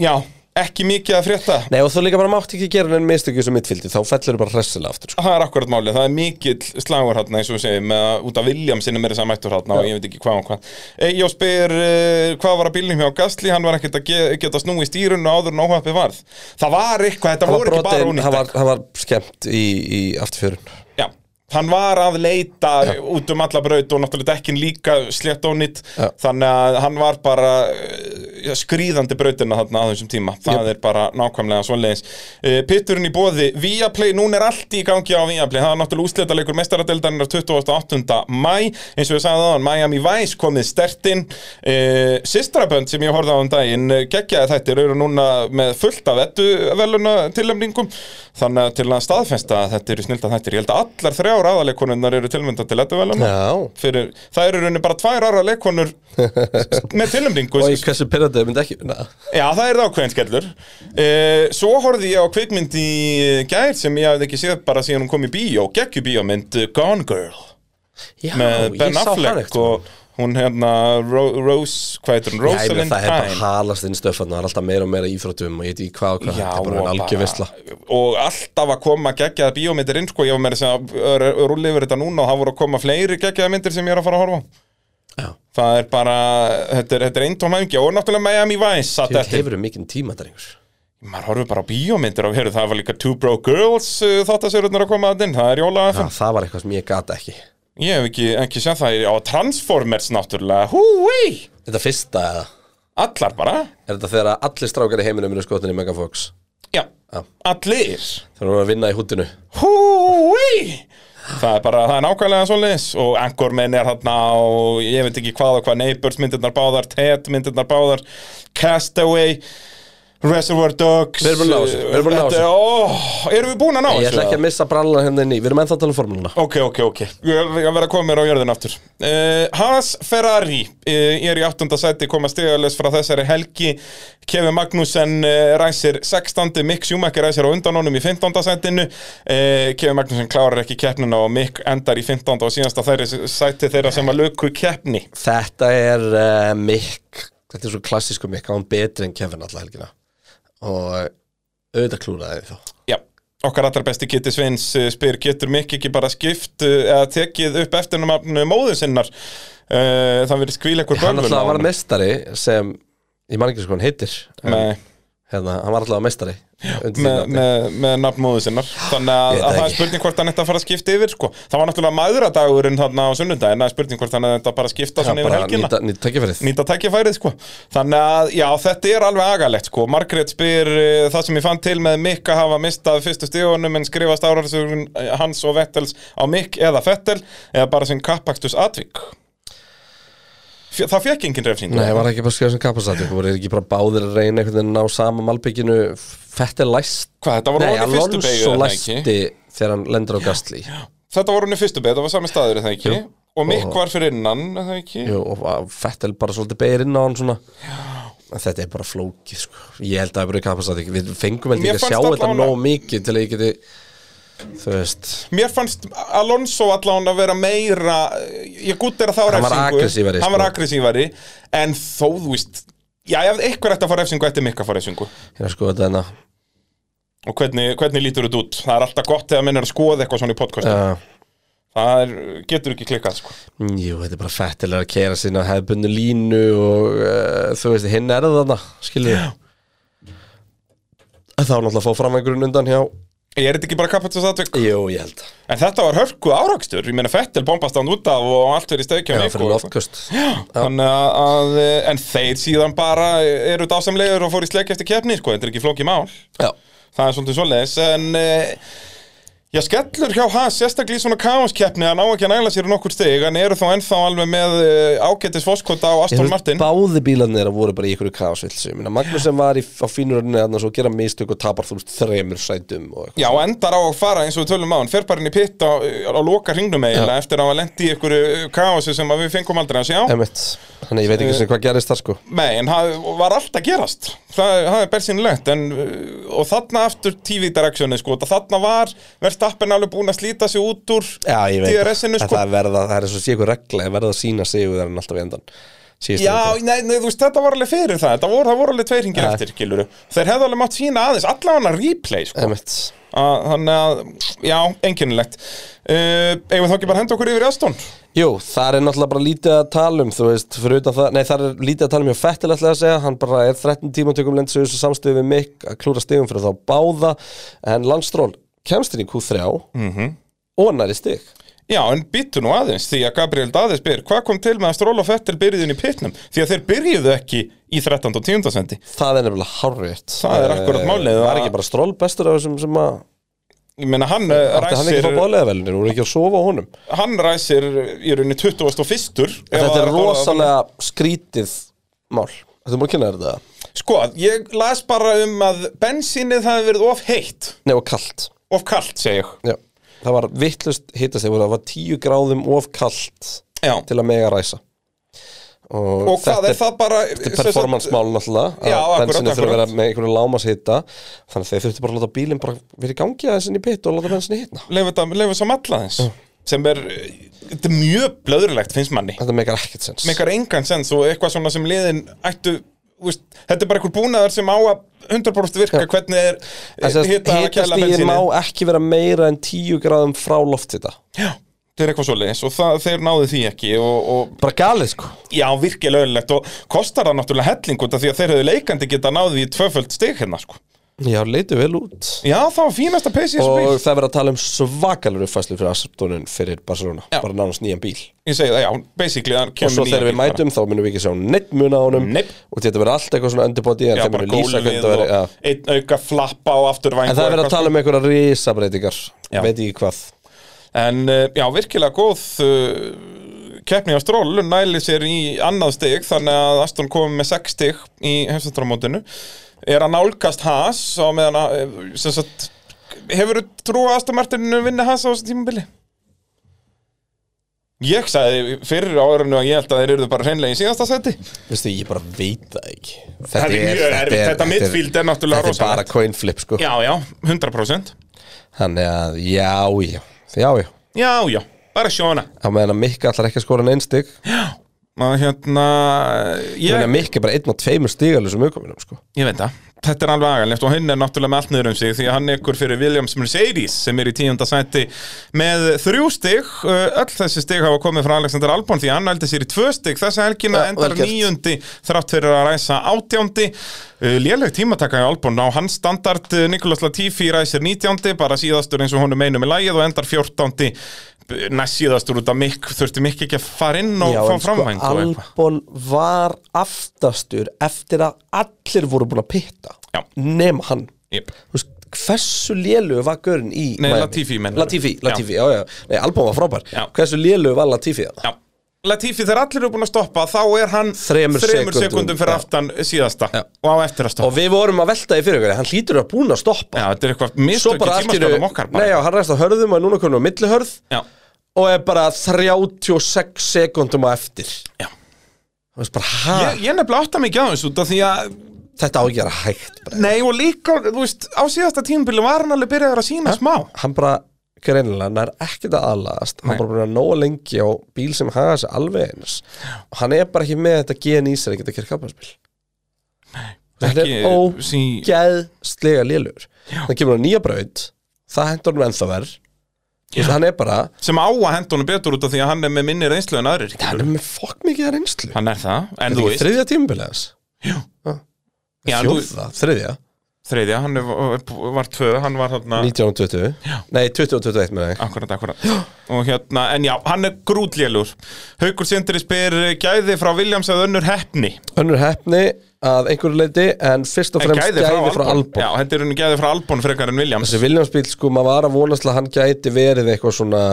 B: já, ekki mikið að frétta
D: Nei og þú líka bara mátt ekki gera enn mistökju sem mittfildi, þá fellur þú bara hressilega aftur sko.
B: Það er akkurat málið, það er mikill slagur hérna eins og við segjum með að út af William sinni meira sem mættur hérna og ég veit ekki hvað og hvað Eyjó spyr uh, hvað var að bílnum hjá Gastli, hann var ekkert að ge geta snúið stýrun og áður en óhappi varð Það var eitthvað, þetta
D: Hann var
B: voru ekki bara
D: brotin, hann
B: ónýtt
D: var, hann var skemmt í, í afturfjörun
B: Já, hann var að leita út um alla braut og náttúrulega dekkin líka slétt og nýtt
D: Já.
B: þannig að hann var bara eh, skrýðandi brautina þarna á þessum tíma það er bara nákvæmlega svoleiðis uh, Pitturinn í bóði, Viaplay, núna er allt í gangi á Viaplay, það er náttúrulega úsletaleikur mestaradeldarinnar 28. mæ eins og ég sagði aðan, Miami Vice komið stertinn uh, Sistrabönd sem ég horfði á um daginn, eh, geggjaði þetta eru núna með fullt af ettu veluna tilöfningum, þannig að til að staðfesta að þetta eru snilda þættir ég held að allar þrjár aðaleikonunar eru tilmynda til ettu veluna
D: Já
B: fyrir, það eru í rauninni bara tvær aðra
D: <laughs>
B: leikonur með tilnefningu
D: Og í hversu pyrrandi myndi ekki vinna
B: Já, það er það ákveðin skellur uh, Svo horfði ég á kvikmynd í gær sem ég hafði ekki séð bara síðan hún kom í bíó geggju bíómynd uh, Gone Girl
D: Já,
B: með Ben Affleck
D: sko.
B: og hún hérna Ro Rose, hvað heitir hún,
D: Já, ég meina,
B: Rosalind
D: það er bara
B: Pine
D: halast inn stöfan og það er alltaf meira og meira íþróttum og ég veit ekki hvað og hvað,
B: Já,
D: þetta er
B: og
D: bara en algjör visla
B: og alltaf að koma geggjaða bíómyndir inn sko, ég var með þess að rúli yfir þetta núna og það voru að koma fleiri geggjaða myndir sem ég er að fara að horfa á
D: Já.
B: það er bara, þetta er, þetta er eintóm hæmingi og náttúrulega Miami Vice satt
D: Þú
B: eftir.
D: hefur mikinn tíma þetta einhvers
B: maður horfir bara á bíómyndir og heyrðu það var líka Two Bro Girls þáttasörunar að koma að inn, það er jóla
D: Já, það var eitthvað sem ég gata ekki
B: ég hef ekki, ekki séð það á Transformers náttúrulega, húi
D: Þetta fyrsta eða?
B: allar bara,
D: Er þetta þegar að allir strákar í heiminum eru skotin í Megafox?
B: já, allir
D: Þeir voru að vinna í húttinu
B: húi það er bara, það er nákvæmlega svoleiðis og Anchorman er þarna og ég veit ekki hvað og hvað Neighbors myndirnar báðar, Ted myndirnar báðar Castaway Reservoir Dogs
D: Við erum búin að ná þessu, við erum búin að ná
B: Þetta er- ó, erum við búin að ná
D: Ég ætla
B: eða?
D: ekki að missa brallan hérna inn í Við erum ennþá að tala um formúluna
B: Ok, ok, ok Ég ég verð að koma mér á jörðin aftur uh, Haas Ferrari uh, er í 8. sæti koma stigalegs frá þessari helgi Kevin Magnussen uh, ræsir 16. Mick Schumacher ræsir á undan honum í 15. sætinu uh, Kevin Magnussen klárar ekki keppnina og Mick endar í 15. og síðasta þeirri sæti þeirra sem að löku keppni
D: Þetta er uh, mikk Þetta er svo klassísku mikk Án betri en Kevin alla helgina Og eh, auðvitað klúraði þið þá
B: Já Okkar allar besti Kitty Sveins eh, spyr getur mikið ekki bara skipt eh, eða tekið upp Eh, eftirnumafnu móðu sinnar uh, þannig verið skvíl ekkur
D: Hann alltaf var mestari sem ég man ekki sko hann heitir en
B: Nei.
D: hérna, hann var allavega meistari undir því
B: með,
D: nafni.
B: með, með nafnmóðu sinnar þannig að, að
D: Ég veit það
B: það er
D: ekki.
B: spurning hvort hann ætti að fara að skipta yfir sko. það var náttúrulega maðuradagurinn þarna á sunnudaginn það er spurning hvort hann ætti að bara skipta
D: Já,
B: svona yfir
D: bara
B: helgina
D: nýta, nýta tækifærið
B: nýta tækifærið sko þannig að já þetta er alveg agalegt sko Margrét spyr uh, það sem ég fann til með Mikk að hafa mistað fyrstu stíðunum en skrifast áraðsugun hans og Vettels á Mikk eða Fettel eða bara sem kappakstus atvík F það fekk engin refsingu
D: Nei, var ekki bara að skrifa sem kapasat voru þeir ekki bara báðir að reyna einhvern veginn að ná sama malbygginu fætti læst
B: Hvað, þetta var
D: Nei,
B: ofan í fyrstu beygju,
D: Alonso
B: er það ekki?
D: læsti þegar hann lendur á gastli
B: þetta voru henni fyrstu beigð, það var sami staður er það ekki
D: Jú.
B: og Mikk
D: Og-
B: var fyrir innan er það ekki
D: Jú, og Fettel bara svolítið beir inn á hann svona En þetta er bara flókið sko. Ég held að það er bara kapasat Við fengum held
B: Mér
D: ekki
B: fannst
D: að sjá þetta
B: allavega-
D: nóg mikið til að ég geti Þú veist,
B: Mér fannst Alonso allan að vera meira eh, Ég gutt er að þá
D: Hann var
B: refsingu.
D: aggressívari,
B: Hann var
D: sko.
B: aggressívari En þó, þú veist Já, ef eitthvað ætti að fá refsingu, ætti mikka að fá refsingu
D: hérna sko þetta hérna
B: Og hvernig, hvernig lítur þetta út? Það er alltaf gott þegar minn er að skoða eitthvað svona í podcasti
D: uh,
B: Það er, getur ekki klikkað, sko
D: Jú, þetta er bara Fettel er að kera sinna hefðbundu línu og uh, þú veist, hinn er þarna skilur við Þá er náttúrulega að fá fram einhverjum undan hjá
B: Ég er þetta ekki bara kapatist aðtök
D: Jú, ég held
B: En þetta var hörku árakstur Ég meina Fettel bombast hann út af og allt verið í sko. steikja
D: Já, fyrir loftkust
B: Þannig að, að, en þeir síðan bara eru dásamlegur og fór í sleik eftir keppni, sko, þetta er ekki flókið mál
D: Já,
B: Það er svolítið svoleiðis, en uh, já, skellur hjá hans, sérstaklega í svona kaoskeppni, hann á ekki að næla sér í nokkur stig, en eru þá ennþá alveg með uh, ágætis foskota á
D: Ég
B: Aston
D: veist,
B: Martin.
D: báði bílarnir að voru bara í ykkur kaosvilsu Ég meina, Magnussen var í, á fínurinu þannig að svo gera mistök og tapar þú veist þremur sætum og eitthvað
B: Já, og endar á að fara eins og við tölum á hann, fer bara inn í pitt á, á loka hringnum eiginlega eftir að hafa lent í eh, ykkur kaosi sem að við fengum aldrei að sjá.
D: Emmett, þannig að ég veit
B: Eh,
D: ekki sem hvað gerist það sko
B: Nei, en það var allt að gerast Það, það er bersýnilegt en, uh, Og þarna aftur TV Directioni sko, og Þarna var verðstappin alveg búin að slíta sig út úr
D: Já, ég veit
B: DRS-inu
D: En
B: sko.
D: það er verða, það er eins og sé ykkur regla Það verða að sína sigurðarinn alltaf í endan Síðustu
B: Já,
D: helgi.
B: nei, nei, þú veist, þetta var alveg fyrir það Þetta voru, það voru alveg tveir hringir
D: Ja.
B: eftir, giluru Þeir hefðu alveg mátt sína aðeins, allavega replay sko.
D: Emmett
B: að, Þannig að, já, einkennilegt uh, Eigum við þá ekki bara að henda okkur yfir í aðstón
D: Jú, það er náttúrulega bara lítið að tala um, þú veist, fyrir utan það, nei, það er lítið að tala um hjá Fettil ætlaði að segja, hann bara er 13 tímantökum lendsöðus og samstöðu við Mick að klúra stigum fyrir þá báða, en Landstról kemst inn í Q3
B: Mhm.
D: og næri stig.
B: Já, en býttu nú aðeins, því að Gabriel Daði spyr Hvað kom til með að Stról og Fettel byrjuðin í pitnum? Því að þeir byrjuðu ekki í 13. og 10. sendi
D: Það er nefnilega hárvitt.
B: Það er akkurat málið,
D: Það
B: að-
D: er ekki bara Stról bestur af þessum sem að,
B: Ég meina, hann eh,
D: átti hann ekki
B: ræsir
D: að fá báðlega velinu, hún er ekki að sofa á honum.
B: Hann ræsir í rauninni 21. ef að
D: Þetta er
B: að tala-
D: rosalega skrítið mál. Þetta er múið að kynna þér þetta?
B: Sko, ég las bara um að bensínið hafi verið of heitt
D: Nei, og kalt.
B: Of kalt, segi ég
D: Já. Það var vittlust hittast, það var 10 gráðum of kalt
B: Já,
D: til að mega ræsa og,
B: og hvað er það bara
D: þetta er performance-mál náttúrulega
B: Já,
D: að
B: akkurat,
D: bensinu þurfa að
B: akkurat.
D: vera með einhverju lámas hitta þannig að þeir þurftu bara að láta bílinn bara vera í gangi aðeins inn í pitt og láta bensinu hitta
B: Leifur það, leifur það matla þess Sem er, þetta er mjög blöðurlegt finnst manni
D: þetta meikar ekkert sens
B: Mekar engan sens og eitthvað svona sem liðin ættu þú veist, Þetta er bara einhver búnaðar sem á að 100% virka hvernig er eh, hitað að kæla
D: hittastíði má
B: bensínið
D: ekki vera meira en 10 gráðum frá lofthita
B: Já, þetta er eitthvað svoleiðis og það, þeir náðu því ekki og, og
D: bara galið sko
B: Já, virkilega öllilegt og kostar það náttúrulega helling út af því að þeir höfðu leikandi geta náðið í tvöföld stig hérna sko.
D: já, leitu vel út
B: Já, það var fínasta peysi í þessu
D: og
B: bíl
D: það verður að tala um svakalur uppfæslu fyrir Aspertonin fyrir Barcelona
B: Já.
D: bara nánast nýjan bíl
B: Ég segi það, já, basically hann
D: og
B: kemur
D: svo
B: nýja
D: þegar við
B: bíl bara.
D: mætum þá munum við ekki sjá neitt muna á honum
B: Neip.
D: og þetta verður allt eitthvað svona undirbóti en
B: Já,
D: þeir
B: bara
D: munum lýsa
B: gólfið
D: hvernig það
B: og
D: verður já.
B: einn auka flappa og sko. afturvæng
D: En það er verið að tala um einhverja risabreitingar
B: Já.
D: Veit ekki hvað
B: En uh, já, virkilega góð uh, keppni á stról næli sér í annað stig þannig að Aston komið með 6 stig í hefstandramótinu er að nálgast Haas og meðan að eh, sem sagt, hefur þú trú að Aston Martin vinni Haas á þessu tímabili? Ég sagði fyrir árunni að ég held að þeir eru bara hreinlega í síðasta seti
D: Veistu, ég bara veit það ekki Þetta,
B: Það er mjög erfitt, þetta midfield er náttúrulega
D: Þetta er bara
B: rosalegt.
D: coin flip sko
B: Já, já, 100%
D: Þannig að, já, já, já, já
B: Já, já, bara sjóna
D: Það meðan að Mikka allar ekki að skora en einstig
B: að hérna
E: Ég meina
B: ég,
E: Mikk er bara einn af tveimur stígalusum aukominum sko.
B: ég veit það Þetta er alveg agalegt og hinn er náttúrulega með allt niður um sig því að hann ykkur fyrir Williams Mercedes sem er í tíunda sæti með þrjú stig, Uh, öll þessi stig hafa komið frá Alexander Albon því að hann heldur sér í tvö stig þessa helgina
D: Ja,
B: endar
D: vel gert.
B: níundi þrátt fyrir að ræsa átjándi Léleg tímataka í Albon á hans standard uh, Nicolas Latifi ræsir nítjándi bara síðastur eins og honum einum í lægið og endar fjórtándi næst síðastur út af Mikk þurfti Mikk ekki að fara inn og
D: Já,
B: fá
D: en sko,
B: framvæng og eitthvað.
D: Albon var aftastur eftir að allir voru búin að pitta
B: Já.
D: nema hann
B: Jep.
D: Þú veist, hversu lélugu var görinn í
B: Nei,
D: Miami?
B: Latifi meinarðu?
D: Latifi, Latifi, já. já, Nei, Albon var frábær
B: Já.
D: hversu lélugu var Latifi það?
B: Já. Latifi þegar allir eru búin að stoppa þá er hann
D: Þremur sekúndum,
B: sekundum fyrir
D: já.
B: aftan síðasta
D: Já.
B: og á eftir að
D: og
B: stoppa
D: við vorum að velta í fyrir ykkur hann hlýtur að búin að stoppa
B: Já, þetta er eitthvað
D: svo
B: mistök í
D: bara allt í einu-
B: tímaskóðum okkar bara.
D: nei, já, hann ræðist á hörðum og er núna konum á millihörð
B: Já.
D: og er bara 36 sekundum á eftir
B: Já.
D: Þú veist bara, ha,
B: Ég, ég nefnilega átta mikið á þessu út af því að
D: þetta á ekki að vera hægt bara.
B: Nei og líka, þú veist, á síðasta tímabili var hann alveg byrjaður að sína smá
D: hann bara greinilega nær ekkert að aðlagast hann
B: Nei.
D: bara búin að nóa lengi á bíl sem haga sig alveg eins og hann er bara ekki með þetta gen í sér að geta kert kapparspil þetta
B: Ekki
D: er
B: sí,
D: ógeðslega lélugur það kemur á nýja braut það hendur hann ennþá verð Þú veist, hann er bara,
B: sem á að henda honum betur út af því að hann er með minni reynslu en aðrir
D: hann er með fokk mikið að reynslu
B: Hann er það, en þú
D: Þetta er ekki
B: veist
D: þriðja tímabilið hans
B: Já, þú-
D: Fjóða, þriðja,
B: Þriðja, hann er, var tvö, hann var þarna
D: 19 og 20 Nei, 20 og 21 með þig
B: Akkurat, akkurat Og hérna, en já, hann er grútlélur Haukur Sindri spyr eh, gæði frá Williams að önnur heppni
D: Önnur hefni að einhverju leiti En fyrst og
B: En
D: fremst gæði, frá Albon
B: Já, þetta er henni gæði frá Albon frekar en Williams
D: Þessi Viljámsbíl, sko, maður var að vonast til að hann gæti verið eitthvað svona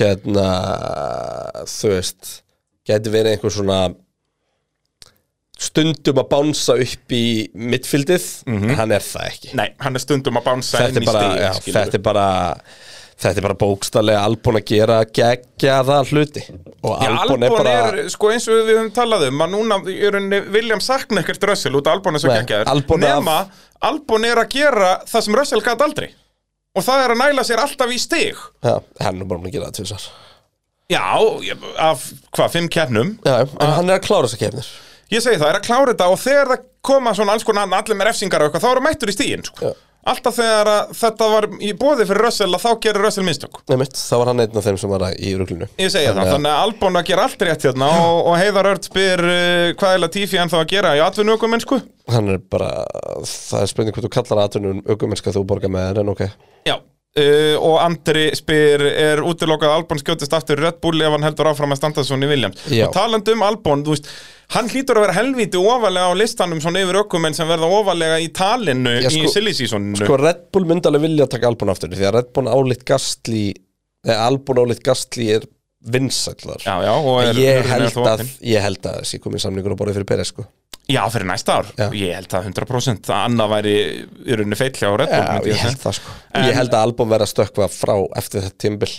D: Hérna, þú veist Gæti verið einhver svona Stundum að bánsa upp í mittfildið En hann er það ekki
B: Nei, hann er stundum að bánsa
D: þetta
B: inn
D: er
B: í
D: bara,
B: Mhm. stig
D: já, þetta er bara þetta er bara bókstallega Albon að gera geggja það hluti og
B: Já,
D: Albon er bara
B: sko eins og við höfum talað um að núna er henni Williams sakna ekkert Russell út að Albon er svo
D: Nei,
B: geggjaður
D: Albon af-
B: Nema, Albon er að gera það sem Russell gæti aldrei Og það er að næla sér alltaf í stig
D: já, hann er bara búin að gera það tvisar
B: Já, ég- af hvað, fimm keppnum
D: já, en
B: Ah.
D: hann er að klára þessar kefnir
B: Ég segi það, er að klára þetta og þegar það koma svona alls konar annað, allir með refsingar og eitthvað, þá eru mættur í stíin, sko.
D: Já.
B: Alltaf þegar að þetta var í bóði fyrir Russell að þá gerir Russell minnstök.
D: Nefnt, þá var hann einn af þeim sem var að- í ruglunu
B: Ég segi það, þannig að Albon að gera allt rétt hérna og, og Heiðar Örd spyr uh, hvað er Latifi hann þá að gera í atvinnugumenn, sko?
D: hann er bara, það er spurning hvað þú kallar aðtunum aukumennska þú borgar með þér en ok
B: Já. Uh, og Andri spyr, er útilokað að Albon skjótist aftur Red Bull ef hann heldur áfram að standa svona í Williams?
D: Já.
B: Og talandi um Albon, þú veist, hann hlýtur að vera helvíti ofalega á listanum svona yfir ökumenn sem verða ofalega í talinu
D: Já, sko-
B: í silly seasoninu.
D: sko Red Bull myndi alveg vilja að taka Albon aftur því að Red Bull álitt gastli eða Albon álitt gastli er vinsællar
B: Já, já, og er, hurðin
D: ég,
B: er
D: held
B: þó
D: að,
B: opin.
D: ég held að þessi komið samningur á borðið fyrir Peres sko.
B: Já, fyrir næsta ár,
D: Já.
B: ég held að 100% að annað væri í rauninni feillja á Red Bull
D: Já,
B: myndi
D: ég held
B: segja.
D: það sko
B: En-
D: Ég held að Albon verða að stökkva frá eftir þetta tímbil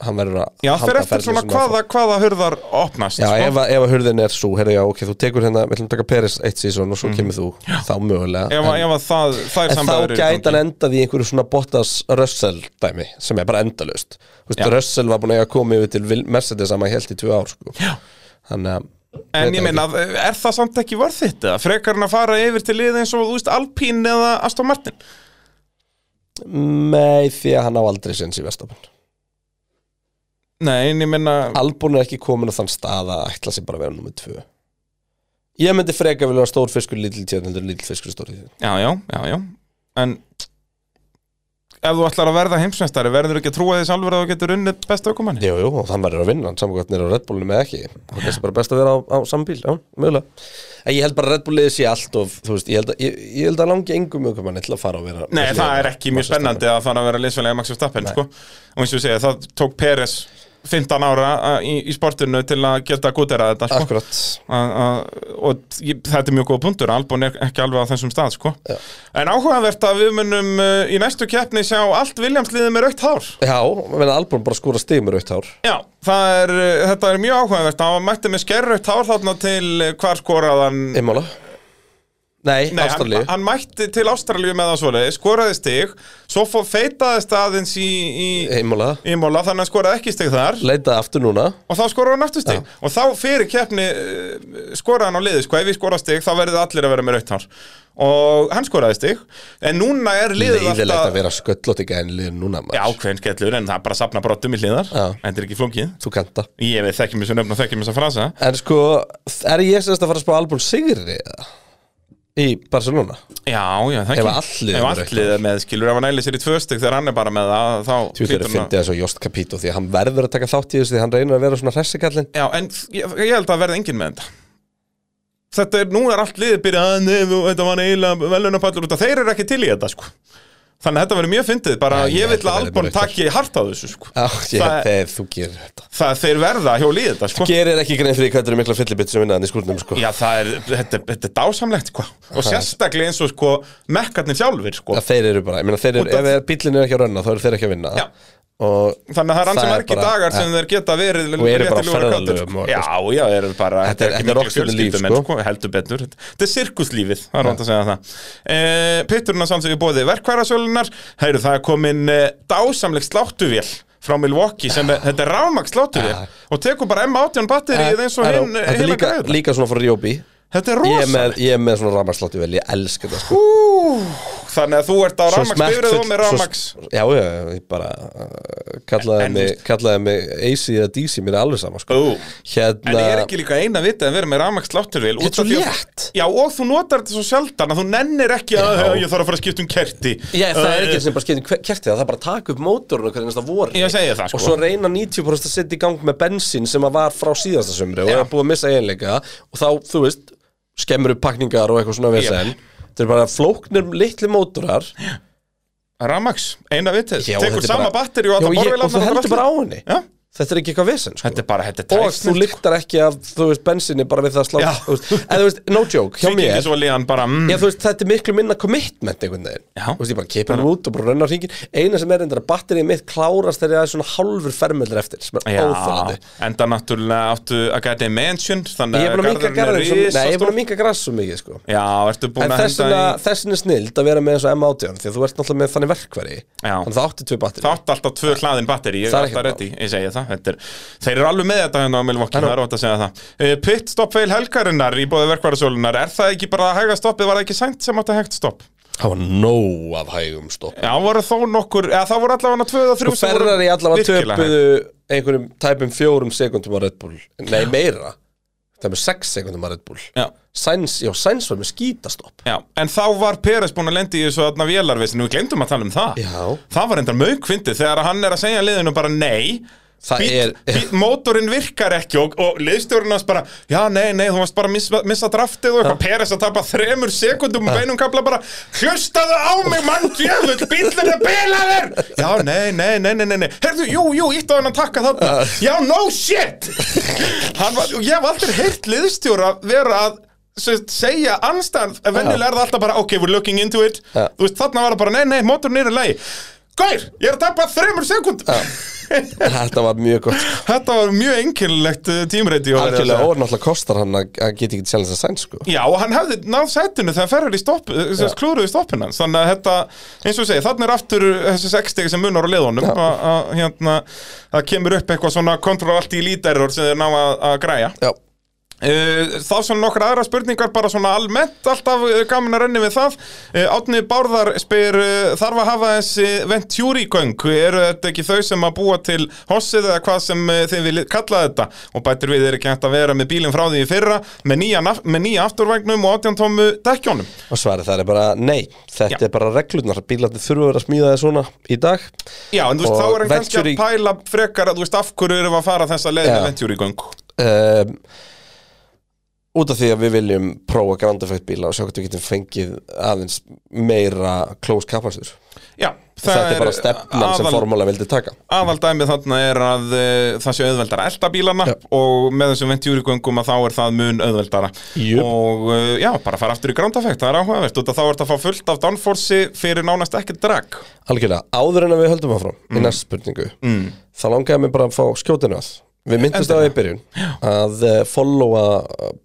D: Hann verður að
B: Já,
D: halda
B: fyrir eftir
D: ferli
B: svona
D: sínum áfram.
B: hvaða, hvaða hurðar opnast
D: Já,
B: sko.
D: ef, að- ef að hurðin er svo, herri já, ok, þú tekur hérna Við ætlum að taka Peres eitt sísón og svo kemur þú Þá mögulega
B: Mhm. ef, að- ef að það, það er
D: En þá
B: sambæður
D: gæti hann endað í einhverju svona Bottas Russell dæmi sem er bara endalaust Þú veist,
B: Já.
D: Russell var búin að eiga að koma yfir til Vil- Mercedes að maður held í tvö ár sko. Þannig að
B: En ég
D: veit
B: meina, er það samt ekki vörð þetta? Frekar hann að fara yfir til liðið eins og þú veist Alpín eða Aston Martin
D: ekki. Nei, því að hann á aldrei sinns í Vestapun
B: Nei, en ég meina
D: Albon er ekki komin á þann stað að ætla sér bara að vera nummið tvö Ég myndi freka vilja vera stór fiskur lítil tjörn heldur en lítil fiskur stór tjörn
B: Já, já, já, já En ef þú ætlar að verða heimsmeistari verður ekki að trúa því sjálfur að þú getur unnið besta ökumanni
D: Jú, jú, og þann verður að vinna hann samkvæmtnir á Red Bullinu með ekki Það er kannski bara best að vera á, á saman bíl, já, mögulega En ég held bara að Red Bull liði sér allt og þú veist, ég held að, ég, ég held að langi engum mjög mann til að fara og vera
B: Nei, það er ekki mjög spennandi að fara að vera liðsfélagi Max Verstappen, sko. Og eins og ég segja, það tók Peres 15 ára að- í, í sportinu til að geta gutera þetta, sko.
D: Akkurat,
B: Að- að- og ég- þetta er mjög góð punktur Albon er ekki alveg á þessum stað sko. en áhugavert að við munum uh, í næstu keppni sjá allt Williamsliðið með raukt hár
D: já, menn Albon bara skora stig með rautt hár
B: Já, það er, uh, þetta er mjög áhugavert hann mætti með skerraukt hár þarna til uh, hvar skoraðan
D: Einmála, Nei,
B: Nei, hann,
D: Ástralíu
B: hann mætti til Ástralíu með það svoleiði, skoraði stig Svo fó, feitaði staðins í, í,
D: Heimóla
B: í móla, þannig að hann skoraði ekki stig þar
D: Leitaði aftur núna
B: Og þá skoraði hann aftur stig Og þá fyrir keppni eh, skoraði hann á liði Sko, ef við skoraði stig, þá verðið allir að vera með rautt hár Og hann skoraði stig En núna er liðið
D: Leiðilegt að vera sköllótt ekki en liður núna maður
B: Já, hvern skellur, en það er bara að sapna brottum í hliðar
D: Já.
B: Þetta er ekki flókið
D: Þú kanta
B: Ég veit þekkjum þessu nöfn og þekkjum þessa frasa
D: En sko, er ég semst að fara að spá Albon Sigri eða? Í Barcelona
B: Já, já, það
D: Ef
B: ekki
D: allt liðið
B: Ef
D: er
B: allir er með, skilur, ef hann æli sér í tvö stygg þegar hann er bara með það, þá hlýtur
D: Þú veist að
B: hann að-
D: fyndi þessu Jost Capito því að hann verður að taka þátt í þessu því að hann reynir að vera svona hressikallin
B: Já, en ég, ég held að verða enginn með þetta Þetta er, nú er allt liðið byrjað að nefn og þetta var eiginlega velunapallur út að þeir eru ekki til í þetta, sko Þannig að þetta verður mjög fyndið, bara
D: Nei, ég
B: ég vil að
D: held að verði
B: Albon
D: bara eitthvað.
B: takki hart á þessu, sko
D: Já, ég,
B: Það-
D: þegar þú gerir þetta
B: Það þeir verða hjá liðið þetta, sko
D: Gerir ekki grein fyrir hvað þetta eru mikla fyllibitt sem vinnaðan í skúrnum sko
B: Já, það er, þetta, þetta er dásamlegt, sko Og sérstaklega eins og, sko, mekkarnir sjálfur, sko
D: að þeir eru bara, ég meina þeir eru,
B: Út af-
D: ef er- bíllinn er ekki að rönna þá eru þeir ekki að vinna
B: Já.
D: og
B: Þannig að það er ansi
D: það er
B: margir
D: bara-
B: dagar sem þeir geta verið
D: Og eru
B: léttilegur
D: bara á
B: og kátir,
D: ferðalögum
B: sko.
D: og-
B: Já, já, eru bara
D: Þetta er-
B: ekki
D: þetta er
B: mikil
D: rockstjörnulíf,
B: fjölskyldumenn,
D: sko.
B: Heldur betur, þetta er sirkuslífið Það er rátt að segja það e, Pitturinn að samsögju bóði verkværasölunar Heyrðu, það er komin e, dásamleg sláttuvél frá Milwaukee sem er, þetta er rámag sláttuvél og tekur bara M18 batterið eins og
D: Þetta er-
B: hinn
D: þetta er
B: heila
D: líka,
B: græður
D: líka svona fyrir Jóbi
B: Þetta er
D: ég er
B: rosa
D: með, ég er með svona rafmagslátti vel, ég elska þetta sko.
B: Þannig að þú ert á
D: Svo
B: rámag bifrið og með
D: svo-
B: rámag
D: já, já, já, ég bara uh,
B: En-
D: kallaði,
B: en þú
D: mig,
B: veist-
D: kallaði mig AC eða DC, mér er alveg sama sko.
B: Ú.
D: hérna,
B: En er ekki líka eina vitið að vera með rafmagn slátturvél
D: Þetta
B: út
D: er
B: af
D: svo
B: því að-
D: létt.
B: Já og þú notar þetta svo sjaldan að þú nennir ekki að "Hei, ég þarf að fara að skipta um kerti
D: Já, það er ekki
B: Eh,
D: sem bara skiptum kertið, það er bara að taka upp mótorinu hvernig það voru
B: Ég segi það, sko.
D: Og svo reyna 90% að setja í gang með bensín sem að var frá síðasta sömri og
B: Já.
D: er búið að missa eiginleika Og þá, þú veist, skemmur upp pakningar og eitthvað svona vesen Þetta er bara flóknir litli mótorar Já,
B: Rafmagns, eina vitið
D: og
B: Tekur
D: þetta er
B: sama
D: bara-
B: batteri og
D: Já,
B: alltaf
D: ég-
B: borðvélarnar
D: Og þú
B: og
D: heldur
B: drasli.
D: bara á henni
B: Já,
D: Þetta er ekki eitthvað vesen, sko
B: þetta er bara, þetta er
D: Og þú
B: tæsnilt
D: lyktar ekki af, þú veist, bensíni bara við það slá
B: Já.
D: þú veist, En þú veist, no joke, hjá
B: Því ekki
D: mér
B: svo líðan bara mm,
D: Já, þú veist, þetta er miklu minna commitment einhvern veginn
B: Já.
D: Þú veist, ég bara kipir hann út og bara renna hringin Eina sem er endur að batterið mitt klárast þegar það er svona hálfur fermeldar eftir sem er
B: Já,
D: óþólandi
B: enda náttúrulega áttu að gæta í mansion Þannig
D: Ég er búin að minka
B: garðurinn
D: garðin
B: er
D: svo, Nei, ég er búin
B: risastór.
D: að minka græs svo mikið, sko
B: Já, ertu búin
D: En
B: að
D: þessin,
B: henda
D: að,
B: í
D: þessin er snild að vera með þessu M18 Því að þú ert náttúrulega með þannig verkværi
B: Já.
D: Þannig það átti tvö batterið
B: Þátt alltaf tvö hlaðin batteri, ég
D: Það
B: er
D: er
B: alltaf
D: ekkert
B: reddi, ég segi það þetta er, Þeir eru alveg með þetta hérna á Milwaukee, það er ótt að segja það Eh, Pitstop fail helgarinnar í bóði verkvarðarsólunar Er það ekki bara hæga stoppið, var það ekki sænt sem átt að hægt stopp?
D: Það var nóg af hægum stopp
B: Já, voru þó nokkur, eða það voru allavega tvö og þrjú
D: Þú
B: sem voru
D: ferrar í allavega
B: virkilega hæg.
D: töpuðu einhverjum tæpum fjórum sekundum á Red Bull Nei, meira Það með sex sekundum á Red Bull
B: Já,
D: Sainz, já, Sainz var með skítastopp
B: já, en þá var Peres búin að lendi í þessu aðna vélarvisinu, við glemdum að tala um það
D: Já.
B: Það var endar mögkvindið þegar hann er að segja liðinu bara nei
D: Það
B: bíll-
D: er-
B: bíll- Mótorinn virkar ekki og, og liðstjórinn hans bara Já, nei, nei, þú varst bara að missa, missa draftið og eitthvað Peres að tapa þremur sekundum og beinum kapla bara Hlustaðu á mig, mann djöfull, bíllinn er bilaður Já, nei, nei, nei, nei, nei, nei Herðu, jú, jú, ítt á hann að taka þarna Já, no shit Hann var, og Ég hef aldrei heyrt liðstjóra vera að sem sagt, segja anstæðan, en venjulega er það alltaf bara ok, we're looking into it þú veist, þarna var það bara, nei, nei, mótorinn er í lagi Gaur, ég er að tapa þremur sekund
D: Þetta var mjög gott sko.
B: Þetta var mjög einkennilegt uh, tímreiti og verið að
D: Algjörlega
B: segja.
D: ónáttúrulega kostar hann að að geta ekki challenge að sæn sko
B: Já, og hann hefði náð sætinu þegar ferður í stopp eh, þess að klúruði stoppin hans þannig að þetta, eins og ég segi, þannig er aftur þessi sextegi sem munar á liðunum að að, hérna, það kemur upp eitthvað svona kontrollt í líterror sem þeir ná að, að græja
D: Já
B: Uh, þá svona nokkra aðra spurningar bara svona almennt alltaf uh, gaman að renni við það uh, Átni Bárðar spyr uh, þarf að hafa þessi ventjúrigöng eru þetta ekki þau sem að búa til hossið eða hvað sem uh, þið viljið kalla þetta og bætir við er ekki hægt að vera með bílinn frá því í fyrra með nýja, naf- með nýja afturvagnum og átjantómu dekkjónum
D: Og svarið það er bara nei Þetta
B: Já.
D: er bara reglurnar Bílarnir þurfa að vera smíðaði svona í dag
B: Já, en þú veist,
D: Og
B: þá er hann kannski að
D: Venturi-
B: pæla frekar að þú veist af hverju erum við að fara þessa leið
D: Já.
B: með ventjúrigöng
D: um, Út af því að við viljum prófa Grand Effect bíla og sjá hvað við getum fengið aðeins meira close capacity
B: Já,
D: Þetta er bara stefnan sem
B: aðal-
D: formúla vildi taka
B: Aðaldæmið þarna er að e, það sé auðveldara að elda bílana og með þessum ventjúrigöngum að þá er það mun auðveldara
D: Jú.
B: og e, já, bara fara aftur í Ground Effect, það er áhugavert út að þá er það að fá fullt af downforce fyrir nánast ekkert drag Mm.
D: Algjörlega, áður en að við höldum áfram í næst spurningu mm. þá langaði mig bara að fá skjótinu að Við myndumst á það í byrjun að eh, followa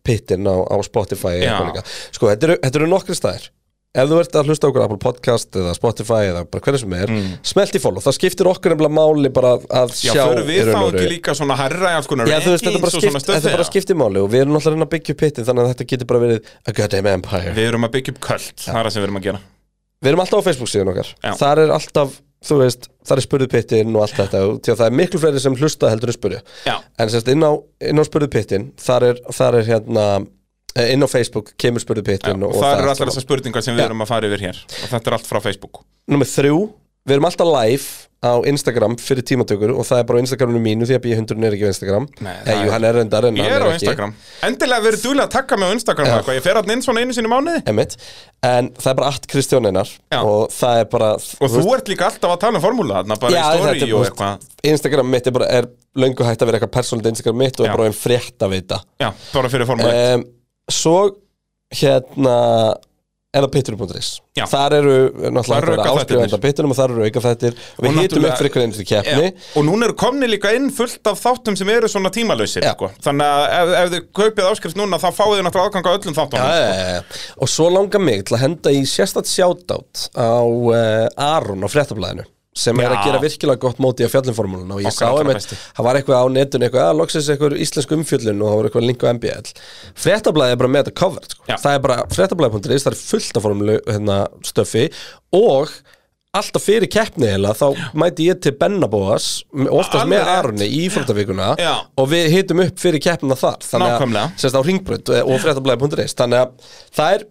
D: pittin á, á Spotify
B: Já.
D: eitthvað líka. Sko, þetta eru, þetta eru nokkri staðir Ef þú ert að hlusta á okkur á Apple Podcast eða Spotify eða bara hvernig sem er smelt í follow, það skiptir okkur nefnilega máli bara að- að
B: Mm. Já,
D: sjá
B: förum
D: í
B: við þá
D: raun og veru.
B: ekki líka svona herra í alls konar
D: Já, þú veist, þetta
B: rankings
D: bara,
B: og
D: skipt,
B: svona stöð
D: þetta bara
B: þeirra?
D: skiptir máli og við erum náttúrulega að reyna að byggja upp pittin þannig að þetta getur bara verið a goddamn empire
B: Við erum að byggja upp köld, það er það sem við erum að gera
D: Við erum alltaf á Facebook síðan okkar
B: Já.
D: Þar er alltaf, þú veist, þar er spurðu pittin og allt þetta og því að það er miklu fleiri sem hlusta heldur en spurðu
B: Já.
D: En semst inn á, inn á spurðu pittin þar er, þar er hérna eh, inn á Facebook kemur spurðu pittin
B: Og
D: og,
B: það eru
D: er
B: allar þessar spurningar sem við
D: Já.
B: erum að fara yfir hér Og þetta er allt frá Facebook
D: Númer þrjú, við erum alltaf live á Instagram fyrir tímatökur og það er bara á Instagraminu mínu því að býja hundurinn er ekki á Instagram
B: Nei, það
D: Eh, Jú,
B: er-
D: hann er reyndar en
B: Ég
D: hann
B: er á
D: ekki.
B: Instagram Endilega verið duglega að taka mig á Instagram og eitthvað. Ég fer allan inn svona einu sinni í mánuði
D: Einmitt. En það er bara allt Kristján Einar
B: Já.
D: og það er bara
B: Og þú ert líka alltaf að tala um formúla þarna bara í
D: þetta
B: story
D: er
B: og
D: bara-
B: eitthvað
D: Instagram mitt er bara er löngu hægt að vera eitthvað persónult Instagram mitt og
B: Já.
D: er bara einn frétt að vita
B: Já, bara fyrir formúla
D: um, Svo hérna er það pittur.is
B: Já.
D: Þar eru
B: Þar eru
D: náttúrulega
B: aukaþættirnir.
D: áskrifandi pittunum og þar eru auka þættir og við
B: Og
D: hýtum
B: náttúrulega-
D: upp fyrir hverju einnig keppni
B: Já, og núna eru komni líka inn fullt af þáttum sem eru svona tímalöysir
D: Já.
B: sko. þannig að ef, ef þið kaupið áskrift núna þá fáið þið náttúrulega aðganga öllum þáttunum
D: Já, já, já. Og svo langar mig til að henda í sérstætt shoutout á uh, Aron á fréttablaðinu sem er
B: Já.
D: að gera virkilega gott móti á fjallinformúlun um og ég
B: Okkar
D: sá
B: allra
D: einmitt,
B: besti.
D: það var eitthvað á netun eitthvað, að loksins eitthvað íslensk umfjöllun og það var eitthvað link á MBL fréttablaði er bara með þetta covered sko.
B: Já.
D: það er bara fréttablaði.is, það er fullt af formúlu hérna, stöfi og alltaf fyrir keppni heila þá mæti ég til Bennabóas oftast
B: Alveg
D: með
B: rétt.
D: Aroni í fróttavíkuna
B: Já.
D: og við hitum upp fyrir keppnina þar þannig
B: Nákvæmlega.
D: að sérst á ringbrönd og fréttablaði.is þannig að það er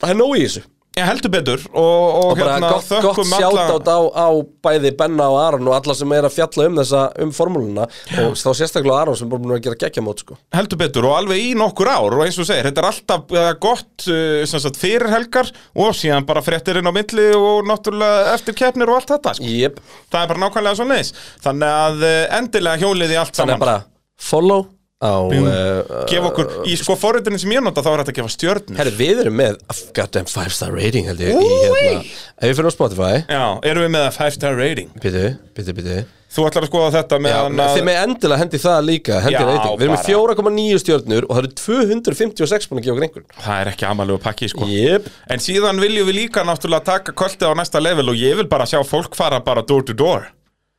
D: það er nóg í þessu
B: Ég heldur betur og, og,
D: og bara
B: hérna,
D: gott, gott
B: þökkum alla-
D: sjátátt á, á bæði Benna og Aron og alla sem er að fjalla um þessa um formúluna og þá sérstaklega Aron sem bara búin að gera geggjamót sko.
B: heldur betur og alveg í nokkur ár og eins og þú segir, þetta er alltaf eh, gott eh, sem sagt, fyrir helgar og síðan bara fréttir inn á milli og náttúrulega eftir keppnir og allt þetta sko.
D: yep.
B: það er bara nákvæmlega svo leiðis þannig að eh, endilega hjólið í allt
D: þannig að
B: saman
D: bara follow á uh,
B: gefa okkur, í sko forritinu sem ég nota þá er þetta að gefa stjörnur
D: herri við erum með goddamn 5 star rating held ég í, hérna, ef við fyrir á Spotify
B: Já, erum við með að 5 star rating
D: Býtu, býtu, býtu
B: Þú ætlar að skoða þetta með hann að
D: Þið með endilega hendi það líka hendi
B: Já,
D: reyting Við erum
B: bara.
D: með 4,9 stjörnur og það eru 256 búin að gefa okkur einhvern
B: Það er ekki amalegu pakki sko
D: Jep
B: En síðan viljum við líka náttúrulega taka kvöldið á næsta level og ég vil bara sjá fólk fara bara door to door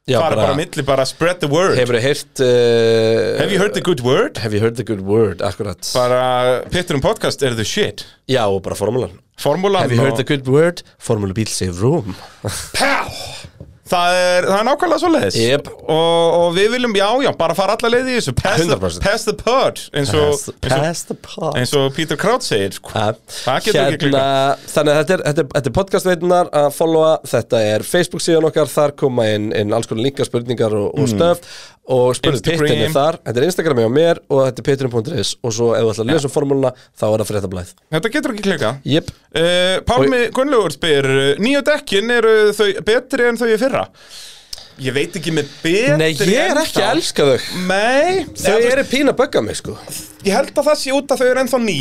D: Já,
B: Fara bara, milli, bara spread the word
D: Hefur þið heyrt uh,
B: Have you heard the good word?
D: Have you heard the good word, akkurat
B: Bara Pitturum podcast er the shit
D: Já, og bara formúlan
B: Formúlan
D: Have you heard
B: og-
D: the good word, formúlubíl save room
B: Pá! Það er, það er nákvæmlega svo leiðis
D: Jep.
B: og, og við viljum, já, já, bara fara alla leið í þessu Pass, the,
D: 100%.
B: pass the pod eins
D: Pass
B: og,
D: the-
B: eins og,
D: Pass the pot
B: eins og Peter Kraut segir sko.
D: Ja.
B: Það getur ekki klikkað.
D: Hérna, Þannig að þetta er, þetta er, þetta er podcastveitunar að followa, þetta er Facebook síðan okkar, þar koma inn, inn alls konar líka spurningar og, og stöf og spurðu
B: Mm. Instagram.
D: pittinni þar, þetta er Instagrami á mér og þetta er pittin.is og svo ef þú ætlar að lesa um formúluna þá er það fréttablæð.
B: Þetta getur ekki klikað
D: Jep,
B: Uh, Pálmi Gunnlaugur spyr uh, Nýju dekkin eru þau betri en þau í fyrra Ég veit ekki með betri
D: nei ég er ekki að elska þau.
B: Nei,
D: Þau
B: eða, þú
D: eru pína að bögga mig sko.
B: veist, Ég held að það sé út að þau eru ennþá ný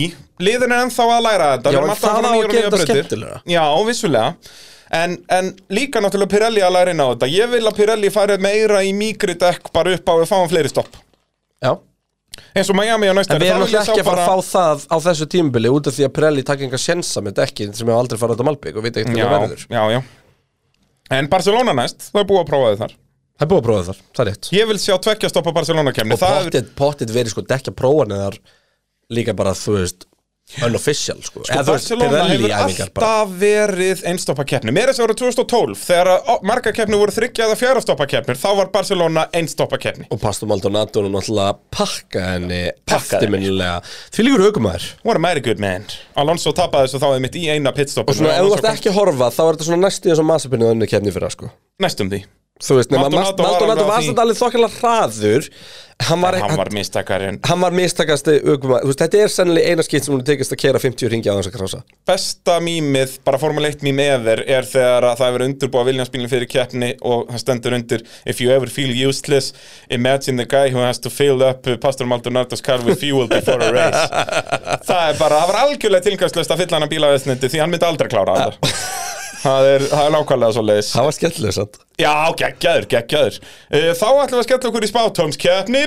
B: Liðin er ennþá að læra þetta
D: Já,
B: Við erum
D: en
B: alltaf fara
D: það á að
B: nýjar og
D: gera
B: nýjar
D: þetta
B: brautir.
D: skemmtilega.
B: Já, vissulega En, en líka náttúrulega Pirelli að læra inn á þetta Ég vil að Pirelli fari meira í mýgri dekk bara upp á að fáum fleiri stopp
D: Já.
B: eins og Miami á næsta
D: En
B: ári,
D: við erum
B: þá vil ég
D: náttúrulega ekki
B: sjá
D: að fara
B: bara-
D: að fá það á þessu tímubili út af því að Pirelli takk enga sjensa með dekkin sem hefur aldrei farið út á Malbygg og veit ekkert hvað
B: Já,
D: verður.
B: já, já En Barcelona næst, það er búið að prófa þau þar
D: Það er búið að prófa þar, það er rétt.
B: Ég vil sjá tvekja stoppa Barcelona kemni
D: og pottit, pottit verið sko dekja prófanir þar líka bara þú veist unofficial sko,
B: Sko, Barcelona hefur alltaf verið einstoppa keppni Mér er þess að voru 2012 Þegar að marga keppni voru þryggja eða fjara stoppa keppnir Þá var Barcelona einstoppa keppni
D: og Pastor Maldonado er náttúrulega pakka henni
B: Pakkaði
D: eftirminnilega því líkur aukumæður
B: What a mighty good man Alonso tapaði þessu þá eða mitt í eina pitstoppa
D: og svona ef þú ert ekki að horfa þá er þetta svona næstu þess að massapinni önnu kemni fyrir sko
B: Næstum því
D: þú veist, nema
B: Maldonado var alveg
D: Maldonado
B: á
D: var
B: því.
D: þetta alveg þokkilega hraður hann var,
B: Hann
D: hann,
B: var mistakarinn
D: hann var mistakasti aukumæður þú veist, þetta er sennilega eina skipt sem hún tekist að keira 50 ringi á þess að krása
B: Besta mýmið, bara Formule 1 mým eðir Er þegar að það hefur undurbúa viljanspílinn fyrir keppni Og það stendur undir If you ever feel useless Imagine the guy who has to fill up Pastor Maldonado's car with fuel before a
D: <laughs>
B: race Það er bara, það var algjörlega tilgangslöst að fylla hann að bílaveðsnindi Því hann myndi aldrei klára þetta það er, það er nákvæmlega svo leiðis
D: Það var skemmtileg sant
B: Já, geggjaður, geggjaður Eh, Þá ætlum við að skella okkur í spátómskeppni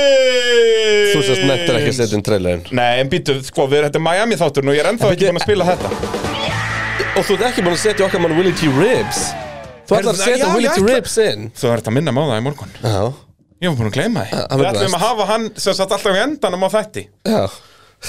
B: Pitsins
D: Þú sérst nettir ekki að setja inn trailerinn
B: Nei, en býtu, sko, við erum þetta er Miami þátturinn og ég er ennþá ekki búin að spila þetta
D: Og þú ert ekki búin að setja okkar mann Willie T. Ribs Þú ætlar að
B: Heyrðu, já,
D: setja Willie
B: ég
D: T.
B: ætla-
D: Ribs inn
B: Þú ert að minna mig á það í morgun
D: Já,
B: Ég var búin að gleyma því
D: hann
B: Við
D: verður
B: ætlum að
D: næst.
B: hafa hann sem sagt alltaf í endanum á þætti
D: já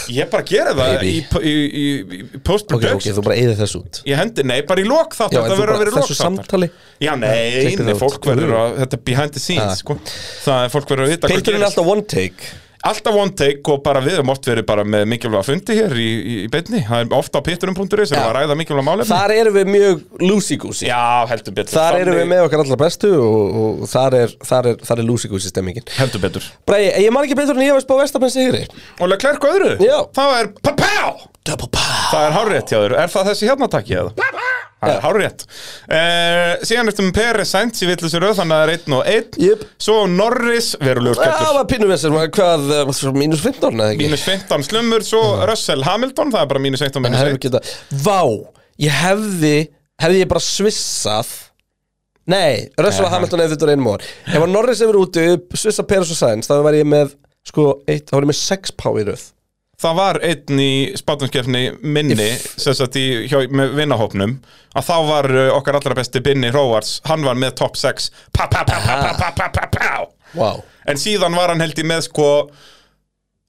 B: Ég bara gera það í,
D: Baby.
B: í, í, í
D: Ok, ok,
B: post-production
D: þú bara eigði þessu út
B: Ég hendi, nei, bara í lok þáttar
D: Já, en
B: þetta
D: þú
B: verður að
D: bara
B: vera í lok
D: þessu samtali
B: Já, nei,
D: klippir
B: nei
D: það út.
B: fólk verður að, þetta er behind the
D: Ah.
B: scenes, sko Það er fólk verður að vita hvað
D: Pilturinn er
B: gerist.
D: alltaf one take
B: Alltaf one take og bara við höfum oft verið bara með mikilvæga fundi hér í, í, í beinni Það er ofta á pitturum.is sem
D: Já.
B: að ræða mikilvæga málefni
D: Þar erum við mjög loosey-goosey
B: Já, heldur betur
D: Þar erum við
B: Þannig-
D: með okkar allra bestu og, og þar er, þar er, þar er loosey-goosey stemmingin
B: Heldur betur
D: Bræði, ég man ekki betur en ég veist bá Vestamenn sigri
B: Og Leclerc og öðru
D: Já.
B: Það er papá
D: Double pow
B: Það er hárétt hjá þér, er það þessi hérna takki eða? Það er hárétt eh, Síðan eftir með Peres Sainz í villusi röð Þannig að það er einn og einn
D: Jep.
B: Svo Norris, verulegur
D: Það
B: skellur
D: var pínu vissir, hvað, eh, mínus 15 eða ekki?
B: Mínus 15 slumur, svo
D: Mm.
B: Russell Hamilton Það er bara mínus 15 mínus
D: hefði
B: 1
D: geta, Vá, ég hefði hefði ég bara svissað Nei, Russell og Hamilton hefði þetta reynum ára Ef að Norris hefur úti, svissa Peres og Sainz þá var ég með, sko, eitt, þá var ég með 6 pá í röð
B: Það var einn í spátumskefni minni sem sagt í hjá, með vinnahópnum að þá var eh, okkar allra besti Binni Hróars, hann var með top 6 Pá, pá, pá, pá, pá, pá, pá, pá, pá
D: Vá
B: En síðan var hann held í með sko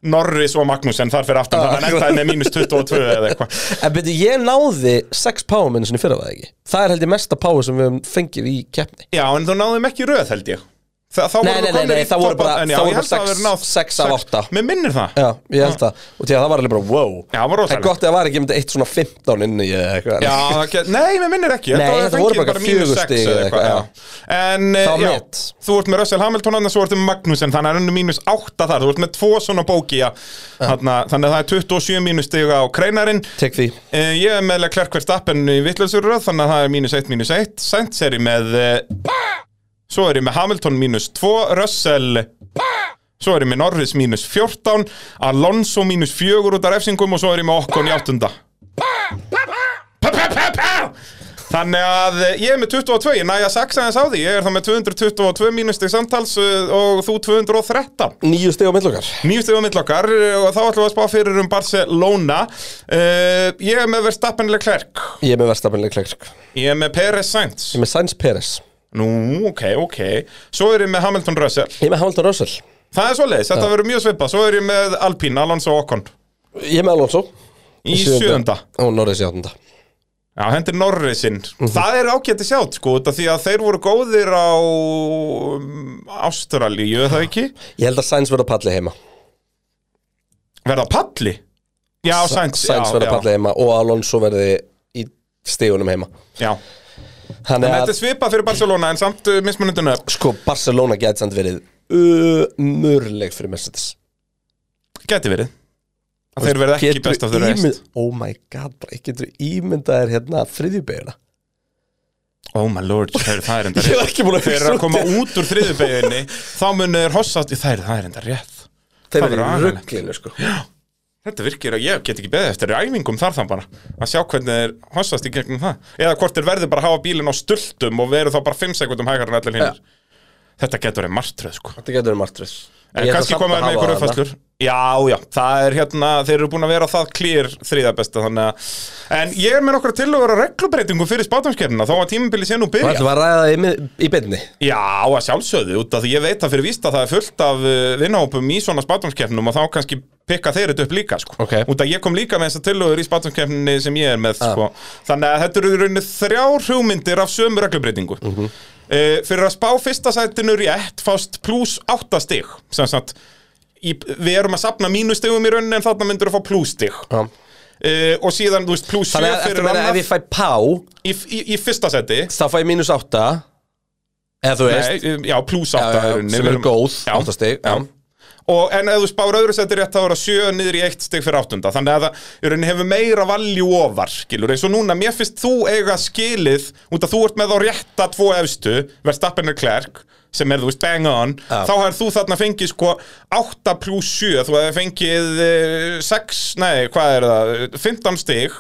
B: Norris og Magnussen þar fyrir aftan
D: Ah.
B: þannig að hann endaði með mínus 22 eða eitthvað
D: En beti, ég náði 6 pá minn sinni fyrra var það ekki Það er held ég mesta pá sem við höfum fengið í keppni
B: Já, en þú náðum ekki í röð held ég Þa, þá voru
D: Nei, nei,
B: þú
D: nei,
B: komnir
D: nei,
B: í
D: það voru
B: topp-
D: bara-
B: en já,
D: það
B: ég
D: voru
B: held að
D: bara sex-
B: hafi náð
D: sex af
B: sex.
D: átta.
B: Mér minnir það
D: Já, ég held það Og því að það var alveg bara, wow
B: Já, það var rosalegt.
D: Það er gott að það var ekki með eitt svona 15 inni eða eitthvað
B: Já, það get- nei, mér minnir ekki Ég
D: Nei,
B: held að
D: þetta
B: fengið
D: voru bara
B: mínus
D: fjögur
B: sex eða
D: stig eða
B: eitthvað,
D: eitthvað,
B: já. En, eh,
D: Það var
B: já,
D: met.
B: þú ert með Russell Hamilton annars, þú ert með Magnussen, þannig að hann er mínus 8 þar, þú ert með tvo svona bóki ja. Þarna, þannig að það er 27 mínus stiga á kreinarinn
D: Tek því
B: Eh, Ég er með Leclerc Verstappen í vittlöfsurröð þannig að það er mínus 1, mínus 1 Sainz er ég með eh, Svo er ég með Hamilton mínus 2 Russell eh, Svo er ég með Norris mínus 14 Alonso mínus 4 út af refsingum og svo er ég með Okkon í áttunda Pa, pa, pa, pa. Þannig að eh, ég er með 22, ég næja saksaðins á því Ég er þá með 222 mínustig samtals eh, og þú 213
D: Nýju steg á millokkar
B: Nýjum stegum mitt okkar eh, og þá ætlum við að spá fyrir um Barcelona uh, Ég er með Verstappen Leclerc
D: Ég er með verðstafnileg klæksk Ég
B: Ég er með Perez Sainz
D: er með Sainz Peres
B: Nú, ok, ok Svo er ég með Hamilton Russell
D: Ég er með Hamilton Russell
B: Það er svoleiðis, þetta verður mjög svipað Svo er ég með Alpine, Alonso og Ocon
D: Ég er með Alonso
B: Í sjöunda
D: Og Norris í áttunda
B: Já, hendur Norrisinn Það er ágæti sjátt, sko, út af því að þeir voru góðir á um, Ástralíu, er það ekki?
D: Ég held að Sainz verða á palli heima
B: Verða palli? Já, Sainz já,
D: Sainz verða á
B: já,
D: palli heima Og Alonso verði í stegunum heima
B: Já,
D: Þannig
B: þetta
D: að
B: er svipað fyrir Barcelona en samt uh, mismunundinu upp
D: sko Barcelona gæti samt verið Umurleg fyrir Mercedes
B: Gæti verið að Þeir verða ekki
D: Geturðu
B: best af þeir
D: ímynd-
B: rest
D: Oh my god, bara getur ímyndaðir hérna þriðjubegina
B: Oh my
D: <laughs>
B: lord, þeir, það er enda
D: Ég var
B: rétt
D: ekki búin að
B: Þeir
D: hugsa
B: eru að
D: út
B: koma
D: í-
B: út úr þriðubeginni Þá munir hossast í þær, það er enda rétt Það
D: Þeir eru í
B: verður agalegt.
D: rugglinu sko
B: Þetta virkir að ég get ekki beðið eftir æfingum þar þann bara Að sjá hvernig þeir hossast í gegnum það Eða hvort þeir verði bara að hafa bílinn á stultum Og veru þá bara 5 sekundum hægar en allir hinnir Þetta getur verið martröð sko
D: Þetta getur verið martröð
B: En kannski koma þeir með ykkur uppfæslur Já, já, það er hérna, þeir eru búin að vera það klýr þriða besta þannig að En ég er með nokkra tillögur að reglubreitingu fyrir spátumskefnina Þá að tímabili sé nú
D: Þú
B: byrja
D: ætlum að ræða það í, mið- í beinni
B: Já, að sjálfsögðu, út af því ég veit að fyrir víst að það er fullt af uh, vinnahópum í svona spátumskefnum og þá kannski pikka þeir þetta upp líka sko.
D: Ok.
B: Út að ég kom líka með þessar tillögur í spátumskefninni sem ég er með sko. Þannig að þetta eru í rauninni þrjár hugmyndir af sömu reglubreitingu mm
D: Mhm.
B: Fyrir að spá fyrsta sætinu rétt fást pluss áttastig sem sagt, í, við erum að safna mínustigum í rauninni en þarna myndur að fá plussstig
D: Já.
B: uh, og síðan, þú veist, pluss
D: Þannig
B: sjö
D: að eftir
B: fyrir
D: meina ef
B: annað
D: ég fæ pá
B: í, í, í fyrsta sæti
D: þá fæ ég mínus átta eða þú veist
B: Nei, um, já, pluss
D: já,
B: 8
D: já, sem eru góð, átta stig, já.
B: Og en ef þú spár öðru seti rétt þá er það 7 niður í 1 stig fyrir áttunda Þannig að það í rauninni hefur meira valjú ofar skilur eins og núna, mér finnst þú eiga skilið út að þú ert með þá rétta tvo efstu, verðstappinu klerk sem er, þú veist, bang on
D: Já.
B: þá hefur þú þarna fengið sko 8 pluss 7, þú hefur fengið eh, 6, nei, hvað er það 15 stig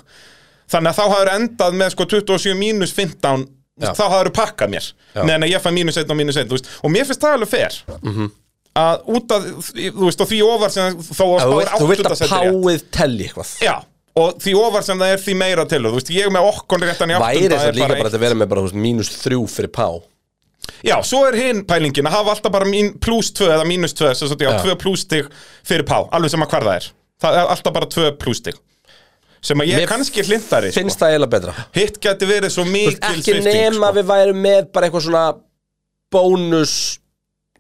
B: þannig að þá hafður endað með sko 27 mínus 15 þú veist, þá hafður pakkað mér meðan að ég fæ mínus 1 og mínus 1 veist, og mér finnst það alveg fer
D: Mhm.
B: að út að, þú veist, og því ofar sem þó að
D: Þú
B: spáir
D: vilt- þú vilt
B: áttunda
D: að
B: sæti rétt.
D: páið telli eitthvað
B: Já, og því ofar sem það er því meira til þú veist, ég með okkon réttan í
D: Væri
B: áttunda
D: þess
B: er
D: líka bara
B: eitt-
D: að vera með bara þú veist, mínus þrjú fyrir pá
B: Já, svo er hinn pælingin að hafa alltaf bara mín, plus 2 eða mínus 2 sem sagt, já, 2 plus stig fyrir pá, alveg sem að hvar það er það er alltaf bara 2 plus stig sem að ég
D: Mér
B: er kannski hlindari sko.
D: Finnst það eiginlega betra
B: hitt geti verið svo
D: Þú
B: mikil
D: veist, Ekki
B: svipting,
D: nema
B: sko.
D: við værum með bara eitthvað svona bónus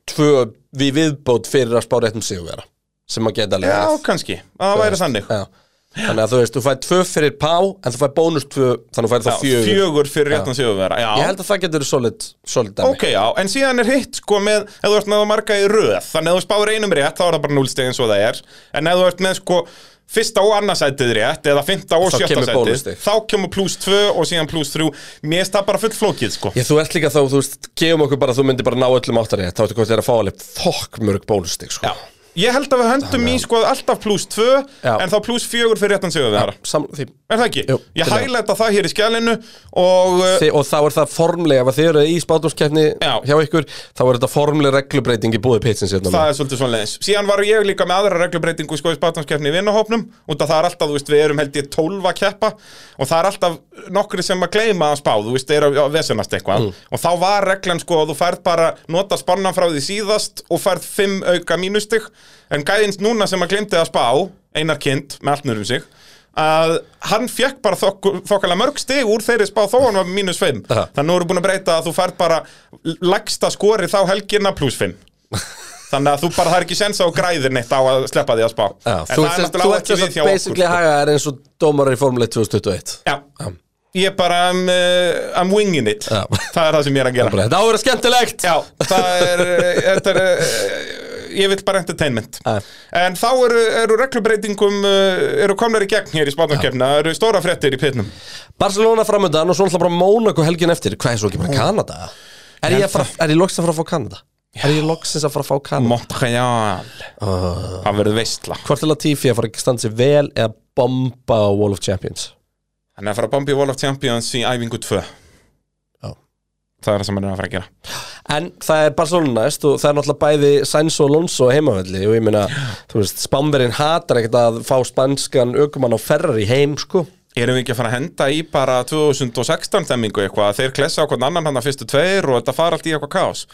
D: tvö við viðbót fyrir að spá réttum sigurvera sem að geta alveg
B: Já,
D: verið.
B: kannski, að það væri þannig
D: Já. Þannig að þú veist, þú fæði tvö fyrir pá en þú fæði bónus tvö, þannig að
B: Já,
D: þú fæði þá fjögur
B: fjögur fyrir réttan sigurvera Já,
D: Ég held að það getur solid, solid dæmi
B: Ok, já, en síðan er hitt sko með ef þú ert með að marga í röð þannig að ef þú spáir einum rétt, þá er það bara 0 stig eins og það er en ef þú ert með sko fyrsta og annarsætið rétt eða fymta og
D: Þá
B: sjötta
D: kemur
B: sætið
D: bónusstig.
B: þá kemur pluss 2 og síðan pluss 3 mér er það bara full flókið sko
D: Ég, þú ert líka þá, þú veist, gefum okkur bara að þú myndir bara ná öllum áttarétt, þá ertu hvað þér að fá alveg fokk mörg bónustig, sko.
B: Já. Ég held að við höndum í sko alltaf pluss 2
D: Já.
B: en þá pluss 4 fyrir réttan sigurvegara
D: Sam, því,
B: Er það ekki?
D: Jú,
B: ég
D: þetta er-
B: hælæta það hér í skjælinu og uh,
D: þi, og þá er það formlega, ef þið eru í spátumskeppni
B: Já.
D: hjá ykkur, þá er þetta formlega reglubreiting í búið pitsins hérna.
B: það er svolítið svona leðins síðan var ég líka með aðra reglubreitingu sko í spátumskefni í vinnahópnum út að það er alltaf, þú veist, við erum held ég 12 að keppa og það er alltaf nokkri sem að gleyma að spá, þú veist, er að að vesenast eitthvað
D: Mm.
B: og þá var reglan sko að þú færð bara nota spannan frá því síðast og færð 5 auka mínustig en gæðins núna sem að gleymdi að spá einar kind með allt nörum sig að hann fekk bara þokk- þokkalega mörg stig úr þeirri spá þó hann var með mínus 5
D: Aha.
B: þannig nú eru búin að breyta að þú færð bara lagsta skori þá helgina plus 5 Þannig að þú bara það er ekki sens á græðir neitt á að sleppa því að spá
D: Já,
B: En
D: þú
B: það er
D: ert
B: náttúrulega ekki
D: þess
B: við
D: að
B: hjá okkur
D: basically að
B: sko.
D: haga þér eins og dómarar í formlega 2021.
B: Já, ég er bara I'm, uh, I'm winging it
D: Já.
B: Það er það sem ég er að gera
D: Bara, Þetta á að vera skemmtilegt!
B: Já, það er, uh, þetta er uh, Ég vil bara entertainment
D: Já.
B: En þá eru, eru reglubreitingum uh, eru komnar í gegn hér í spátnarkefna Það eru stóra fréttir í pitnum
D: Barcelona framöndan og svo náttúrulega bara Mónaco helgin eftir. Hvað er svo ekki bara Kanada? Er ég, að fara, er ég loksins að fara að fá Kanada? Er ég loksins að fara að fá Kanada?
B: Montreal Það verður veistla
D: Hvort er Latifi að fara að standa sig vel eða bomba á Wall of Champions?
B: Hann er að fara að bombi Wall of Champions í æfingu 2
D: Já.
B: Það er það sem hann er að fara að gera
D: En það er Barcelona næst og það er náttúrulega bæði Sainz og Alonso á heimavelli og ég meina, þú veist, Spánverinn hatar ekkert að fá spanskan aukumann á Ferrari heim, sko.
B: Erum við ekki að fara að henda í bara 2016 stemmingu eitthvað að þeir klessa á hvern annan hann að fyrstu tveir og þetta fara allt í eitthvað kaos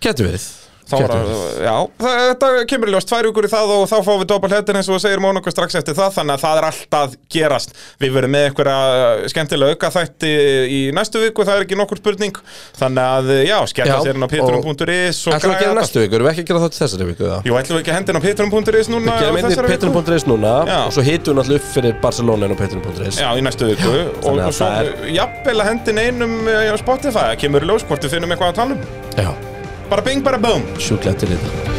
D: Getur verið.
B: Þá var að, já, það, þetta kemur í ljós tvær vikur í það og þá fáum við doppel hettin eins og þú segir Mónokku strax eftir það þannig að það er allt að gerast Við verðum með einhverja skemmtilega auka þætti í næstu viku, það er ekki nokkur spurning Þannig að, já, skella
D: Já,
B: sér inn á pitrum.is og
D: Ætlum við að gera
B: græða
D: næstu viku, erum við ekki að gera það til þessari viku? eða?
B: Jú, ætlum við ekki að henda inn á pitrum.is núna á
D: Gerum einnig
B: þessari viku?
D: Petrin.is núna
B: Já.
D: og svo hitum við náttúrulega upp fyrir Barcelona og Petrin.is.
B: Já, í næstu viku og,
D: þannig að
B: og svo
D: það
B: jafnvel að hendin einum eh, á Spotify, kemur í ljós hvort við finnum eitthvað að tala um
D: Já,
B: Bara bing, bara boom
D: sjúklega til í þetta.